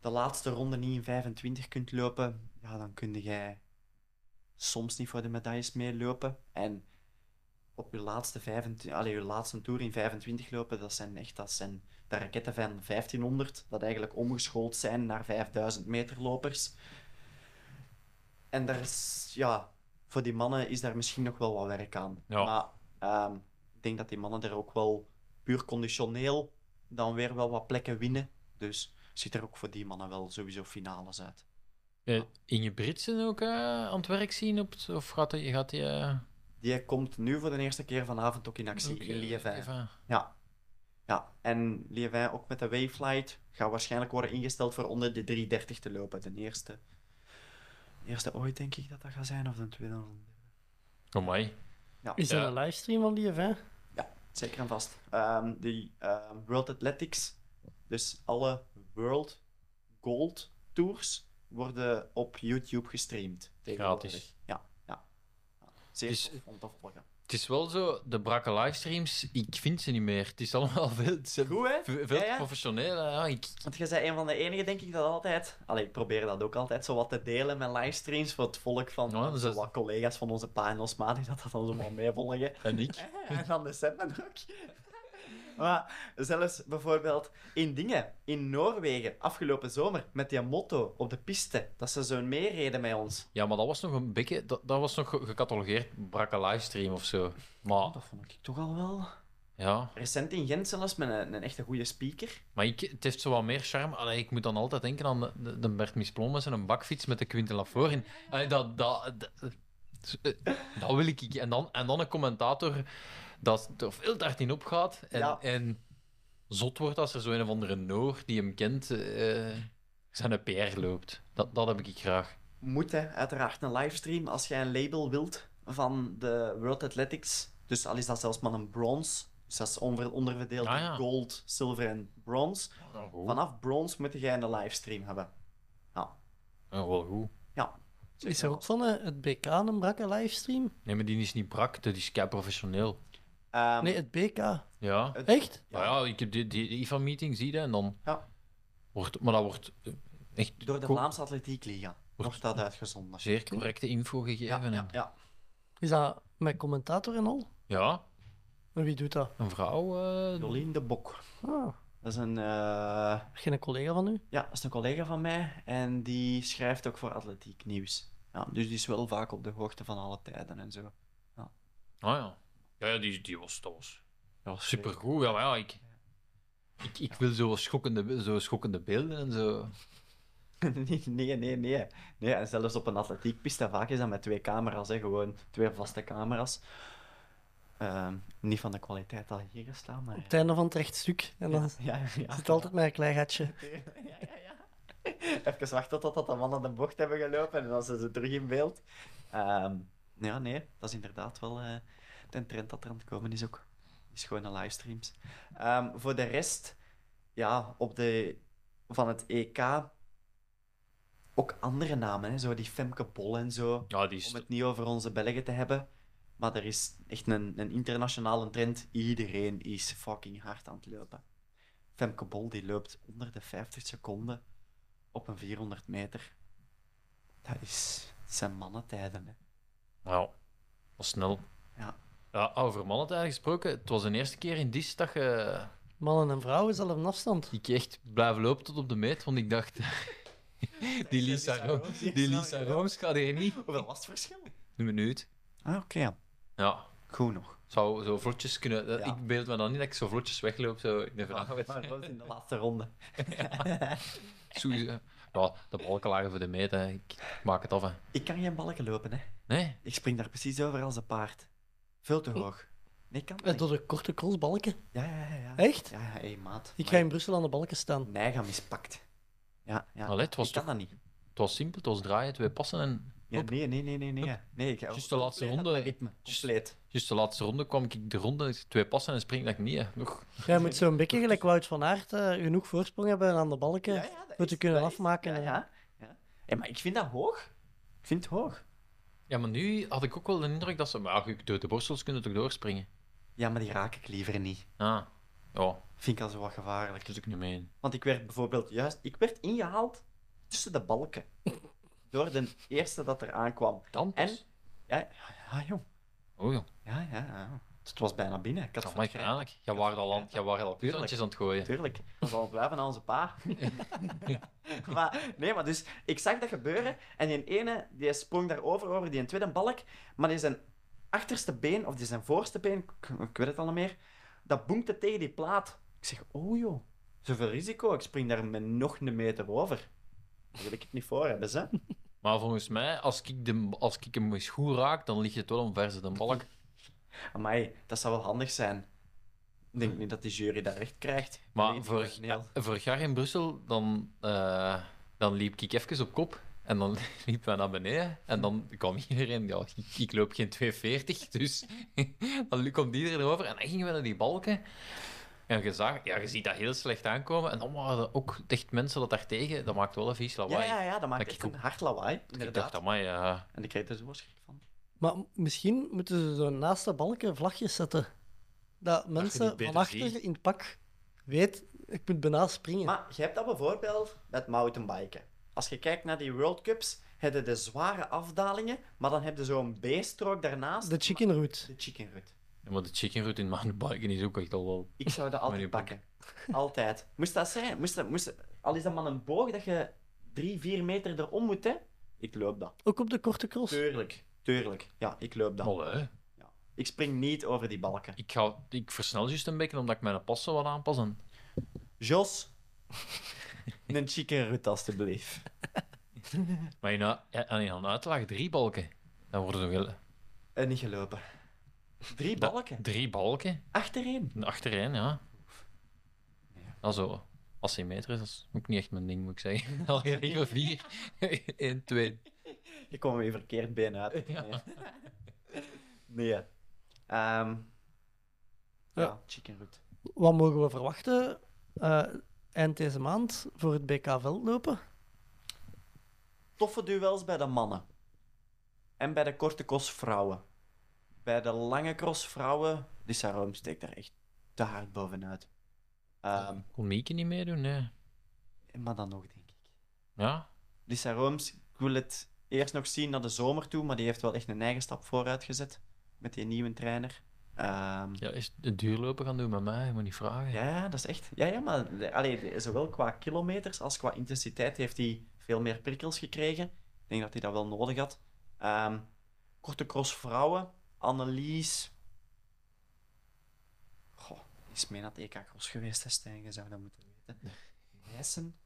[SPEAKER 8] de laatste ronde niet in 25 kunt lopen, ja, dan kun jij soms niet voor de medailles meelopen. En op je laatste, 25, allee, je laatste tour in 25 lopen, dat zijn echt dat zijn de raketten van 1500, dat eigenlijk omgeschoold zijn naar 5000 meter lopers. En daar is, ja, voor die mannen is daar misschien nog wel wat werk aan.
[SPEAKER 9] Ja.
[SPEAKER 8] Maar ehm, ik denk dat die mannen er ook wel puur conditioneel dan weer wel wat plekken winnen. Dus ziet er ook voor die mannen wel sowieso finales uit.
[SPEAKER 9] Eh, Inge Britsen ook eh, aan het werk zien? Op het- of gaat hij... Gaat hij eh,
[SPEAKER 8] Die komt nu voor de eerste keer vanavond ook in actie
[SPEAKER 9] ook,
[SPEAKER 8] in
[SPEAKER 9] eh,
[SPEAKER 8] Liévin.
[SPEAKER 9] even-
[SPEAKER 8] Ja. ja, en Liévin ook met de Wavelight gaat waarschijnlijk worden ingesteld voor onder de 330 te lopen. De eerste, de eerste ooit denk ik dat dat gaat zijn, of de tweede.
[SPEAKER 9] Amai.
[SPEAKER 7] Is
[SPEAKER 9] Ja.
[SPEAKER 7] er een livestream van die event?
[SPEAKER 8] Zeker en vast. Ehm die ehm, World Athletics, dus alle World Gold Tours, worden op YouTube gestreamd. tegenwoordig.
[SPEAKER 9] Gratis.
[SPEAKER 8] Ja, ja. Ja. Zeer
[SPEAKER 9] Dus-
[SPEAKER 8] tof om te volgen.
[SPEAKER 9] Het is wel zo, de brakke livestreams, ik vind ze niet meer. Het is allemaal [LAUGHS] veel, het zijn
[SPEAKER 8] Goed, hè?
[SPEAKER 9] ve- veel
[SPEAKER 8] Ja, ja.
[SPEAKER 9] professioneel. Ja, ik,
[SPEAKER 8] Want jij bent een van de enigen, denk ik, dat altijd... Allee, ik probeer dat ook altijd zo wat te delen met livestreams voor het volk van
[SPEAKER 9] Ja, dus
[SPEAKER 8] zo
[SPEAKER 9] dat-
[SPEAKER 8] wat collega's van onze pa en ons ma, die dat dan zo maar [LAUGHS] meevolgen.
[SPEAKER 9] en ik.
[SPEAKER 8] En dan de Seppen ook. [LAUGHS] Maar zelfs bijvoorbeeld in dingen, in Noorwegen, afgelopen zomer, met die motto op de piste, dat ze zo meereden met ons.
[SPEAKER 9] Ja, maar dat was nog een beetje, dat, dat was nog ge- gecatalogeerd brakke livestream of zo. Maar
[SPEAKER 8] Ah, Dat vond ik toch al wel...
[SPEAKER 9] ja,
[SPEAKER 8] Recent in Gent zelfs, met een, een echte goede speaker.
[SPEAKER 9] maar ik, het heeft zo wat meer charme. Allee, ik moet dan altijd denken aan de, de, de Bert Misplommers en een bakfiets met de Quinten Lafoor. in. Allee, dat, dat, dat, eh, dat wil ik. En dan, en dan een commentator dat er veel te hard in opgaat en,
[SPEAKER 8] Ja.
[SPEAKER 9] en zot wordt als er zo een of andere Noor die hem kent eh, zijn PR loopt. Dat, dat heb ik graag.
[SPEAKER 8] moet hè, uiteraard een livestream als jij een label wilt van de World Athletics. Dus al is dat zelfs maar een bronze. Dus dat is onver- onderverdeeld
[SPEAKER 9] Ah,
[SPEAKER 8] in
[SPEAKER 9] ja.
[SPEAKER 8] gold, zilver en bronze. Vanaf bronze moet jij een livestream hebben.
[SPEAKER 9] Ja, wel goed.
[SPEAKER 8] Ja.
[SPEAKER 7] Is er ook van eh, het BK een brakke livestream?
[SPEAKER 9] Nee, maar die is niet brak, dat is kei professioneel.
[SPEAKER 8] Ehm,
[SPEAKER 7] Nee, het BK.
[SPEAKER 9] Ja.
[SPEAKER 8] het-
[SPEAKER 7] Echt?
[SPEAKER 9] Ja, ja ik heb die, die IFA-meeting, zie je, en dan
[SPEAKER 8] Ja.
[SPEAKER 9] wordt, maar dat wordt eh, echt
[SPEAKER 8] Door de
[SPEAKER 9] co-
[SPEAKER 8] Vlaamse Atletiek Liga wordt dat uitgezonden.
[SPEAKER 9] zeer correcte info
[SPEAKER 8] Ja,
[SPEAKER 9] gegeven.
[SPEAKER 8] ja,
[SPEAKER 9] en-
[SPEAKER 8] ja.
[SPEAKER 7] Is dat met commentator en al?
[SPEAKER 9] ja,
[SPEAKER 7] En wie doet dat?
[SPEAKER 9] een vrouw. eh,
[SPEAKER 8] Jolien de Bok.
[SPEAKER 7] Ah,
[SPEAKER 8] Dat is een, eh,
[SPEAKER 7] geen collega van u?
[SPEAKER 8] ja, dat is een collega van mij en die schrijft ook voor Atletiek Nieuws. Ja, dus die is wel vaak op de hoogte van alle tijden en zo.
[SPEAKER 9] Ah ja. Ja, ja die, die was, dat was ja, supergoed. Ja, maar ja, ik, ik, ik wil zo schokkende, be- zo schokkende beelden en zo.
[SPEAKER 8] [LAUGHS] nee, nee, nee, nee. nee. En zelfs op een atletiekpiste, vaak is dat met twee camera's, hè. gewoon twee vaste camera's. Ehm, niet van de kwaliteit dat hier is staan, maar...
[SPEAKER 7] Op het einde van het rechtstuk. En dan
[SPEAKER 8] Ja, ja, ja, ja.
[SPEAKER 7] zit altijd met een klein gatje.
[SPEAKER 8] Ja, ja, ja. Even wachten totdat de mannen de bocht hebben gelopen en dan zijn ze terug in beeld. Ehm, ja, nee, dat is inderdaad wel eh de trend dat er aan het komen is ook. Is gewoon de livestreams. Ehm, voor de rest, ja, op de, van het EK ook andere namen, hè, zo die Femke Bol en zo.
[SPEAKER 9] Ja, die is...
[SPEAKER 8] Om het niet over onze Belgen te hebben. Maar er is echt een, een internationale trend. Iedereen is fucking hard aan het lopen. Femke Bol die loopt onder de 50 seconden op een 400 meter. Dat, is, dat zijn mannentijden. Hè.
[SPEAKER 9] Ja, dat was snel.
[SPEAKER 8] Ja.
[SPEAKER 9] Ja, over mannen eigenlijk gesproken. Het was de eerste keer in die dat je...
[SPEAKER 7] Mannen en vrouwen zelf een afstand.
[SPEAKER 9] ik echt blijven lopen tot op de meet, want ik dacht... [LAUGHS] die Lisa, Ro- die Lisa Rooms gaat hier niet.
[SPEAKER 8] Hoeveel was het verschil?
[SPEAKER 9] Een minuut.
[SPEAKER 8] Ah, oké. ja.
[SPEAKER 9] Ja,
[SPEAKER 8] Goed nog.
[SPEAKER 9] zou zo vlotjes kunnen... dat-
[SPEAKER 8] Ja. Ah.
[SPEAKER 9] Ik beeld me dan niet dat ik zo vlotjes wegloop zo in de
[SPEAKER 7] Ah,
[SPEAKER 8] Maar
[SPEAKER 9] vraag.
[SPEAKER 8] dat was in de laatste ronde.
[SPEAKER 9] Sowieso. Ja, de balken lagen voor de meet, hè. ik maak het af. Hè.
[SPEAKER 8] Ik kan geen balken lopen, hè.
[SPEAKER 9] Nee?
[SPEAKER 8] Ik spring daar precies over als een paard. Veel te hoog. Nee, kan
[SPEAKER 7] Eh,
[SPEAKER 8] dat niet.
[SPEAKER 7] Door de korte crossbalken.
[SPEAKER 8] Ja, ja, ja. ja.
[SPEAKER 7] Echt?
[SPEAKER 8] Ja, ja, hey, maat.
[SPEAKER 7] Ik
[SPEAKER 8] Maar
[SPEAKER 7] ga in Brussel aan de balken staan.
[SPEAKER 8] Nijgam is pakt. Ja, ja.
[SPEAKER 9] Allee, het was
[SPEAKER 8] ik kan dat niet.
[SPEAKER 9] Het was simpel, het was draaien, twee passen en...
[SPEAKER 8] Ja,
[SPEAKER 9] Hop.
[SPEAKER 8] nee, nee, nee, nee. nee. nee ik, oh,
[SPEAKER 9] Juist de laatste
[SPEAKER 8] compleet
[SPEAKER 9] ronde.
[SPEAKER 8] aan mijn Ritme.
[SPEAKER 9] Juist-
[SPEAKER 8] Compleet.
[SPEAKER 9] Juist de laatste ronde kwam ik de ronde, twee passen en spring dat ik niet. Hè. Nog.
[SPEAKER 7] Jij moet zo'n beetje gelijk Wout van Aert eh, genoeg voorsprong hebben aan de balken.
[SPEAKER 8] dat
[SPEAKER 7] Moet je kunnen
[SPEAKER 8] dat
[SPEAKER 7] afmaken,
[SPEAKER 8] Ja,
[SPEAKER 7] hè.
[SPEAKER 8] ja. ja. Hé, maar ik vind dat hoog. Ik vind het hoog.
[SPEAKER 9] Ja, maar nu had ik ook wel de indruk dat ze... Maar ja, goed, door de borstels kunnen toch doorspringen?
[SPEAKER 8] Ja, maar die raak ik liever niet.
[SPEAKER 9] Ah, ja.
[SPEAKER 8] Vind ik al zo wat gevaarlijk.
[SPEAKER 9] Dat is ook niet mee.
[SPEAKER 8] Want ik werd bijvoorbeeld juist... Ik werd ingehaald tussen de [LAUGHS] balken. Door de eerste dat er aankwam.
[SPEAKER 9] Dan
[SPEAKER 8] En?
[SPEAKER 9] pas?
[SPEAKER 8] Ja, ja jong.
[SPEAKER 9] dus. Oh joh.
[SPEAKER 8] Ja, ja, ja. Dus Het was bijna binnen. Ik had
[SPEAKER 9] Dat
[SPEAKER 8] het
[SPEAKER 9] maakt
[SPEAKER 8] vergeten.
[SPEAKER 9] eigenlijk. Jij waart al aan, jij waart al puurlandjes aan het gooien.
[SPEAKER 8] Tuurlijk, dat zal blijven aan onze
[SPEAKER 9] [LAUGHS]
[SPEAKER 8] pa. [LAUGHS] maar, nee, maar dus, ik zag dat gebeuren en die ene die sprong daarover, over die tweede balk, maar die zijn achterste been, of die zijn voorste been, ik, ik weet het al niet meer, dat bonkte tegen die plaat. Ik zeg, oh joh, zoveel risico, ik spring daar met nog een meter over. Daar wil ik het niet voor hebben, ze.
[SPEAKER 9] Maar volgens mij, als ik, de, als ik hem eens goed raak, dan ligt het wel om verse de balk.
[SPEAKER 8] [LAUGHS] Amai, dat zou wel handig zijn. Ik denk niet dat die jury dat recht krijgt.
[SPEAKER 9] Maar
[SPEAKER 8] Nee,
[SPEAKER 9] vorig,
[SPEAKER 8] nee.
[SPEAKER 9] vorig jaar in Brussel, dan, eh, dan liep ik even op kop. En dan [LAUGHS] liepen we naar beneden. En dan kwam iedereen... Ja, ik, ik loop geen 2,40, [LAUGHS] dus... dan komt iedereen erover. En dan gingen we naar die balken. En je, zag, ja, je ziet dat heel slecht aankomen. En dan waren er ook echt mensen dat daar tegen... Dat maakt wel een vies
[SPEAKER 8] Ja,
[SPEAKER 9] lawaai.
[SPEAKER 8] ja, ja, dat maakt
[SPEAKER 9] Dat
[SPEAKER 8] echt
[SPEAKER 9] ik
[SPEAKER 8] een hard lawaai,
[SPEAKER 9] Ik dacht,
[SPEAKER 8] inderdaad.
[SPEAKER 9] amai, eh,
[SPEAKER 8] En ik kreeg er zo schrik van.
[SPEAKER 7] Maar m- misschien moeten ze zo naast de balken vlagjes zetten. Dat mensen
[SPEAKER 9] beter
[SPEAKER 7] van achter
[SPEAKER 9] ziet.
[SPEAKER 7] in het pak weet, ik moet bijna springen.
[SPEAKER 8] Maar je hebt dat bijvoorbeeld met mountainbiken. Als je kijkt naar die World Cups, heb je de zware afdalingen, maar dan heb je zo'n B-strook daarnaast.
[SPEAKER 7] de chicken route.
[SPEAKER 8] de chicken route.
[SPEAKER 9] Ja, maar de chicken route in mountainbiken is ook echt al wel...
[SPEAKER 8] Ik zou dat
[SPEAKER 9] Maar
[SPEAKER 8] altijd
[SPEAKER 9] die
[SPEAKER 8] pakken. Altijd. Moest dat zijn? Moest dat, moest, al is dat maar een boog dat je drie, vier meter erom moet, hè? Ik loop dat.
[SPEAKER 7] Ook op de korte cross.
[SPEAKER 8] Tuurlijk. Tuurlijk. Ja, ik loop dat.
[SPEAKER 9] Allee.
[SPEAKER 8] Ik spring niet over die balken.
[SPEAKER 9] Ik, ga, ik versnel juist een beetje, omdat ik mijn passen wat aanpas. En...
[SPEAKER 8] Jos, [LAUGHS] een chicken route alstublieft.
[SPEAKER 9] Maar in, a- ja, en in een uitlaag drie balken. Dan worden er wel...
[SPEAKER 8] En Eh, niet gelopen. Drie
[SPEAKER 9] Da-
[SPEAKER 8] balken.
[SPEAKER 9] Drie balken.
[SPEAKER 8] Achtereen.
[SPEAKER 9] Achtereen, ja. Ja, zo. Asymmetrisch, dat is ook niet echt mijn ding, moet ik zeggen. [LAUGHS] Al regel vier. [LAUGHS] Eén, twee.
[SPEAKER 8] Ik kwam weer verkeerd been uit.
[SPEAKER 9] Ja.
[SPEAKER 8] Nee. nee. [LAUGHS] Ehm, ja.
[SPEAKER 7] Ja.
[SPEAKER 8] chicken root.
[SPEAKER 7] Wat mogen we verwachten eh, eind deze maand voor het BK veldlopen?
[SPEAKER 8] Toffe duels bij de mannen. En bij de korte cross vrouwen. Bij de lange cross vrouwen, Lisa Room steekt daar echt te hard bovenuit. Ehm,
[SPEAKER 9] Kon Mieke niet meedoen? Nee.
[SPEAKER 8] maar dan nog, denk ik.
[SPEAKER 9] Ja?
[SPEAKER 8] Lisa Rooms, ik wil het eerst nog zien naar de zomer toe, maar die heeft wel echt een eigen stap vooruit gezet met die nieuwe trainer. Ehm,
[SPEAKER 9] Ja, is het duurlopen gaan doen met mij? Je moet niet vragen.
[SPEAKER 8] ja, dat is echt. Ja, ja maar de- allee, de- zowel qua kilometers als qua intensiteit heeft hij veel meer prikkels gekregen. Ik denk dat hij dat wel nodig had. Ehm, korte cross vrouwen, Annelies. Goh, is mee naar het EK Cross geweest, hè, Stijn? Je zou dat moeten weten. Nijssen,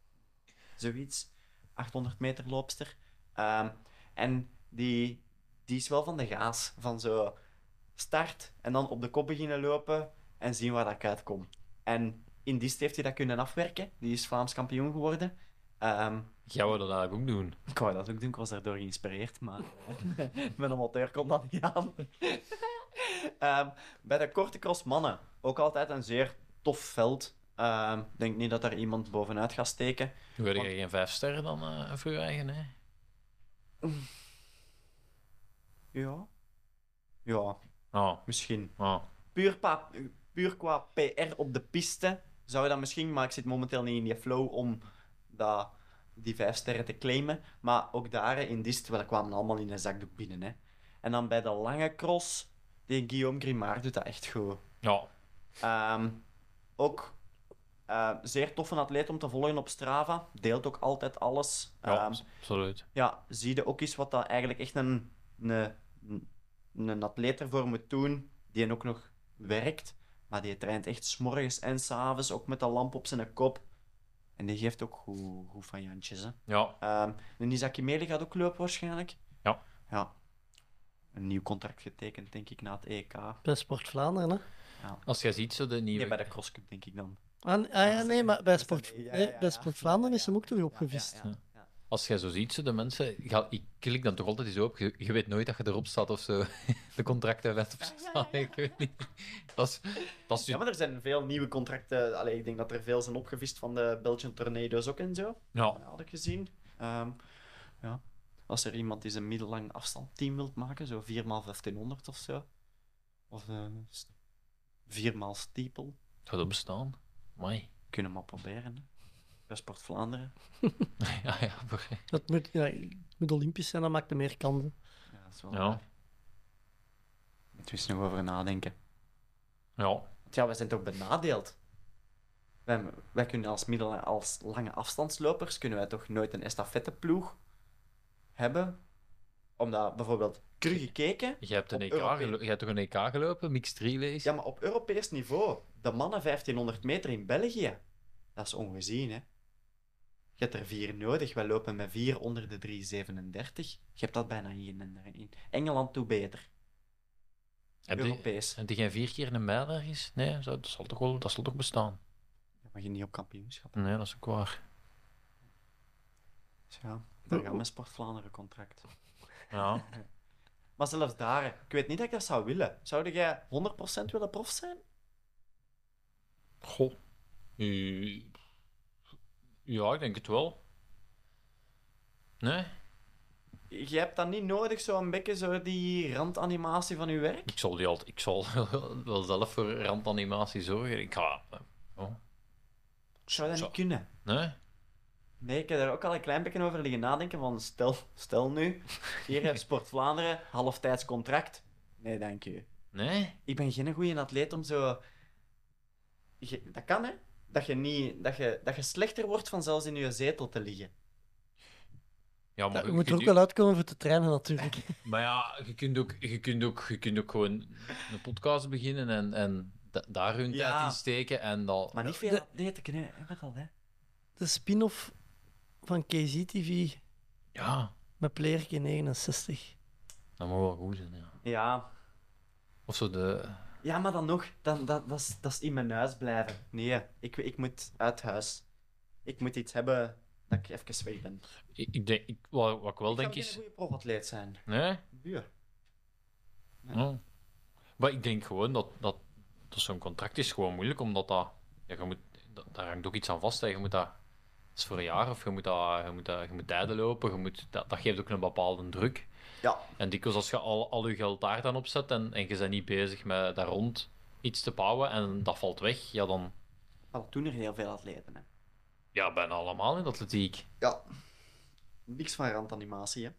[SPEAKER 8] zoiets. 800 meter loopster. Ehm, en die, die is wel van de gaas. Van zo start en dan op de kop beginnen lopen en zien waar dat uitkomt. En in die heeft hij dat kunnen afwerken. Die is Vlaams kampioen geworden. Ehm,
[SPEAKER 9] Gaan we dat eigenlijk ook doen?
[SPEAKER 8] ik wou dat ook doen, ik was daardoor geïnspireerd, maar [LAUGHS] met een motor kon dat niet aan. [LAUGHS] Ehm, bij de korte cross mannen, ook altijd een zeer tof veld. Ehm, Ik denk niet dat daar iemand bovenuit gaat steken.
[SPEAKER 9] Toen werd je geen vijf sterren dan eh, voor je eigen, hè?
[SPEAKER 8] Ja. Ja,
[SPEAKER 9] Oh,
[SPEAKER 8] misschien.
[SPEAKER 9] oh.
[SPEAKER 8] Puur, pa- puur qua PR op de piste zou je dat misschien, maar ik zit momenteel niet in die flow om dat, die vijf sterren te claimen. Maar ook daar in Dist, wel kwamen allemaal in een zakdoek binnen. Hè. En dan bij de lange cross, die Guillaume Grimard doet dat echt goed.
[SPEAKER 9] Ja,
[SPEAKER 8] Ehm, ook eh, zeer toffe atleet om te volgen op Strava. Deelt ook altijd alles.
[SPEAKER 9] ja
[SPEAKER 8] Ehm,
[SPEAKER 9] absoluut.
[SPEAKER 8] ja, zie je ook eens wat dat eigenlijk echt een, een, een atleet ervoor moet doen, die ook nog werkt, maar die traint echt s'morgens en s'avonds, ook met de lamp op zijn kop. En die geeft ook goed, goed van Jantjes. Hè.
[SPEAKER 9] Ja,
[SPEAKER 8] Ehm en Isaac Meli gaat ook lopen waarschijnlijk.
[SPEAKER 9] Ja.
[SPEAKER 8] ja. Een nieuw contract getekend, denk ik, na het EK.
[SPEAKER 7] Bij Sport Vlaanderen, hè?
[SPEAKER 9] als jij ziet zo de nieuwe...
[SPEAKER 8] Nee, bij de crosscup, denk ik dan.
[SPEAKER 7] Ah, n- ah ja, nee, maar bij
[SPEAKER 8] dat is
[SPEAKER 7] Sport,
[SPEAKER 8] een- ja,
[SPEAKER 7] nee,
[SPEAKER 8] ja, ja.
[SPEAKER 7] bij Sport Vlaanderen is hem ook terug
[SPEAKER 8] Ja,
[SPEAKER 7] opgevist.
[SPEAKER 8] ja, ja, ja.
[SPEAKER 9] Als jij zo ziet, zo de mensen... Ga, ik klik dan toch altijd eens op. Je, je weet nooit dat je erop staat of zo. [LAUGHS] De contracten werd op staan. Ik weet niet. Dat is... Dat is
[SPEAKER 8] Ja, maar er zijn veel nieuwe contracten. Allee, ik denk dat er veel zijn opgevist van de Belgian Tornado's ook en zo.
[SPEAKER 9] ja.
[SPEAKER 8] Ja, had ik gezien. Ehm, ja. Als er iemand die zijn middellang afstandteam wilt maken, zo 4x1500 of zo. Of eh, s- 4x steeple.
[SPEAKER 9] Zou dat bestaan? Mooi.
[SPEAKER 8] Kunnen we maar proberen. Hè. Bij Sport Vlaanderen.
[SPEAKER 9] [LAUGHS] Ja, ja, voor-
[SPEAKER 7] Dat moet, ja, het moet Olympisch zijn, dat maakt er meer kansen.
[SPEAKER 8] Ja, dat is wel
[SPEAKER 9] ja.
[SPEAKER 8] Moeten we eens nog over nadenken.
[SPEAKER 9] ja.
[SPEAKER 8] Want ja, wij zijn toch benadeeld? Wij, wij kunnen als, middel, als lange afstandslopers kunnen wij toch nooit een estafetteploeg hebben? Omdat bijvoorbeeld teruggekeken
[SPEAKER 9] Je hebt, een
[SPEAKER 8] Op
[SPEAKER 9] EK
[SPEAKER 8] Europees.
[SPEAKER 9] gelo- je hebt toch een EK gelopen? Mixed relays?
[SPEAKER 8] Ja, maar op Europees niveau, de mannen 1500 meter in België, dat is ongezien, hè? Je hebt er vier nodig. Wij lopen met vier onder de 337. Je hebt dat bijna hier in, in Engeland toe beter.
[SPEAKER 9] Heb die-
[SPEAKER 8] Europees.
[SPEAKER 9] Heb je geen vier keer een mijl ergens? Nee, zo- dat zal toch, wel, dat zal toch bestaan?
[SPEAKER 8] Dan mag je niet op kampioenschap.
[SPEAKER 9] Nee, dat is ook waar.
[SPEAKER 8] Dus ja, daar gaan we Sport Vlaanderen contract.
[SPEAKER 9] Ja.
[SPEAKER 8] Maar zelfs daar, ik weet niet dat ik dat zou willen. Zou jij 100% willen prof zijn?
[SPEAKER 9] Goh. Eh, Ja, ik denk het wel. Nee,
[SPEAKER 8] Je hebt dat niet nodig, zo'n beetje zo die randanimatie van je werk.
[SPEAKER 9] ik zal, die altijd, ik zal [LAUGHS] wel zelf voor randanimatie zorgen. Ik ga... Oh.
[SPEAKER 8] Ik zou dat
[SPEAKER 9] Zo.
[SPEAKER 8] niet kunnen.
[SPEAKER 9] Nee?
[SPEAKER 8] Nee, ik heb daar ook al een klein beetje over liggen nadenken. Van stel, stel nu, hier heeft Sport Vlaanderen halftijds contract. Nee, dank u.
[SPEAKER 9] Nee?
[SPEAKER 8] Ik ben geen goede atleet om zo. Je- dat kan hè? Dat je, niet, dat, je, dat je slechter wordt van zelfs in je zetel te liggen.
[SPEAKER 9] Ja,
[SPEAKER 7] Ja,
[SPEAKER 9] maar
[SPEAKER 7] je moet
[SPEAKER 9] je-
[SPEAKER 7] er ook wel uitkomen voor te trainen, natuurlijk.
[SPEAKER 9] Maar ja, je kunt ook, je kunt ook, je kunt ook gewoon een podcast beginnen en, en da- daar hun
[SPEAKER 8] Ja.
[SPEAKER 9] tijd in steken. En dan...
[SPEAKER 8] Maar niet veel
[SPEAKER 7] De-
[SPEAKER 8] atleten kunnen hebben dat hè?
[SPEAKER 7] De spin-off van KZTV
[SPEAKER 9] Ja,
[SPEAKER 7] met Playerke 69.
[SPEAKER 9] dat moet wel goed zijn. Ja.
[SPEAKER 8] Ja.
[SPEAKER 9] Of zo de...
[SPEAKER 8] ja, maar dan nog, dan, dat, dat, is, dat is in mijn huis blijven. Nee, ik, ik moet uit huis. Ik moet iets hebben dat ik even weg ben.
[SPEAKER 9] Ik, ik denk, ik, wat, wat ik wel
[SPEAKER 8] Ik
[SPEAKER 9] denk
[SPEAKER 8] zou
[SPEAKER 9] is...
[SPEAKER 8] geen goede profatleet zijn.
[SPEAKER 9] Nee?
[SPEAKER 8] Ja.
[SPEAKER 9] Ja. Hm. Maar ik denk gewoon dat, dat, dat zo'n contract is gewoon moeilijk, omdat dat, ja, je moet, dat, daar hangt ook iets aan vast. Hè. Je moet dat is voor een jaar. Of je moet, dat, je moet, dat, je moet tijden lopen. Je moet, dat, dat geeft ook een bepaalde druk.
[SPEAKER 8] Ja.
[SPEAKER 9] En dikwijls als je al, al je geld daar dan op zet en, en je bent niet bezig met daar rond iets te bouwen en dat valt weg, ja, dan
[SPEAKER 8] Maar dat doen er heel veel atleten. Hè.
[SPEAKER 9] ja, bijna allemaal in de atletiek.
[SPEAKER 8] Ja. Niks van randanimatie, hè. [LAUGHS]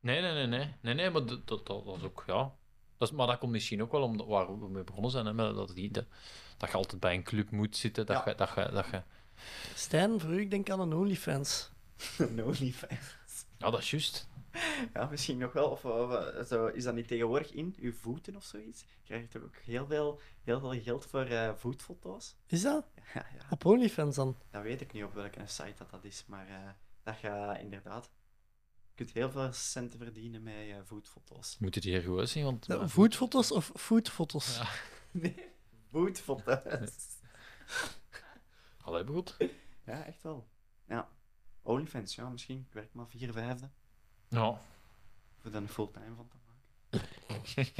[SPEAKER 9] Nee, nee, nee, nee. Nee, nee, maar dat, dat, dat dat is ook, ja. Dat is, maar dat komt misschien ook wel om waar we mee begonnen zijn. Hè, met dat, die, dat, dat je altijd bij een club moet zitten. Dat
[SPEAKER 8] Ja.
[SPEAKER 9] je, dat je, dat je,
[SPEAKER 7] Stijn, voor u, ik denk aan een OnlyFans.
[SPEAKER 8] no, niet fijn.
[SPEAKER 9] ja, dat is juist.
[SPEAKER 8] Ja, misschien nog wel. Of, of, eh, zo, is dat niet tegenwoordig in? Uw voeten of zoiets? Krijg je toch ook heel veel, heel veel geld voor eh, voetfoto's?
[SPEAKER 7] Is dat?
[SPEAKER 8] [LAUGHS] Ja, ja,
[SPEAKER 7] Op OnlyFans dan?
[SPEAKER 8] dat weet ik niet op welke site dat, dat is, maar eh, dat je inderdaad... Je kunt heel veel centen verdienen met eh, voetfoto's.
[SPEAKER 9] Moet het hier gewoon zien, want...
[SPEAKER 7] Ja, Foodfoto's of foodfoto's?
[SPEAKER 9] Ja.
[SPEAKER 8] Nee, [LAUGHS] voetfoto's.
[SPEAKER 9] Allee, maar goed.
[SPEAKER 8] Ja, echt wel. Ja. OnlyFans, ja, misschien. Ik werk maar vier vijfde.
[SPEAKER 9] Ja. [LAUGHS]
[SPEAKER 8] Voor er een fulltime van te maken.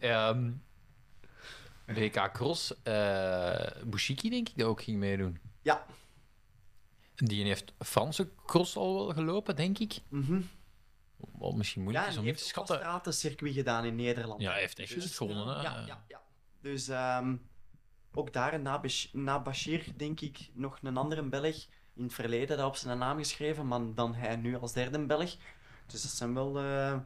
[SPEAKER 9] Ehm WK Cross, eh Bushiki denk ik dat ook ging meedoen.
[SPEAKER 8] Ja.
[SPEAKER 9] Die heeft Franse cross al wel gelopen, denk ik.
[SPEAKER 8] Mhm.
[SPEAKER 9] Wat misschien
[SPEAKER 8] Ja,
[SPEAKER 9] moeilijk
[SPEAKER 8] en
[SPEAKER 9] is
[SPEAKER 8] die
[SPEAKER 9] om in te
[SPEAKER 8] heeft ook een
[SPEAKER 9] schatten.
[SPEAKER 8] stratencircuit gedaan in Nederland.
[SPEAKER 9] Ja, hij heeft echt juist gewonnen. hè.
[SPEAKER 8] Ja, ja, ja. Dus ehm, ook daar, na, Bash- na Bashir, denk ik, nog een andere Belg in het verleden dat op zijn naam geschreven, maar dan hij nu als derde Belg. Dus dat zijn wel, eh,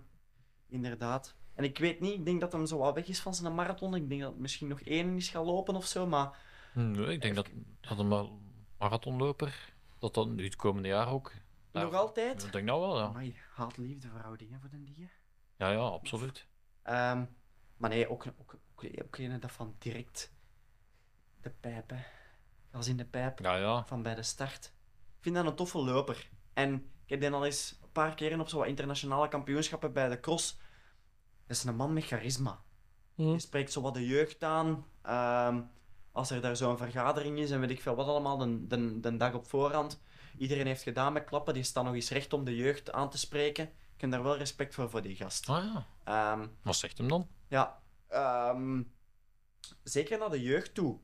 [SPEAKER 8] inderdaad. En ik weet niet, ik denk dat hem zo wat weg is van zijn marathon. Ik denk dat het misschien nog één is gaan lopen of zo, maar
[SPEAKER 9] Nee, Hmm, ik denk dat, dat een ma- marathonloper, dat dat nu het komende jaar ook.
[SPEAKER 8] nog altijd.
[SPEAKER 9] Ik denk dat wel, ja.
[SPEAKER 8] Amai, haat-liefde verhoudingen voor den dier.
[SPEAKER 9] Ja, ja, absoluut.
[SPEAKER 8] Ehm, maar nee, ook, ook, ook, ook een dat van direct de pijpen. Als in de pijp.
[SPEAKER 9] Ja, ja.
[SPEAKER 8] van bij de start. Ik vind dat een toffe loper. En ik heb die al eens een paar keren op zo'n internationale kampioenschappen bij de cross. Dat is een man met charisma.
[SPEAKER 7] Hm.
[SPEAKER 8] Die spreekt zo wat de jeugd aan. Ehm, als er daar zo'n vergadering is en weet ik veel wat allemaal, de, de, de dag op voorhand. Iedereen heeft gedaan met klappen, die staan nog eens recht om de jeugd aan te spreken. Ik heb daar wel respect voor, voor die gast.
[SPEAKER 9] Ah ja.
[SPEAKER 8] Ehm,
[SPEAKER 9] Wat zegt hem dan?
[SPEAKER 8] ja, ehm, zeker naar de jeugd toe.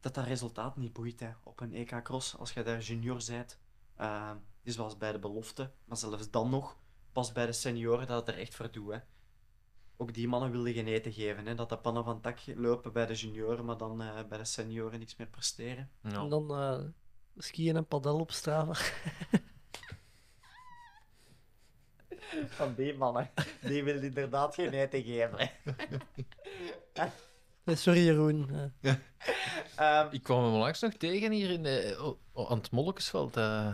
[SPEAKER 8] Dat dat resultaat niet boeit hè, op een EK Cross als je daar junior bent. Ehm, Het is zoals bij de belofte, maar zelfs dan nog, pas bij de senioren dat het er echt voor doet. Hè. Ook die mannen wilden geen eten geven. Hè, dat de pannen van het tak lopen bij de junioren, maar dan eh, bij de senioren niks meer presteren.
[SPEAKER 7] En
[SPEAKER 9] Ja.
[SPEAKER 7] dan eh, skiën en padel op Strava.
[SPEAKER 8] Van die mannen, die wilden inderdaad geen eten geven.
[SPEAKER 7] Nee, sorry Jeroen. Eh,
[SPEAKER 8] Ehm,
[SPEAKER 9] Ik kwam hem langs nog tegen hier in, eh, o- o- aan het Mollekesveld. eh.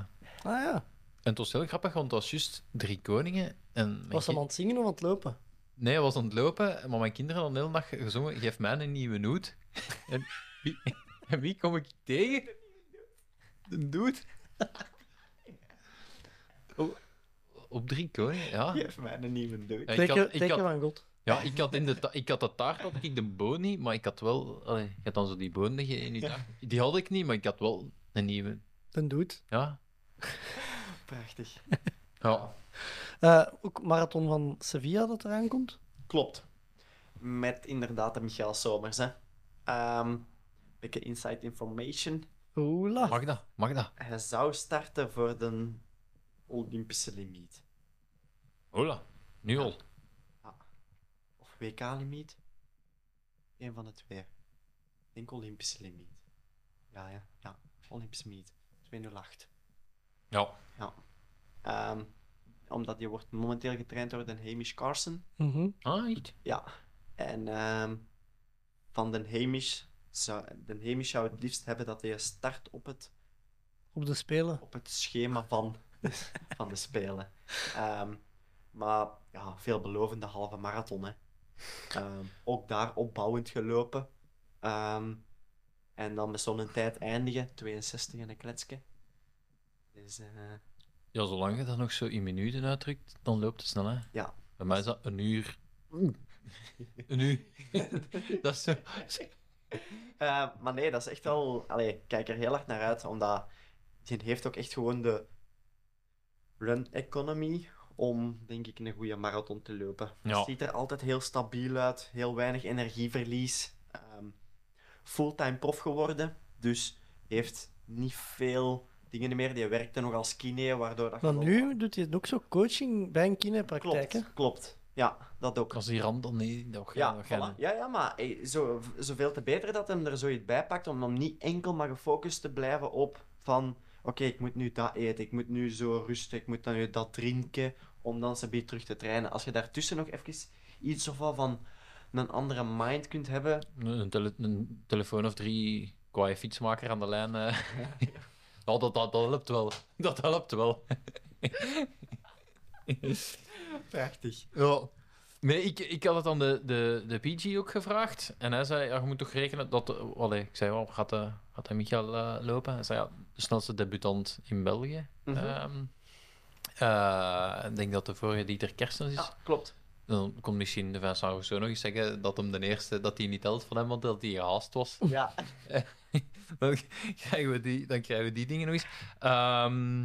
[SPEAKER 7] ah ja,
[SPEAKER 9] En het was heel grappig, want het was juist drie koningen. En
[SPEAKER 7] was hem aan het zingen of aan het lopen?
[SPEAKER 9] Nee, hij was aan het lopen, maar mijn kinderen hadden de hele dag gezongen: Geef mij een
[SPEAKER 8] [LAUGHS]
[SPEAKER 9] nieuwe noot. En wie, en wie kom ik tegen? De dude. Oh, op drie koningen, ja.
[SPEAKER 8] Geef mij een nieuwe dood.
[SPEAKER 9] Ja, ik,
[SPEAKER 7] Teken,
[SPEAKER 9] had, ik,
[SPEAKER 7] teken
[SPEAKER 9] had,
[SPEAKER 7] van God.
[SPEAKER 9] ja, ik had in de ta- ik had de taart, had ik de boon niet, maar ik had wel. Allee, je had dan zo die boon liggen in je taart. Die had ik niet, maar ik had wel een nieuwe.
[SPEAKER 7] Een doet.
[SPEAKER 9] Ja.
[SPEAKER 8] Prachtig.
[SPEAKER 9] Ja.
[SPEAKER 7] Eh, ook marathon van Sevilla dat eraan komt.
[SPEAKER 8] Klopt. Met inderdaad de Michael Somers. Hè. Ehm beetje inside information.
[SPEAKER 7] Oela.
[SPEAKER 9] Mag dat? Mag dat?
[SPEAKER 8] Hij zou starten voor de Olympische limiet.
[SPEAKER 9] Hola. Nu al.
[SPEAKER 8] Of WK-limiet. Eén van de twee. Ik denk Olympische limiet. Ja, ja. ja. Olympische limiet. 208.
[SPEAKER 9] Ja.
[SPEAKER 8] Ehm omdat je wordt momenteel getraind door de Hamish Carson.
[SPEAKER 7] Mhm.
[SPEAKER 9] Ah, niet.
[SPEAKER 8] Ja, en ehm, van Den Hamish zou, Den Hamish zou het liefst hebben dat hij start op het,
[SPEAKER 7] Op de Spelen.
[SPEAKER 8] op het schema van, van de Spelen. Ehm, maar ja, veelbelovende halve marathon. Hè. Ehm, ook daar opbouwend gelopen. Ehm, en dan met zo'n tijd eindigen, 62 en een kletske. Dus, eh,
[SPEAKER 9] Ja, zolang je dat nog zo in minuten uitdrukt, dan loopt het snel, hè?
[SPEAKER 8] Ja.
[SPEAKER 9] Bij mij is dat een uur. een uur. [LAUGHS] dat is zo...
[SPEAKER 8] [LAUGHS] Eh, maar nee, dat is echt wel. Allee, ik kijk er heel hard naar uit, omdat die heeft ook echt gewoon de run economy om, denk ik, een goede marathon te lopen.
[SPEAKER 9] Ja.
[SPEAKER 8] Het ziet er altijd heel stabiel uit, heel weinig energieverlies. Ehm, fulltime prof geworden, dus heeft niet veel dingen meer. Die werkte nog als kine, waardoor dat je
[SPEAKER 7] Maar
[SPEAKER 8] wel-
[SPEAKER 7] nu doet hij het ook zo coaching bij een kinepraktijk. hè?
[SPEAKER 8] Klopt, klopt. Ja, dat ook.
[SPEAKER 9] Als die rand dan nee, dat ook eh,
[SPEAKER 8] Ja,
[SPEAKER 9] dat gaan
[SPEAKER 8] voilà. ja, ja, maar ey, zo, v- zoveel te beter dat hem er zoiets bij pakt om dan niet enkel maar gefocust te blijven op van oké, ik moet nu dat eten, ik moet nu zo rusten, ik moet dan nu dat drinken om dan zijn beetje terug te trainen. Als je daartussen nog even iets of wat van een andere mind kunt hebben,
[SPEAKER 9] Een, een tele- een telefoon of drie kwaaie fietsmaker aan de lijn. eh. Nou, dat, dat, dat helpt wel. [LAUGHS] Dat helpt wel.
[SPEAKER 8] [LAUGHS] prachtig.
[SPEAKER 9] Ja. Nee, ik, ik had het aan de, de, de PG ook gevraagd. En hij zei, ja, je moet toch rekenen dat... eh, Allee, ik zei, wel, gaat, eh gaat hij Michael eh, lopen? Hij zei, ja, de snelste debutant in België.
[SPEAKER 8] Mhm.
[SPEAKER 9] Ehm, eh, ik denk dat de vorige Dieter Kerstens is.
[SPEAKER 8] Ja, klopt.
[SPEAKER 9] Dan kon misschien de Vincent Rousseau nog eens zeggen dat hem de eerste... Dat hij niet telt van hem, want dat hij gehaast was.
[SPEAKER 8] Ja.
[SPEAKER 9] [LAUGHS] dan, krijgen we die, dan krijgen we die dingen nog eens. Ehm,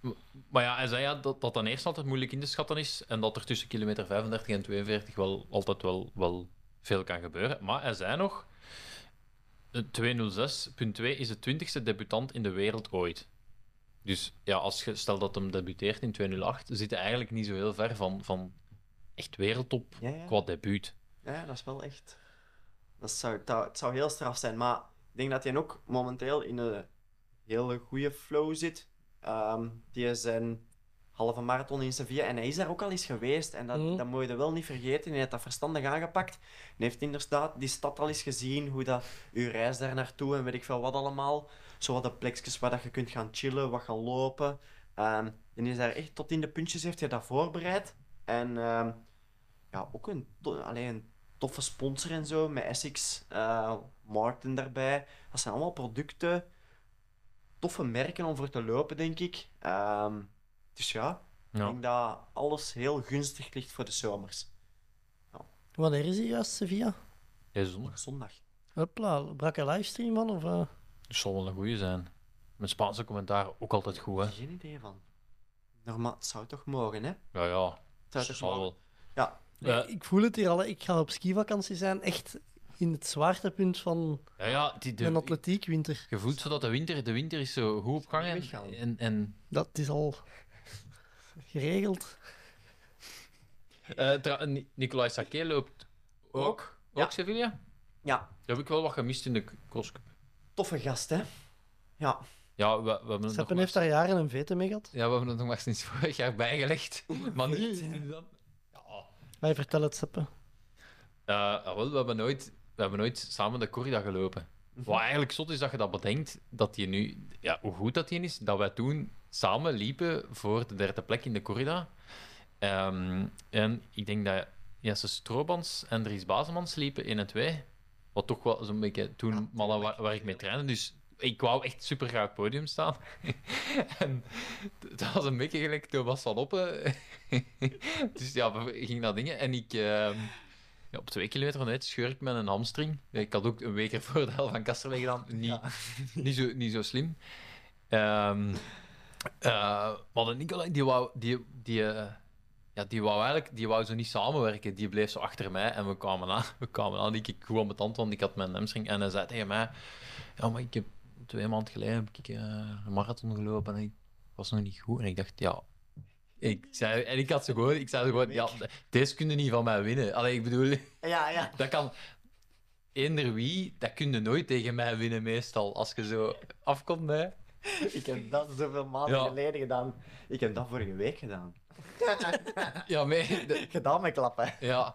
[SPEAKER 9] m- maar ja, hij zei ja, dat dat dan eerst altijd moeilijk in te schatten is. En dat er tussen kilometer 35 en 42 wel altijd wel, wel veel kan gebeuren. Maar hij zei nog: eh, 206.2 is de 20ste debutant in de wereld ooit. Dus ja, als je stel dat hem debuteert in 208, zit hij eigenlijk niet zo heel ver van, van echt wereldtop
[SPEAKER 8] Ja, ja.
[SPEAKER 9] qua debuut.
[SPEAKER 8] Ja, dat is wel echt. Dat zou, dat, het zou heel straf zijn, maar ik denk dat hij ook momenteel in een hele goede flow zit. Ehm, die is een halve marathon in Sevilla en hij is daar ook al eens geweest. En dat,
[SPEAKER 7] Mhm.
[SPEAKER 8] dat moet je wel niet vergeten. Hij heeft dat verstandig aangepakt. En heeft inderdaad die stad al eens gezien, hoe dat uw reis daar naartoe en weet ik veel wat allemaal. Zo wat de plekjes waar dat je kunt gaan chillen, wat gaan lopen. Ehm en is daar echt tot in de puntjes heeft hij dat voorbereid. En ehm, ja, ook een, to- allee, een toffe sponsor en zo, met Essex, eh, Martin daarbij. Dat zijn allemaal producten, toffe merken om voor te lopen, denk ik. Ehm, dus ja, ik
[SPEAKER 9] Ja.
[SPEAKER 8] denk dat alles heel gunstig ligt voor de zomers.
[SPEAKER 7] Wanneer is hij juist, Sevilla?
[SPEAKER 9] Ja, zondag.
[SPEAKER 8] Zondag.
[SPEAKER 7] Hopla, brak een livestream van? Of, eh?
[SPEAKER 9] Dat zal wel een goeie zijn. Mijn Spaanse commentaar ook altijd goed, hè?
[SPEAKER 8] Geen idee van. Normaal, het zou toch mogen, hè? Het
[SPEAKER 9] Ja, ja.
[SPEAKER 8] zou
[SPEAKER 9] dat
[SPEAKER 8] toch
[SPEAKER 9] zal
[SPEAKER 8] mogen?
[SPEAKER 9] wel.
[SPEAKER 8] Ja.
[SPEAKER 9] Eh,
[SPEAKER 7] Ik voel het hier al, hè. ik ga op skivakantie zijn, echt in het zwaartepunt van
[SPEAKER 9] ja, ja, die,
[SPEAKER 7] mijn
[SPEAKER 9] de,
[SPEAKER 7] atletiekwinter.
[SPEAKER 9] je voelt zo dat de winter, de winter is zo goed op gang.
[SPEAKER 8] Niet
[SPEAKER 9] En,
[SPEAKER 8] weggaan.
[SPEAKER 9] en, en
[SPEAKER 7] Dat is al geregeld.
[SPEAKER 9] Eh, tra- Ni- Nicolai Saké loopt ook. Ook,
[SPEAKER 8] Ja.
[SPEAKER 9] Sevilla?
[SPEAKER 8] Ja,
[SPEAKER 9] Dat heb ik wel wat gemist in de k- crosscup.
[SPEAKER 8] toffe gast, hè? Ja,
[SPEAKER 9] Ja, we, we hebben het nog
[SPEAKER 7] Seppen
[SPEAKER 9] maar-
[SPEAKER 7] heeft daar jaren een vete mee gehad.
[SPEAKER 9] Ja, we hebben het nog maar sinds [LAUGHS] vorig jaar bijgelegd. Maar nu... Ja.
[SPEAKER 7] Wij vertellen het Seppen.
[SPEAKER 9] Eh, jawel, we, hebben nooit, we hebben nooit samen de corrida gelopen. Wat eigenlijk zot is dat je dat bedenkt, dat je nu, ja, hoe goed dat die is, dat wij toen samen liepen voor de derde plek in de corrida. Ehm, en ik denk dat Jesse Stroobans en Dries Bazemans liepen in en twee. Wat toch wel zo'n beetje toen mannen waar, waar ik mee trainde. Dus ik wou echt super graag op het podium staan. [LAUGHS] en t- dat was een beetje gelijk Thomas van Oppen. [LAUGHS] dus ja, we gingen naar dingen. En ik... ehm, ja, op twee kilometer vanuit scheur ik met een hamstring. Ik had ook een week ervoor de hel van Kasterlee gedaan. Niet, [LAUGHS] niet, zo, niet zo slim. Ehm eh, maar de Nicolai, die wou, die, die, eh, ja, die wou eigenlijk die wou zo niet samenwerken. Die bleef zo achter mij en we kwamen aan. [LAUGHS] We kwamen aan. Ik keek goed aan mijn tand, want ik had mijn hamstring. En hij zei tegen mij, ja, maar ik heb twee maanden geleden heb ik, eh, een marathon gelopen en ik was nog niet goed. En ik dacht, ja... Ik zei, en ik had ze gewoon, ik zei ze gewoon, ja, deze kunnen niet van mij winnen. Allee, ik bedoel,
[SPEAKER 8] ja,
[SPEAKER 9] [LAUGHS]
[SPEAKER 8] ja.
[SPEAKER 9] dat kan. Eender wie, dat kun je nooit tegen mij winnen, meestal. Als je zo afkomt, hè.
[SPEAKER 8] Ik heb dat zoveel maanden
[SPEAKER 9] Ja.
[SPEAKER 8] geleden gedaan. Ik heb dat vorige week gedaan.
[SPEAKER 9] Ja, mee, de-
[SPEAKER 8] Gedaan met klappen.
[SPEAKER 9] ja.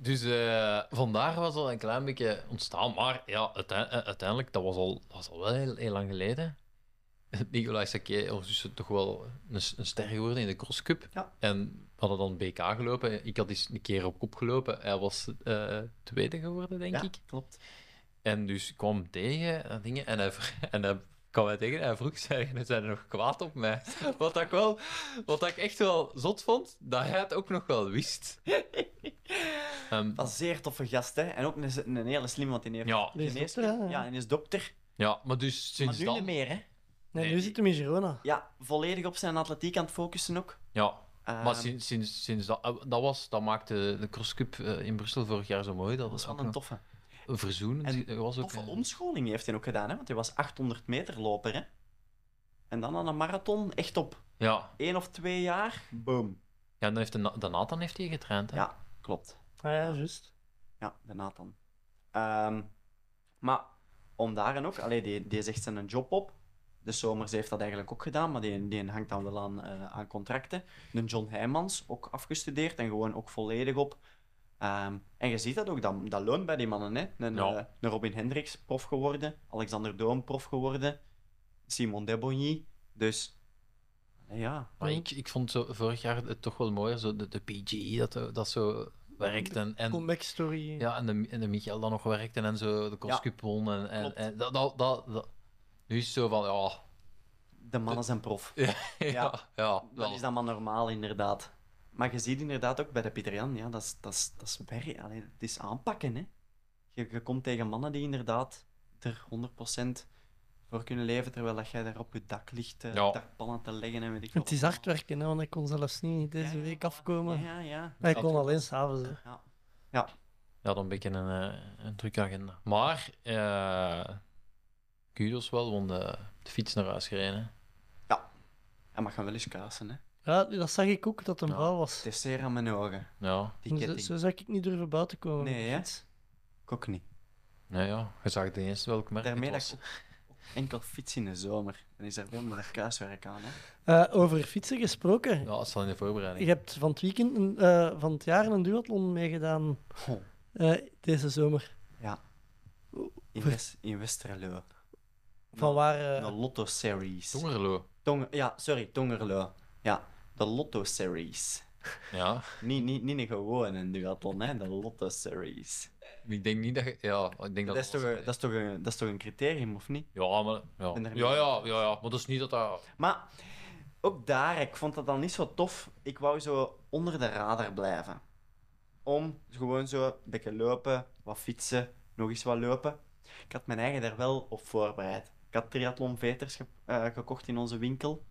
[SPEAKER 9] Dus eh, vandaar was al een klein beetje ontstaan. Maar ja, uitei- eh, uiteindelijk, dat was al, dat was al wel heel, heel lang geleden. [LAUGHS] Nicolai Saké ondertussen toch wel een, s- een ster geworden in de crosscup.
[SPEAKER 8] Ja.
[SPEAKER 9] En we hadden dan BK gelopen. Ik had eens een keer op kop gelopen. Hij was eh, tweede geworden, denk
[SPEAKER 8] Ja,
[SPEAKER 9] ik.
[SPEAKER 8] klopt.
[SPEAKER 9] En dus ik kwam hem tegen en dingen. En hij, vr- [LAUGHS] en hij kwam mij tegen en hij vroeg: zijn er- zijn er nog kwaad op mij? [LAUGHS] Wat ik, wel, wat ik echt wel zot vond, dat hij het ook nog wel
[SPEAKER 8] [LAUGHS]
[SPEAKER 9] wist. Ehm,
[SPEAKER 8] Dat is een zeer toffe gast, hè. En ook een, een hele slim, want die heeft...
[SPEAKER 9] ja,
[SPEAKER 7] Die is
[SPEAKER 8] geneeskunde.
[SPEAKER 7] dokter, hè?
[SPEAKER 8] ja, en is dokter.
[SPEAKER 9] ja, maar dus
[SPEAKER 8] Maar
[SPEAKER 9] sinds
[SPEAKER 8] nu niet
[SPEAKER 9] dan.
[SPEAKER 8] meer, hè.
[SPEAKER 7] Nee,
[SPEAKER 9] Nee,
[SPEAKER 7] nu
[SPEAKER 9] ik-
[SPEAKER 7] zit hem in Girona.
[SPEAKER 8] Ja, volledig op zijn atletiek aan het focussen ook.
[SPEAKER 9] Ja,
[SPEAKER 8] Ehm,
[SPEAKER 9] maar sinds, sinds, sinds dat, eh, dat was, dat maakte de crosscup eh, in Brussel vorig jaar zo mooi. Dat
[SPEAKER 8] dat is
[SPEAKER 9] was
[SPEAKER 8] wel
[SPEAKER 9] ook
[SPEAKER 8] een
[SPEAKER 9] nog-
[SPEAKER 8] toffe.
[SPEAKER 9] verzoenen.
[SPEAKER 8] En
[SPEAKER 9] Die- er was ook eh,
[SPEAKER 8] Toffe
[SPEAKER 9] een-
[SPEAKER 8] omscholing heeft hij ook gedaan, hè? want hij was 800 meter loper. Hè? En dan aan een marathon, echt op
[SPEAKER 9] Ja.
[SPEAKER 8] één of twee jaar. Boom.
[SPEAKER 9] ja, dan heeft de, Na- de Nathan heeft die getraind. Hè?
[SPEAKER 8] Ja. Klopt.
[SPEAKER 7] Ah ja, juist.
[SPEAKER 8] Ja, de Nathan. Ehm, maar om daarin ook, allee, die, die zegt zijn job op. De Somers heeft dat eigenlijk ook gedaan, maar die, die hangt dan wel aan, eh, aan contracten. De John Heijmans, ook afgestudeerd en gewoon ook volledig op. Ehm, en je ziet dat ook, dat, dat loont bij die mannen. Hè? Een,
[SPEAKER 9] Ja.
[SPEAKER 8] eh, een Robin Hendricks, prof geworden. Alexander Doom, prof geworden. Simon Debonny. Dus, ja.
[SPEAKER 9] Maar ik, ik vond zo, vorig jaar het toch wel mooier, zo de, de PG dat, eh, dat zo werkt. En, en,
[SPEAKER 7] Comeback story.
[SPEAKER 9] ja, en, de, en de Michael dan nog werkte en zo, de Koskupon. en, en,
[SPEAKER 8] klopt.
[SPEAKER 9] en dat, dat, dat, dat- Nu is het zo van, ja, [LAUGHS]
[SPEAKER 8] De mannen zijn prof.
[SPEAKER 9] ja, ja,
[SPEAKER 8] Dan is dat maar normaal, inderdaad. Maar je ziet inderdaad ook bij de Pieter Jan, ja, dat is, dat is, dat is werk. Allee, het is aanpakken, hè. Je, je komt tegen mannen die inderdaad er 100% voor kunnen leven, terwijl dat jij daar op je dak ligt, eh
[SPEAKER 9] Ja.
[SPEAKER 8] dakpannen te leggen en weet ik
[SPEAKER 7] Het
[SPEAKER 8] wat
[SPEAKER 7] is hard werken, hè, want ik kon zelfs niet
[SPEAKER 8] allemaal.
[SPEAKER 7] deze
[SPEAKER 8] Ja, ja,
[SPEAKER 7] week
[SPEAKER 8] voilà.
[SPEAKER 7] afkomen.
[SPEAKER 8] Ja, ja.
[SPEAKER 7] Maar ik kon alleen s'avonds. hè.
[SPEAKER 8] ja.
[SPEAKER 9] Ja, dan een beetje een, eh, een drukke agenda. Maar, eh kudos wel, want eh, de fiets naar huis gereden. hè.
[SPEAKER 8] Hij mag hem wel eens kaasen, hè.
[SPEAKER 7] Ja, dat zag ik ook dat een
[SPEAKER 9] Ja.
[SPEAKER 7] vrouw was.
[SPEAKER 8] Het is zeer aan mijn ogen,
[SPEAKER 9] Ja,
[SPEAKER 8] die
[SPEAKER 7] Zo,
[SPEAKER 8] ketting.
[SPEAKER 7] zo zou ik niet durven buiten komen.
[SPEAKER 8] Nee, hè. Ik ook niet.
[SPEAKER 9] nou ja, je zag de eerste welk merk
[SPEAKER 8] Daarmee
[SPEAKER 9] het
[SPEAKER 8] dat
[SPEAKER 9] was.
[SPEAKER 8] ik ook enkel fiets in de zomer. Dan is er veel meer kaaswerk aan, hè.
[SPEAKER 7] Eh, over fietsen gesproken.
[SPEAKER 9] Ja, dat is al in de voorbereiding.
[SPEAKER 7] Je hebt van het weekend een, eh, van het jaar een duathlon meegedaan
[SPEAKER 8] Oh.
[SPEAKER 7] eh, deze zomer.
[SPEAKER 8] In, West, in Westerlo.
[SPEAKER 7] Van waar eh,
[SPEAKER 8] De Lotto Series.
[SPEAKER 9] Tongerlo.
[SPEAKER 8] Tonger, ja, sorry, Tongerlo. Ja, de Lotto Series.
[SPEAKER 9] Ja,
[SPEAKER 8] Niet, niet, niet een gewone duathlon, hè? de Lotto Series.
[SPEAKER 9] ik denk niet dat je... Ja, ik denk dat...
[SPEAKER 8] Dat is, toch, een- dat, is toch een, dat is toch een criterium, of niet?
[SPEAKER 9] Ja, maar... Ja.
[SPEAKER 8] ben er niet-
[SPEAKER 9] Ja, ja, ja, ja, maar dat is niet dat dat...
[SPEAKER 8] Maar ook daar, ik vond dat dan niet zo tof. Ik wou zo onder de radar blijven. Om gewoon zo een beetje lopen, wat fietsen, nog eens wat lopen. Ik had mijn eigen daar wel op voorbereid. Ik had triathlonveters ge- eh, gekocht in onze winkel.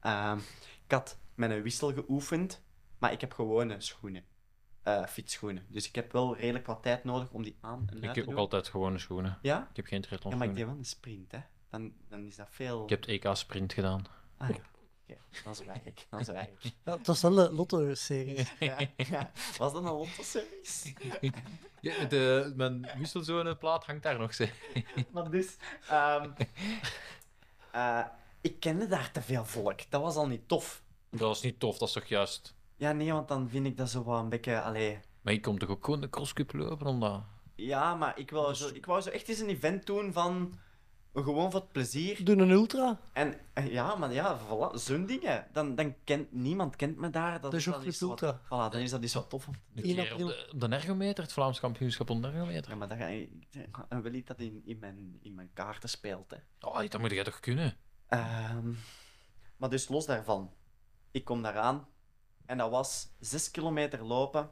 [SPEAKER 8] Ehm, ik had met een wissel geoefend, maar ik heb gewone schoenen. Eh, fietsschoenen. Dus ik heb wel redelijk wat tijd nodig om die aan en uit
[SPEAKER 9] Ik
[SPEAKER 8] te
[SPEAKER 9] heb ook
[SPEAKER 8] doen.
[SPEAKER 9] altijd gewone schoenen.
[SPEAKER 8] Ja?
[SPEAKER 9] Ik heb geen triathlon
[SPEAKER 8] ja, maar ik deed wel een sprint, hè. Dan, dan is dat veel...
[SPEAKER 9] Ik heb het EK Sprint gedaan.
[SPEAKER 8] Ah, ja. Oké, dan zwijg ik. Dan zwijg ik.
[SPEAKER 7] ja, het was wel de Lotto-serie.
[SPEAKER 8] Ja, ja. Was dat een Lotto-series?
[SPEAKER 9] Ja, de, mijn wisselzone-plaat hangt daar nog. Zeg.
[SPEAKER 8] maar dus, ehm, eh, ik kende daar te veel volk. Dat was al niet tof.
[SPEAKER 9] Dat was niet tof, dat is toch juist...
[SPEAKER 8] Ja, nee, want dan vind ik dat zo wel een beetje. Allee,
[SPEAKER 9] Maar ik kom toch ook gewoon de crosscup lopen om dat...
[SPEAKER 8] ja, maar ik wou, zo, ik wou zo echt eens een event doen van. Gewoon voor het plezier.
[SPEAKER 7] Doen een ultra.
[SPEAKER 8] En eh, ja, maar ja, voilà, zo'n dingen. Dan, dan kent niemand kent me daar. Dat
[SPEAKER 7] De
[SPEAKER 8] is dan
[SPEAKER 7] Joggclub
[SPEAKER 8] iets wat-
[SPEAKER 7] Ultra.
[SPEAKER 8] Voilà, dan is dat iets wat tof. om te
[SPEAKER 9] Een
[SPEAKER 7] In
[SPEAKER 9] keer op
[SPEAKER 7] april.
[SPEAKER 9] de, op de ergometer, het Vlaams kampioenschap op de ergometer.
[SPEAKER 8] doen. Ja, maar dan ga ik- dan wil ik dat in, in, mijn, in mijn kaarten speelt. Hè.
[SPEAKER 9] Oh, dat moet jij toch kunnen?
[SPEAKER 8] Ehm, maar dus los daarvan. Ik kom daaraan. En dat was 6 kilometer lopen,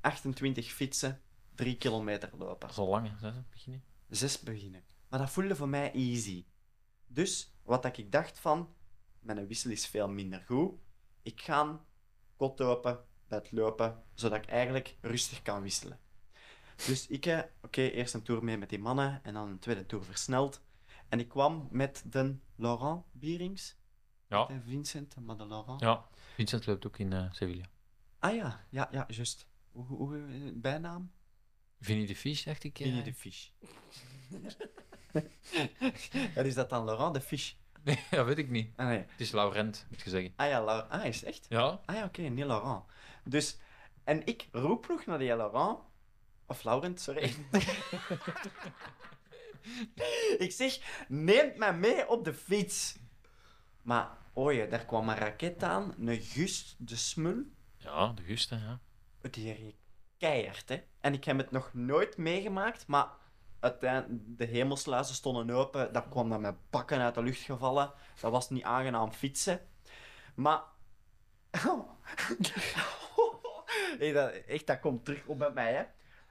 [SPEAKER 8] 28 fietsen, 3 kilometer lopen.
[SPEAKER 9] Dat is al lang, hè, hè, beginnen.
[SPEAKER 8] 6 beginnen. Maar dat voelde voor mij easy. Dus wat dat ik dacht van, mijn wissel is veel minder goed. Ik ga kot open, bed lopen, zodat ik eigenlijk rustig kan wisselen. Dus ik, eh, oké, eerst een tour mee met die mannen en dan een tweede tour versneld. En ik kwam met de Laurent Bierings.
[SPEAKER 9] Ja.
[SPEAKER 8] Met de Vincent, maar de Laurent.
[SPEAKER 9] Ja, Vincent loopt ook in eh, Sevilla.
[SPEAKER 8] Ah ja, ja, ja, juist. Hoe, hoe, hoe- eh, bijnaam?
[SPEAKER 9] Vinnie de Fish, dacht ik. eh.
[SPEAKER 8] Vinnie de Fish. [LAUGHS] ja, is dat dan Laurent de Fish?
[SPEAKER 9] [LAUGHS] Nee, dat weet ik niet.
[SPEAKER 8] Ah, nee.
[SPEAKER 9] Het is Laurent, moet je zeggen.
[SPEAKER 8] Ah ja, Laurent. Ah, is het echt?
[SPEAKER 9] Ja?
[SPEAKER 8] Ah ja, oké, niet Laurent. Dus, en ik roep nog naar die Laurent. Of Laurent, sorry. [LAUGHS] ik zeg, neemt mij mee op de fiets. Maar, oei, daar kwam een raket aan. Een gust, de smul.
[SPEAKER 9] Ja, de Guste, ja.
[SPEAKER 8] Die reed keihard, hè. En ik heb het nog nooit meegemaakt, maar... Uiteindelijk, de hemelsluizen stonden open. Dat kwam dan met bakken uit de lucht gevallen. Dat was niet aangenaam fietsen. Maar... [LAUGHS] Hey, dat, echt, dat komt terug op bij mij, hè.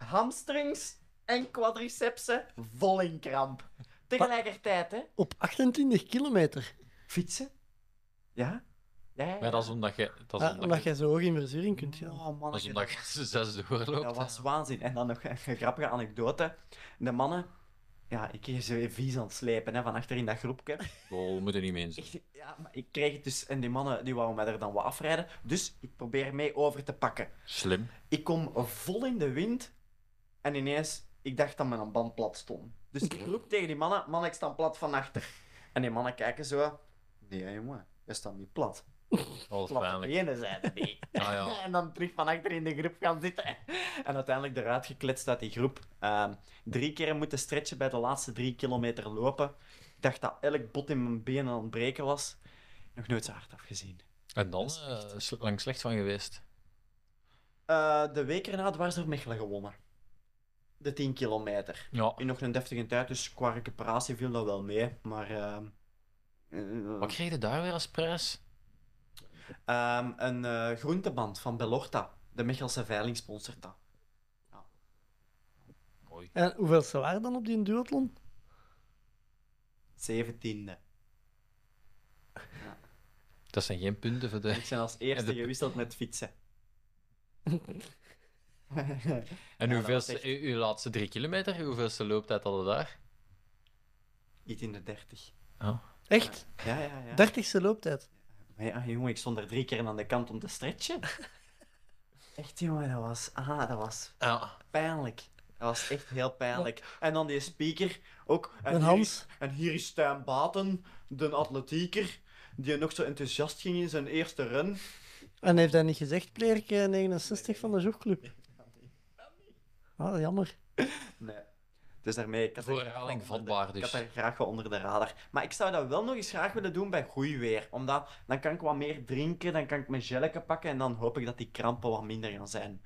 [SPEAKER 8] Hamstrings en quadricepsen vol in kramp. Tegelijkertijd, hè.
[SPEAKER 7] Op 28 kilometer.
[SPEAKER 8] Fietsen? Ja? Ja,
[SPEAKER 9] Maar dat is omdat je... Dat
[SPEAKER 8] Eh,
[SPEAKER 9] is
[SPEAKER 7] Ah, omdat
[SPEAKER 9] omdat je...
[SPEAKER 7] jij zo hoog in verzuring kunt gaan.
[SPEAKER 8] Oh,
[SPEAKER 9] Dat is
[SPEAKER 8] mannetje,
[SPEAKER 9] omdat je zes doorloopt.
[SPEAKER 8] Dat was waanzin. En dan nog een grappige anekdote. De mannen, ja, ik kreeg ze vies aan het slepen hè, van achterin dat groepje.
[SPEAKER 9] Lol, we moeten niet mee eens.
[SPEAKER 8] Echt, ja, maar ik kreeg het dus, en die mannen die wouden mij er dan wat afrijden. Dus ik probeer mee over te pakken.
[SPEAKER 9] Slim.
[SPEAKER 8] Ik kom vol in de wind en ineens, ik dacht dat mijn band plat stond. Dus ik roep tegen die mannen: mannen, ik sta plat van achter. En die mannen kijken zo: nee, jongen, je staat niet plat.
[SPEAKER 9] Alles
[SPEAKER 8] Plat
[SPEAKER 9] pijnlijk.
[SPEAKER 8] benen zijn het niet. [LAUGHS]
[SPEAKER 9] Ah ja.
[SPEAKER 8] En dan terug van achter in de groep gaan zitten. En uiteindelijk eruit gekletst uit die groep. Ehm, drie keer moeten stretchen bij de laatste drie kilometer lopen. Ik dacht dat elk bot in mijn benen aan het breken was. Nog nooit zo hard afgezien.
[SPEAKER 9] En dan?
[SPEAKER 8] Dat is echt-
[SPEAKER 9] eh, sl- lang slecht van geweest.
[SPEAKER 8] Eh, de week erna dwars door Mechelen gewonnen. De 10 kilometer.
[SPEAKER 9] Ja.
[SPEAKER 8] In nog een deftige tijd, dus qua recuperatie viel dat wel mee. Maar ehm, eh,
[SPEAKER 9] Wat kreeg je daar weer als prijs?
[SPEAKER 8] ehm, een eh, groenteband van Belorta. De Mechelse veiling sponsort dat.
[SPEAKER 9] Mooi.
[SPEAKER 7] En hoeveel ze waren dan op die duathlon?
[SPEAKER 8] 17e.
[SPEAKER 9] Dat zijn geen punten voor [LAUGHS] de...
[SPEAKER 8] Ik ben als eerste
[SPEAKER 9] En de-
[SPEAKER 8] gewisseld met fietsen.
[SPEAKER 9] En
[SPEAKER 8] Ja,
[SPEAKER 9] hoeveel...
[SPEAKER 8] dat was echt-
[SPEAKER 9] Uw uw laatste drie kilometer, hoeveelste looptijd hadden daar?
[SPEAKER 8] Iets in de 30.
[SPEAKER 7] Echt?
[SPEAKER 8] Ja, ja, ja.
[SPEAKER 7] 30ste looptijd.
[SPEAKER 8] Maar ja, jongen, ik stond er drie keer aan de kant om te stretchen. Echt, jongen, dat was, ah, dat was
[SPEAKER 9] Ja.
[SPEAKER 8] pijnlijk. Dat was echt heel pijnlijk. En dan die speaker ook. En,
[SPEAKER 7] Een
[SPEAKER 8] hier
[SPEAKER 7] Hans.
[SPEAKER 8] is- en hier is Stijn Baten, de atletieker, die nog zo enthousiast ging in zijn eerste run.
[SPEAKER 7] En heeft hij niet gezegd, Plerk eh, 69 van de joegclub? Ah, jammer.
[SPEAKER 8] Nee. Dus daarmee... Ik had er
[SPEAKER 9] Voor
[SPEAKER 8] graag
[SPEAKER 9] herhaling
[SPEAKER 8] wel onder de-
[SPEAKER 9] vatbaar,
[SPEAKER 8] Ik
[SPEAKER 9] dus.
[SPEAKER 8] had er graag wel onder de radar. Maar ik zou dat wel nog eens graag willen doen bij goed weer. Omdat dan kan ik wat meer drinken, dan kan ik mijn gelletje pakken en dan hoop ik dat die krampen wat minder gaan zijn.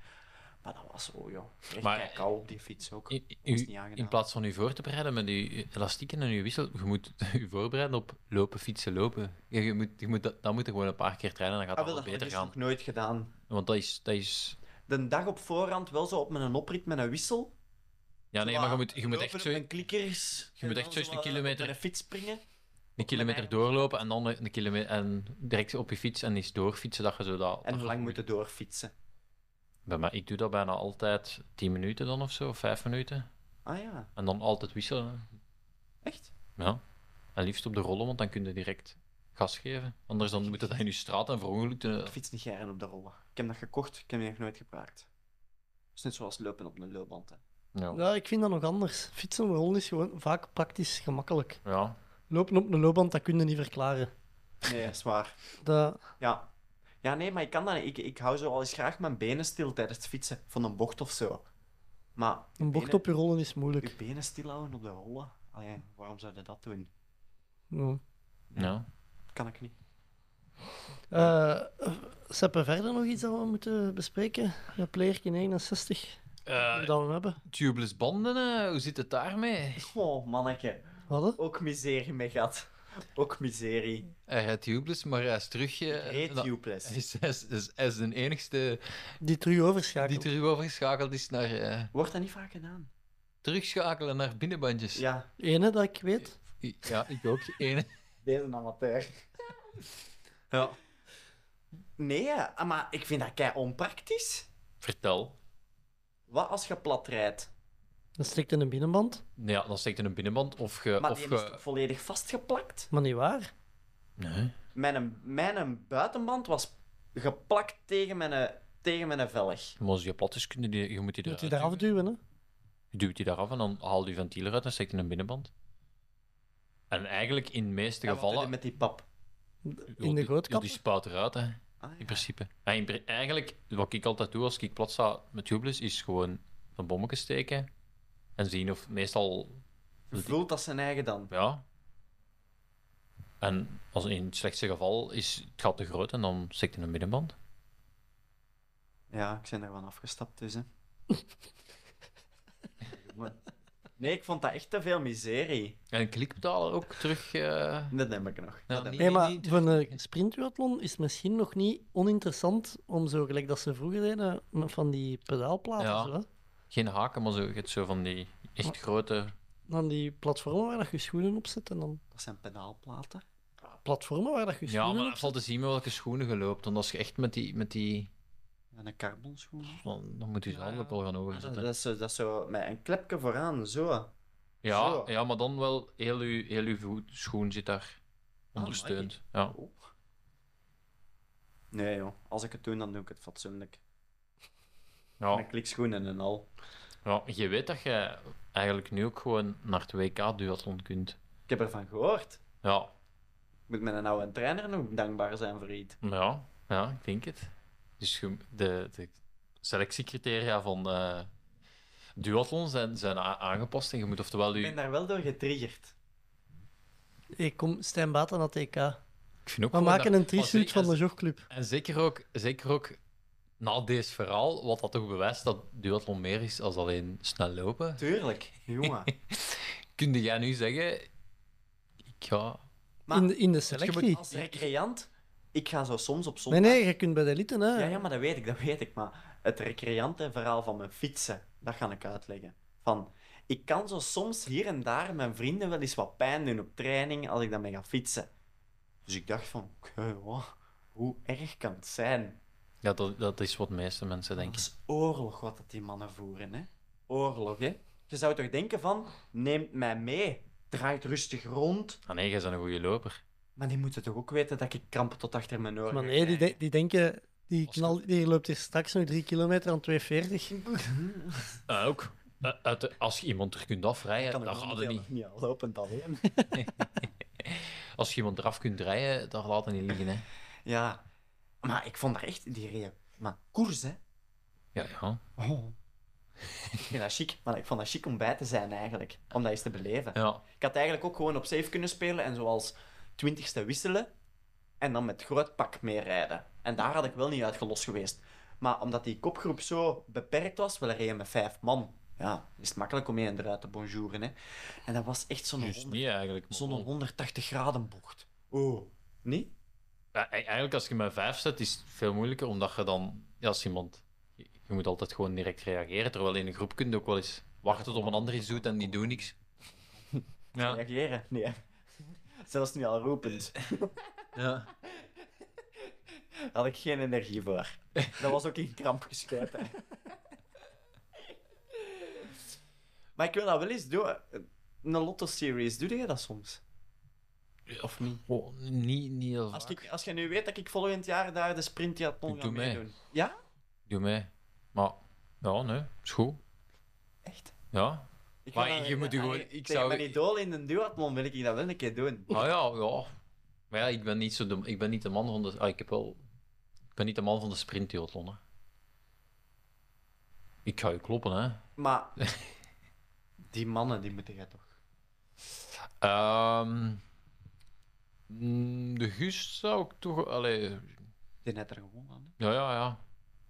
[SPEAKER 8] Maar dat was zo, joh. Ik kreeg
[SPEAKER 9] Maar-
[SPEAKER 8] maar, kou op die fiets ook.
[SPEAKER 9] In,
[SPEAKER 8] Dat is
[SPEAKER 9] in-
[SPEAKER 8] niet
[SPEAKER 9] in
[SPEAKER 8] aangenaam.
[SPEAKER 9] plaats van u voor te bereiden met uw elastieken en uw wissel, je moet [LAUGHS] u voorbereiden op lopen, fietsen, lopen. Ja, Je moet, je moet, dat- dan moet je gewoon een paar keer trainen, dan gaat
[SPEAKER 8] Ah,
[SPEAKER 9] het
[SPEAKER 8] wel,
[SPEAKER 9] wel
[SPEAKER 8] dat heb
[SPEAKER 9] beter
[SPEAKER 8] ik
[SPEAKER 9] gaan.
[SPEAKER 8] nog nooit gedaan.
[SPEAKER 9] Want dat is, dat is...
[SPEAKER 8] De dag op voorhand wel zo op met een oprit met een wissel.
[SPEAKER 9] Ja, nee,
[SPEAKER 8] Zo
[SPEAKER 9] maar je
[SPEAKER 8] wat
[SPEAKER 9] moet, je moet echt
[SPEAKER 8] lopen
[SPEAKER 9] zo
[SPEAKER 8] op Mijn klikkers.
[SPEAKER 9] je moet
[SPEAKER 8] en
[SPEAKER 9] echt
[SPEAKER 8] dan
[SPEAKER 9] zo eens
[SPEAKER 8] zo
[SPEAKER 9] een
[SPEAKER 8] wat
[SPEAKER 9] kilometer-
[SPEAKER 8] Op een fiets springen.
[SPEAKER 9] een kilometer
[SPEAKER 8] eigen-
[SPEAKER 9] doorlopen en dan een kilometer en direct op je fiets en eens doorfietsen dat je zo dat...
[SPEAKER 8] En
[SPEAKER 9] dat-
[SPEAKER 8] hoe lang moeten doorfietsen?
[SPEAKER 9] Bij mij, ik doe dat bijna altijd 10 minuten dan of zo, of 5 minuten.
[SPEAKER 8] Ah ja,
[SPEAKER 9] En dan altijd wisselen.
[SPEAKER 8] echt?
[SPEAKER 9] Ja. En liefst op de rollen, want dan kun je direct gas geven. Anders dan moet je dat in je straat en verongelukt. eh,
[SPEAKER 8] Ik fiets niet graag op de rollen. Ik heb dat gekocht, ik heb die nog nooit gebruikt. Het is net zoals lopen op een loopband. Hè.
[SPEAKER 9] Ja.
[SPEAKER 7] Ja, ik vind dat nog anders. Fietsen op de rollen is gewoon vaak praktisch gemakkelijk.
[SPEAKER 9] ja.
[SPEAKER 7] Lopen op een loopband, dat kun je niet verklaren.
[SPEAKER 8] Nee, dat is waar.
[SPEAKER 7] Dat...
[SPEAKER 8] Ja. Ja, nee, maar ik kan dat niet. Ik, ik hou zo al eens graag mijn benen stil tijdens het fietsen. Van een bocht of zo. Maar... je
[SPEAKER 7] Een bocht
[SPEAKER 8] benen-
[SPEAKER 7] op je rollen is
[SPEAKER 8] Je
[SPEAKER 7] moeilijk.
[SPEAKER 8] benen stilhouden op de rollen? Allee, waarom zou je dat doen?
[SPEAKER 7] Ja.
[SPEAKER 9] Ja.
[SPEAKER 8] Kan ik niet.
[SPEAKER 7] Eh, Seppe, verder nog iets dat we moeten bespreken? Ja, Plerk in 61, hoe dat we hem hebben.
[SPEAKER 9] Eh, tubeless banden, eh, hoe zit het daarmee?
[SPEAKER 8] Oh, manneke.
[SPEAKER 7] Wat? hè?
[SPEAKER 8] Ook miserie, mij gat. Ook miserie.
[SPEAKER 9] Hij rijdt tubeless, maar hij is terug. eh,
[SPEAKER 8] Reet
[SPEAKER 9] na-
[SPEAKER 8] Tubeless.
[SPEAKER 9] Hij is, hij is, hij is- hij is de enigste
[SPEAKER 7] Die terug
[SPEAKER 9] die
[SPEAKER 7] overschakelen.
[SPEAKER 9] terug overgeschakeld is naar eh,
[SPEAKER 8] Wordt dat niet vaak gedaan?
[SPEAKER 9] terugschakelen naar binnenbandjes.
[SPEAKER 8] Ja,
[SPEAKER 7] Ene dat ik weet.
[SPEAKER 9] I- ja, ik ook. Ene.
[SPEAKER 8] deze amateur.
[SPEAKER 9] [LAUGHS] Ja.
[SPEAKER 8] Nee, hè, Ah, maar ik vind dat kei onpraktisch.
[SPEAKER 9] Vertel.
[SPEAKER 8] Wat als je plat rijdt?
[SPEAKER 7] Dat stikt in een binnenband.
[SPEAKER 9] Ja, dan steekt in een binnenband of ge.
[SPEAKER 8] Maar
[SPEAKER 9] of
[SPEAKER 8] die
[SPEAKER 9] ge-
[SPEAKER 8] is toch volledig vastgeplakt?
[SPEAKER 7] Maar niet waar.
[SPEAKER 9] Nee.
[SPEAKER 8] Mijn, mijn buitenband was geplakt tegen mijn, tegen mijn velg.
[SPEAKER 9] Maar als die plat is, kun je, die, je moet die
[SPEAKER 7] Je moet
[SPEAKER 9] eruit
[SPEAKER 7] die eraf
[SPEAKER 9] duwen.
[SPEAKER 7] duwen, hè.
[SPEAKER 9] Je duwt die eraf en dan haal je ventiel eruit en steekt in een binnenband. En eigenlijk in de meeste
[SPEAKER 8] En wat doe
[SPEAKER 9] gevallen...
[SPEAKER 8] je met die pap.
[SPEAKER 7] In de
[SPEAKER 9] Die,
[SPEAKER 7] grootkap.
[SPEAKER 9] die spuit eruit, hè.
[SPEAKER 8] Ah,
[SPEAKER 9] In
[SPEAKER 8] ja.
[SPEAKER 9] principe. Ja, in pri- eigenlijk, wat ik altijd doe als ik plat sta met tubeless, is gewoon een bommetje steken. En zien of meestal,
[SPEAKER 8] Voelt dat zijn eigen dan?
[SPEAKER 9] ja. En als in het slechtste geval is het gat te groot en dan steekt in een middenband.
[SPEAKER 8] Ja, ik ben er van afgestapt dus,
[SPEAKER 9] [LAUGHS]
[SPEAKER 8] hè. Jongen. Nee, ik vond dat echt te veel miserie.
[SPEAKER 9] En klikbetaler ook terug. eh,
[SPEAKER 8] Dat neem ik nog. Dat neem ik.
[SPEAKER 9] niet-
[SPEAKER 7] Nee, maar
[SPEAKER 9] niet-
[SPEAKER 7] voor een sprintduathlon is het misschien nog niet oninteressant om zo, gelijk dat ze vroeger deden, met van die pedaalplaten.
[SPEAKER 9] Ja.
[SPEAKER 7] Zo, hè.
[SPEAKER 9] Geen haken, maar zo, je hebt zo van die echt grote.
[SPEAKER 7] Dan die platformen waar dat je schoenen op zet en dan...
[SPEAKER 8] Dat zijn pedaalplaten.
[SPEAKER 7] Ah, platformen waar dat je
[SPEAKER 9] Ja,
[SPEAKER 7] schoenen
[SPEAKER 9] maar
[SPEAKER 7] op
[SPEAKER 9] dat valt te zien met welke schoenen je loopt. Want als je echt met die... Met die
[SPEAKER 8] En een carbonschoen.
[SPEAKER 9] dan, dan moet je ze
[SPEAKER 5] Ja,
[SPEAKER 9] handen
[SPEAKER 5] ja.
[SPEAKER 9] wel gaan
[SPEAKER 8] Dat,
[SPEAKER 9] overzetten.
[SPEAKER 8] dat is, zo- dat is zo met een klepje vooraan, zo.
[SPEAKER 9] Ja,
[SPEAKER 8] Zo.
[SPEAKER 9] ja, maar dan wel heel je, heel uw voet, schoen zit daar ondersteund. Ja.
[SPEAKER 8] Oh. Nee joh, als ik het doe, dan doe ik het fatsoenlijk.
[SPEAKER 9] Ja. Oh.
[SPEAKER 8] Met klikschoenen en al.
[SPEAKER 9] ja, je weet dat je eigenlijk nu ook gewoon naar het WK-duathlon kunt.
[SPEAKER 8] Ik heb ervan gehoord.
[SPEAKER 9] Ja,
[SPEAKER 8] Ik moet mijn oude trainer nog dankbaar zijn voor iets.
[SPEAKER 9] Ja, ja, ik denk het. Dus je- de, de selectiecriteria van eh duathlon zijn, zijn a- aangepast en je moet oftewel
[SPEAKER 8] Ik
[SPEAKER 9] je...
[SPEAKER 8] ben daar wel door getriggerd.
[SPEAKER 7] Ik kom Stijn Baat aan het EK.
[SPEAKER 9] Ik vind ook
[SPEAKER 7] We
[SPEAKER 9] gewoon
[SPEAKER 7] maken
[SPEAKER 9] dat-
[SPEAKER 7] een trisuit
[SPEAKER 9] als-
[SPEAKER 7] van de
[SPEAKER 9] als-
[SPEAKER 7] jogclub.
[SPEAKER 9] En zeker ook, zeker ook na deze verhaal, wat dat toch bewijst dat duathlon meer is als alleen snel lopen.
[SPEAKER 8] Tuurlijk, jongen.
[SPEAKER 9] Kun jij nu zeggen... Ik ga...
[SPEAKER 8] Maar-
[SPEAKER 7] in, de- in de selectie.
[SPEAKER 8] Als recreant, ik ga zo soms op
[SPEAKER 7] Nee,
[SPEAKER 8] zondag...
[SPEAKER 7] nee, je kunt bij de elite, hè.
[SPEAKER 8] Ja,
[SPEAKER 9] Eh.
[SPEAKER 8] ja, maar dat weet ik, dat weet ik. Maar het recreantenverhaal van mijn fietsen, dat ga ik uitleggen. Van, ik kan zo soms hier en daar mijn vrienden wel eens wat pijn doen op training als ik daarmee ga fietsen. Dus ik dacht van, oké, wow, hoe erg kan het zijn?
[SPEAKER 9] Ja, dat, dat is wat de meeste mensen
[SPEAKER 8] Dat
[SPEAKER 9] denken.
[SPEAKER 8] is oorlog wat dat die mannen voeren, hè? Oorlog, hè? Je zou toch denken van, neemt mij mee, draait rustig rond.
[SPEAKER 9] Ah nee, jij bent een goede loper.
[SPEAKER 8] Maar die moeten toch ook weten dat ik krampen tot achter mijn oren
[SPEAKER 7] Maar
[SPEAKER 8] ga
[SPEAKER 7] nee, die, de-
[SPEAKER 8] krijgen?
[SPEAKER 7] die denken... Die,
[SPEAKER 9] Als-
[SPEAKER 7] knal, die loopt hier straks nog drie kilometer aan 2,40.
[SPEAKER 9] Eh, ook. Eh, uit de- als je iemand er kunt
[SPEAKER 8] Ik
[SPEAKER 9] afrijden,
[SPEAKER 8] kan
[SPEAKER 9] dan
[SPEAKER 8] er
[SPEAKER 9] gaat het
[SPEAKER 8] momenteel
[SPEAKER 9] niet.
[SPEAKER 8] nog niet al lopend alleen.
[SPEAKER 9] Als je iemand eraf kunt rijden, dan laat het niet liggen. Hè.
[SPEAKER 8] Ja, maar ik vond daar echt die reep. Maar koers, hè?
[SPEAKER 9] Ja, ja.
[SPEAKER 8] Oh. [LAUGHS] ik vind dat chic, maar ik vond dat chic om bij te zijn eigenlijk. Om dat eens te beleven.
[SPEAKER 9] ja.
[SPEAKER 8] Ik had eigenlijk ook gewoon op safe kunnen spelen en zoals twintigste wisselen. En dan met groot pak mee rijden. En daar had ik wel niet uitgelost geweest. Maar omdat die kopgroep zo beperkt was, wel reden met vijf man. Ja, is het makkelijk om één eruit te bonjouren, hè. En dat was echt zo'n
[SPEAKER 9] Juist
[SPEAKER 8] 100
[SPEAKER 9] niet eigenlijk. maar
[SPEAKER 8] zo'n
[SPEAKER 9] wel.
[SPEAKER 8] 180 graden bocht. Oh. Niet?
[SPEAKER 9] Ja, e- eigenlijk als je met vijf zet, is het veel moeilijker, omdat je dan, ja, als iemand, je je moet altijd gewoon direct reageren. Terwijl in een groep kun je ook wel eens wachten tot een ander iets doet en die doet niks. Ja,
[SPEAKER 8] reageren. [LAUGHS] Nee. Zelfs nu al roepend.
[SPEAKER 9] ja.
[SPEAKER 8] [LAUGHS] Had ik geen energie voor. Dat was ook in kramp geschoten. [LAUGHS] Maar ik wil dat wel eens doen. Een Lotto Series, doe je dat soms? Of niet?
[SPEAKER 9] Oh, niet, niet heel
[SPEAKER 8] Als,
[SPEAKER 9] vaak.
[SPEAKER 8] ik, als je nu weet dat ik volgend jaar daar de sprintdiathlon ga
[SPEAKER 9] Doe mee.
[SPEAKER 8] meedoen. Ja?
[SPEAKER 9] Doe mee. Maar, ja, nee, is goed.
[SPEAKER 8] Echt?
[SPEAKER 9] Ja.
[SPEAKER 8] Ik
[SPEAKER 9] Maar
[SPEAKER 8] wil dat-
[SPEAKER 9] je moet je
[SPEAKER 8] Allee,
[SPEAKER 9] gewoon- ik
[SPEAKER 8] tegen
[SPEAKER 9] zou-
[SPEAKER 8] mijn idool in een duathlon wil ik dat wel een keer doen.
[SPEAKER 9] Nou ja, ja. Maar ja, ik ben niet, zo de, ik ben niet de man van de... Ah, ik, heb wel, ik ben niet de man van de sprintduathlon, hè. Ik ga je kloppen, hè.
[SPEAKER 8] Maar die mannen, die moeten jij toch...
[SPEAKER 9] Ehm, mm, de Gust zou ik toch... Allee,
[SPEAKER 8] Die net er gewoon aan. hè?
[SPEAKER 9] ja, ja, ja.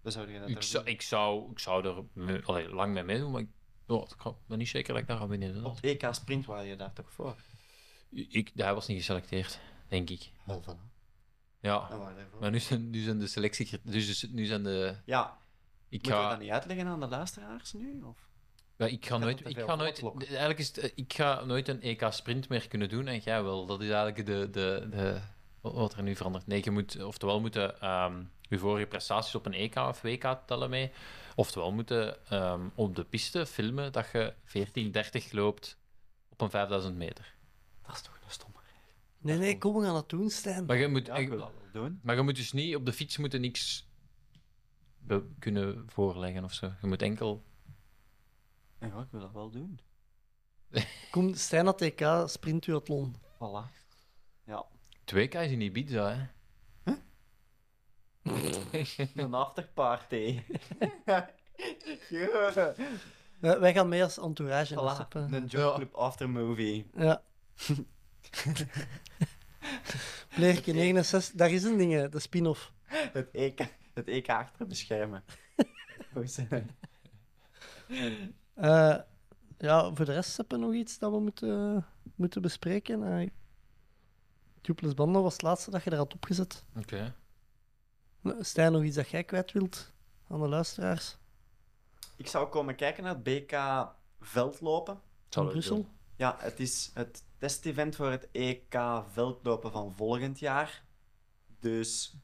[SPEAKER 8] Dan zou je dat
[SPEAKER 9] Ik
[SPEAKER 8] er
[SPEAKER 9] zou,
[SPEAKER 8] doen.
[SPEAKER 9] ik zou, ik zou er me- allee, lang mee meedoen, maar ik, ja, ik ga- ben niet zeker dat ik daar ga winnen.
[SPEAKER 8] Op
[SPEAKER 9] inderdaad.
[SPEAKER 8] het EK Sprint waar je daar toch voor?
[SPEAKER 9] Ik, hij was niet geselecteerd, denk ik.
[SPEAKER 8] Wel van. Ah,
[SPEAKER 9] Ja, maar nu zijn, nu zijn de selectie... Dus nu zijn de...
[SPEAKER 8] Ja,
[SPEAKER 9] Ik
[SPEAKER 8] moeten we
[SPEAKER 9] ga,
[SPEAKER 8] dat niet uitleggen aan de luisteraars nu? Of?
[SPEAKER 9] ja, ik ga
[SPEAKER 8] dat
[SPEAKER 9] nooit...
[SPEAKER 8] te
[SPEAKER 9] Ik
[SPEAKER 8] veel
[SPEAKER 9] ga nooit
[SPEAKER 8] voortlokken?
[SPEAKER 9] eigenlijk is het, eh, ik ga nooit een EK-sprint meer kunnen doen en jij wel. Dat is eigenlijk de... de, de wat- wat er nu verandert. Nee, je moet, oftewel moeten ehm je vorige prestaties op een EK of WK tellen mee. Oftewel moeten ehm, op de piste filmen dat je 14.30 loopt op een 5000 meter.
[SPEAKER 8] Dat is toch een stomme.
[SPEAKER 7] Nee, nee, kom, we gaan dat doen, Stijn.
[SPEAKER 9] Maar je moet,
[SPEAKER 8] Ja, ik wil dat wel doen.
[SPEAKER 9] maar je moet dus niet op de fiets moeten niks be- kunnen voorleggen of zo. Je moet enkel.
[SPEAKER 8] Ja, ik wil dat wel doen.
[SPEAKER 7] Kom, Stijn aan het EK, sprintduathlon.
[SPEAKER 8] Voilà. Ja,
[SPEAKER 9] 2K is in Ibiza, hè?
[SPEAKER 8] [LAUGHS] een [LAUGHS] afterparty. ja.
[SPEAKER 7] Eh, wij gaan mee als entourage. dat is
[SPEAKER 8] Voilà,
[SPEAKER 7] op, eh,
[SPEAKER 8] een jobclub aftermovie.
[SPEAKER 7] Ja. Pleerke 69, daar is een ding, hè, de spin-off.
[SPEAKER 8] Het EK, het EK achter [LAUGHS] beschermen. Hoe is het?
[SPEAKER 7] Eh, ja, voor de rest hebben we nog iets dat we moeten, moeten bespreken. Eh Tuples Banden was het laatste dat je er had opgezet.
[SPEAKER 9] Oké.
[SPEAKER 7] Eh, Stijn, nog iets dat jij kwijt wilt aan de luisteraars
[SPEAKER 8] Ik zou komen kijken naar het BK veldlopen.
[SPEAKER 7] in Brussel?
[SPEAKER 8] Ja, het is het testevent voor het EK veldlopen van volgend jaar. Dus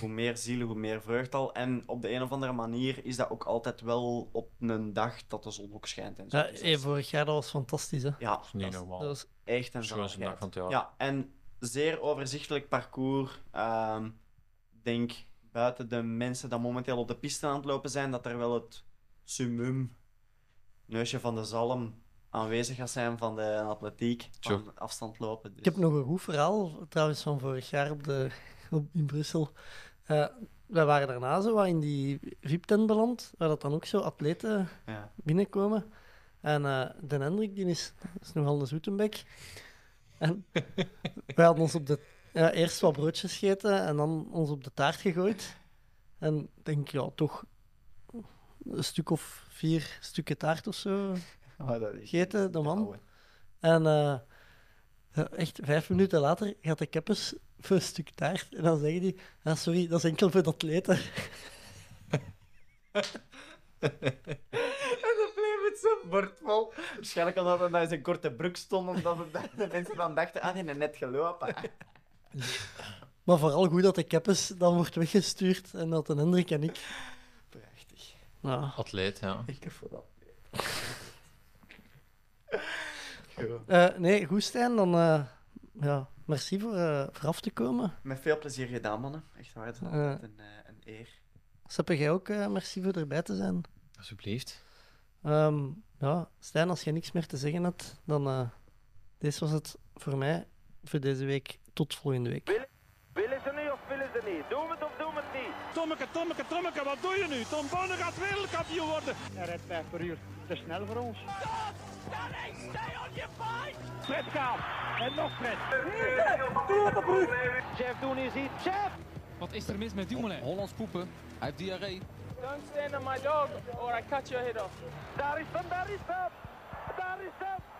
[SPEAKER 8] hoe meer zielen, hoe meer vreugd al. En op de een of andere manier is dat ook altijd wel op een dag dat de zon ook schijnt. En zo.
[SPEAKER 7] Ja,
[SPEAKER 8] Dus
[SPEAKER 7] hey, vorig jaar dat was fantastisch. Hè?
[SPEAKER 8] ja,
[SPEAKER 9] is niet
[SPEAKER 8] dat
[SPEAKER 9] normaal.
[SPEAKER 7] Dat was
[SPEAKER 8] echt een
[SPEAKER 9] Schoonste
[SPEAKER 8] zaligheid.
[SPEAKER 9] dag van het jaar.
[SPEAKER 8] Ja, en zeer overzichtelijk parcours. Ehm, Ik denk buiten de mensen die momenteel op de piste aan het lopen zijn, dat er wel het summum, neusje van de zalm, aanwezig gaat zijn van de atletiek,
[SPEAKER 9] Tjoh.
[SPEAKER 8] van afstand lopen. Dus.
[SPEAKER 7] Ik heb nog een goed verhaal, trouwens, van vorig jaar op de, op, in Brussel. Eh, wij waren daarna zo wat in die VIP-tent beland, waar dat dan ook zo atleten
[SPEAKER 8] Ja.
[SPEAKER 7] binnenkomen. En eh Den Hendrik, die is, is nogal een zoetenbek. En wij hadden ons op de, ja, eerst wat broodjes gegeten en dan ons op de taart gegooid. En ik denk, ja, toch een stuk of vier stukken taart of zo
[SPEAKER 8] Maar Oh, dat is-
[SPEAKER 7] gegeten, de man.
[SPEAKER 8] Ja, oh, hoor.
[SPEAKER 7] En eh, ja, echt vijf minuten later gaat de keppers voor een stuk taart. En dan zeggen die: ah, Sorry, dat is enkel voor dat atleten. [LAUGHS]
[SPEAKER 8] En dan bleef het zo bordvol. Waarschijnlijk omdat hij in zijn korte broek stond, omdat we- de mensen dan dachten, ah, die heeft net gelopen.
[SPEAKER 7] Maar vooral goed dat de keppers dan wordt weggestuurd. En dat een Hendrik en ik.
[SPEAKER 8] Prachtig.
[SPEAKER 7] Nou,
[SPEAKER 9] Atleet, ja.
[SPEAKER 8] Ik heb voor dat.
[SPEAKER 7] eh, nee, goed, Stijn, dan. eh, ja, merci voor, eh, voor af te komen.
[SPEAKER 8] Met veel plezier gedaan, mannen. Echt waar, het is
[SPEAKER 7] Ja.
[SPEAKER 8] altijd een, eh, een eer.
[SPEAKER 7] Seppe, jij ook eh, merci voor erbij te zijn.
[SPEAKER 9] Alsjeblieft.
[SPEAKER 7] Ehm, ja, Stijn, als je niks meer te zeggen hebt, dan. eh dit was het voor mij voor deze week. Tot volgende week.
[SPEAKER 1] Willen ze nu of willen ze niet? Doen we het of doen we het niet?
[SPEAKER 2] Tommeke, Tommeke, Tommeke, wat doe je nu? Tom Bonne gaat wereldkampioen worden.
[SPEAKER 3] Hij rijdt 5 per uur. Te snel voor ons. Fred gaat. En nog Fred.
[SPEAKER 1] Jeff Doen is hier. Jeff!
[SPEAKER 5] Wat is er mis met Dumoulin?
[SPEAKER 6] Hollands poepen. Hij heeft diarree.
[SPEAKER 4] Don't stand on my dog or I cut your head off.
[SPEAKER 1] Daar is hem, daar is hem! Daar is hem!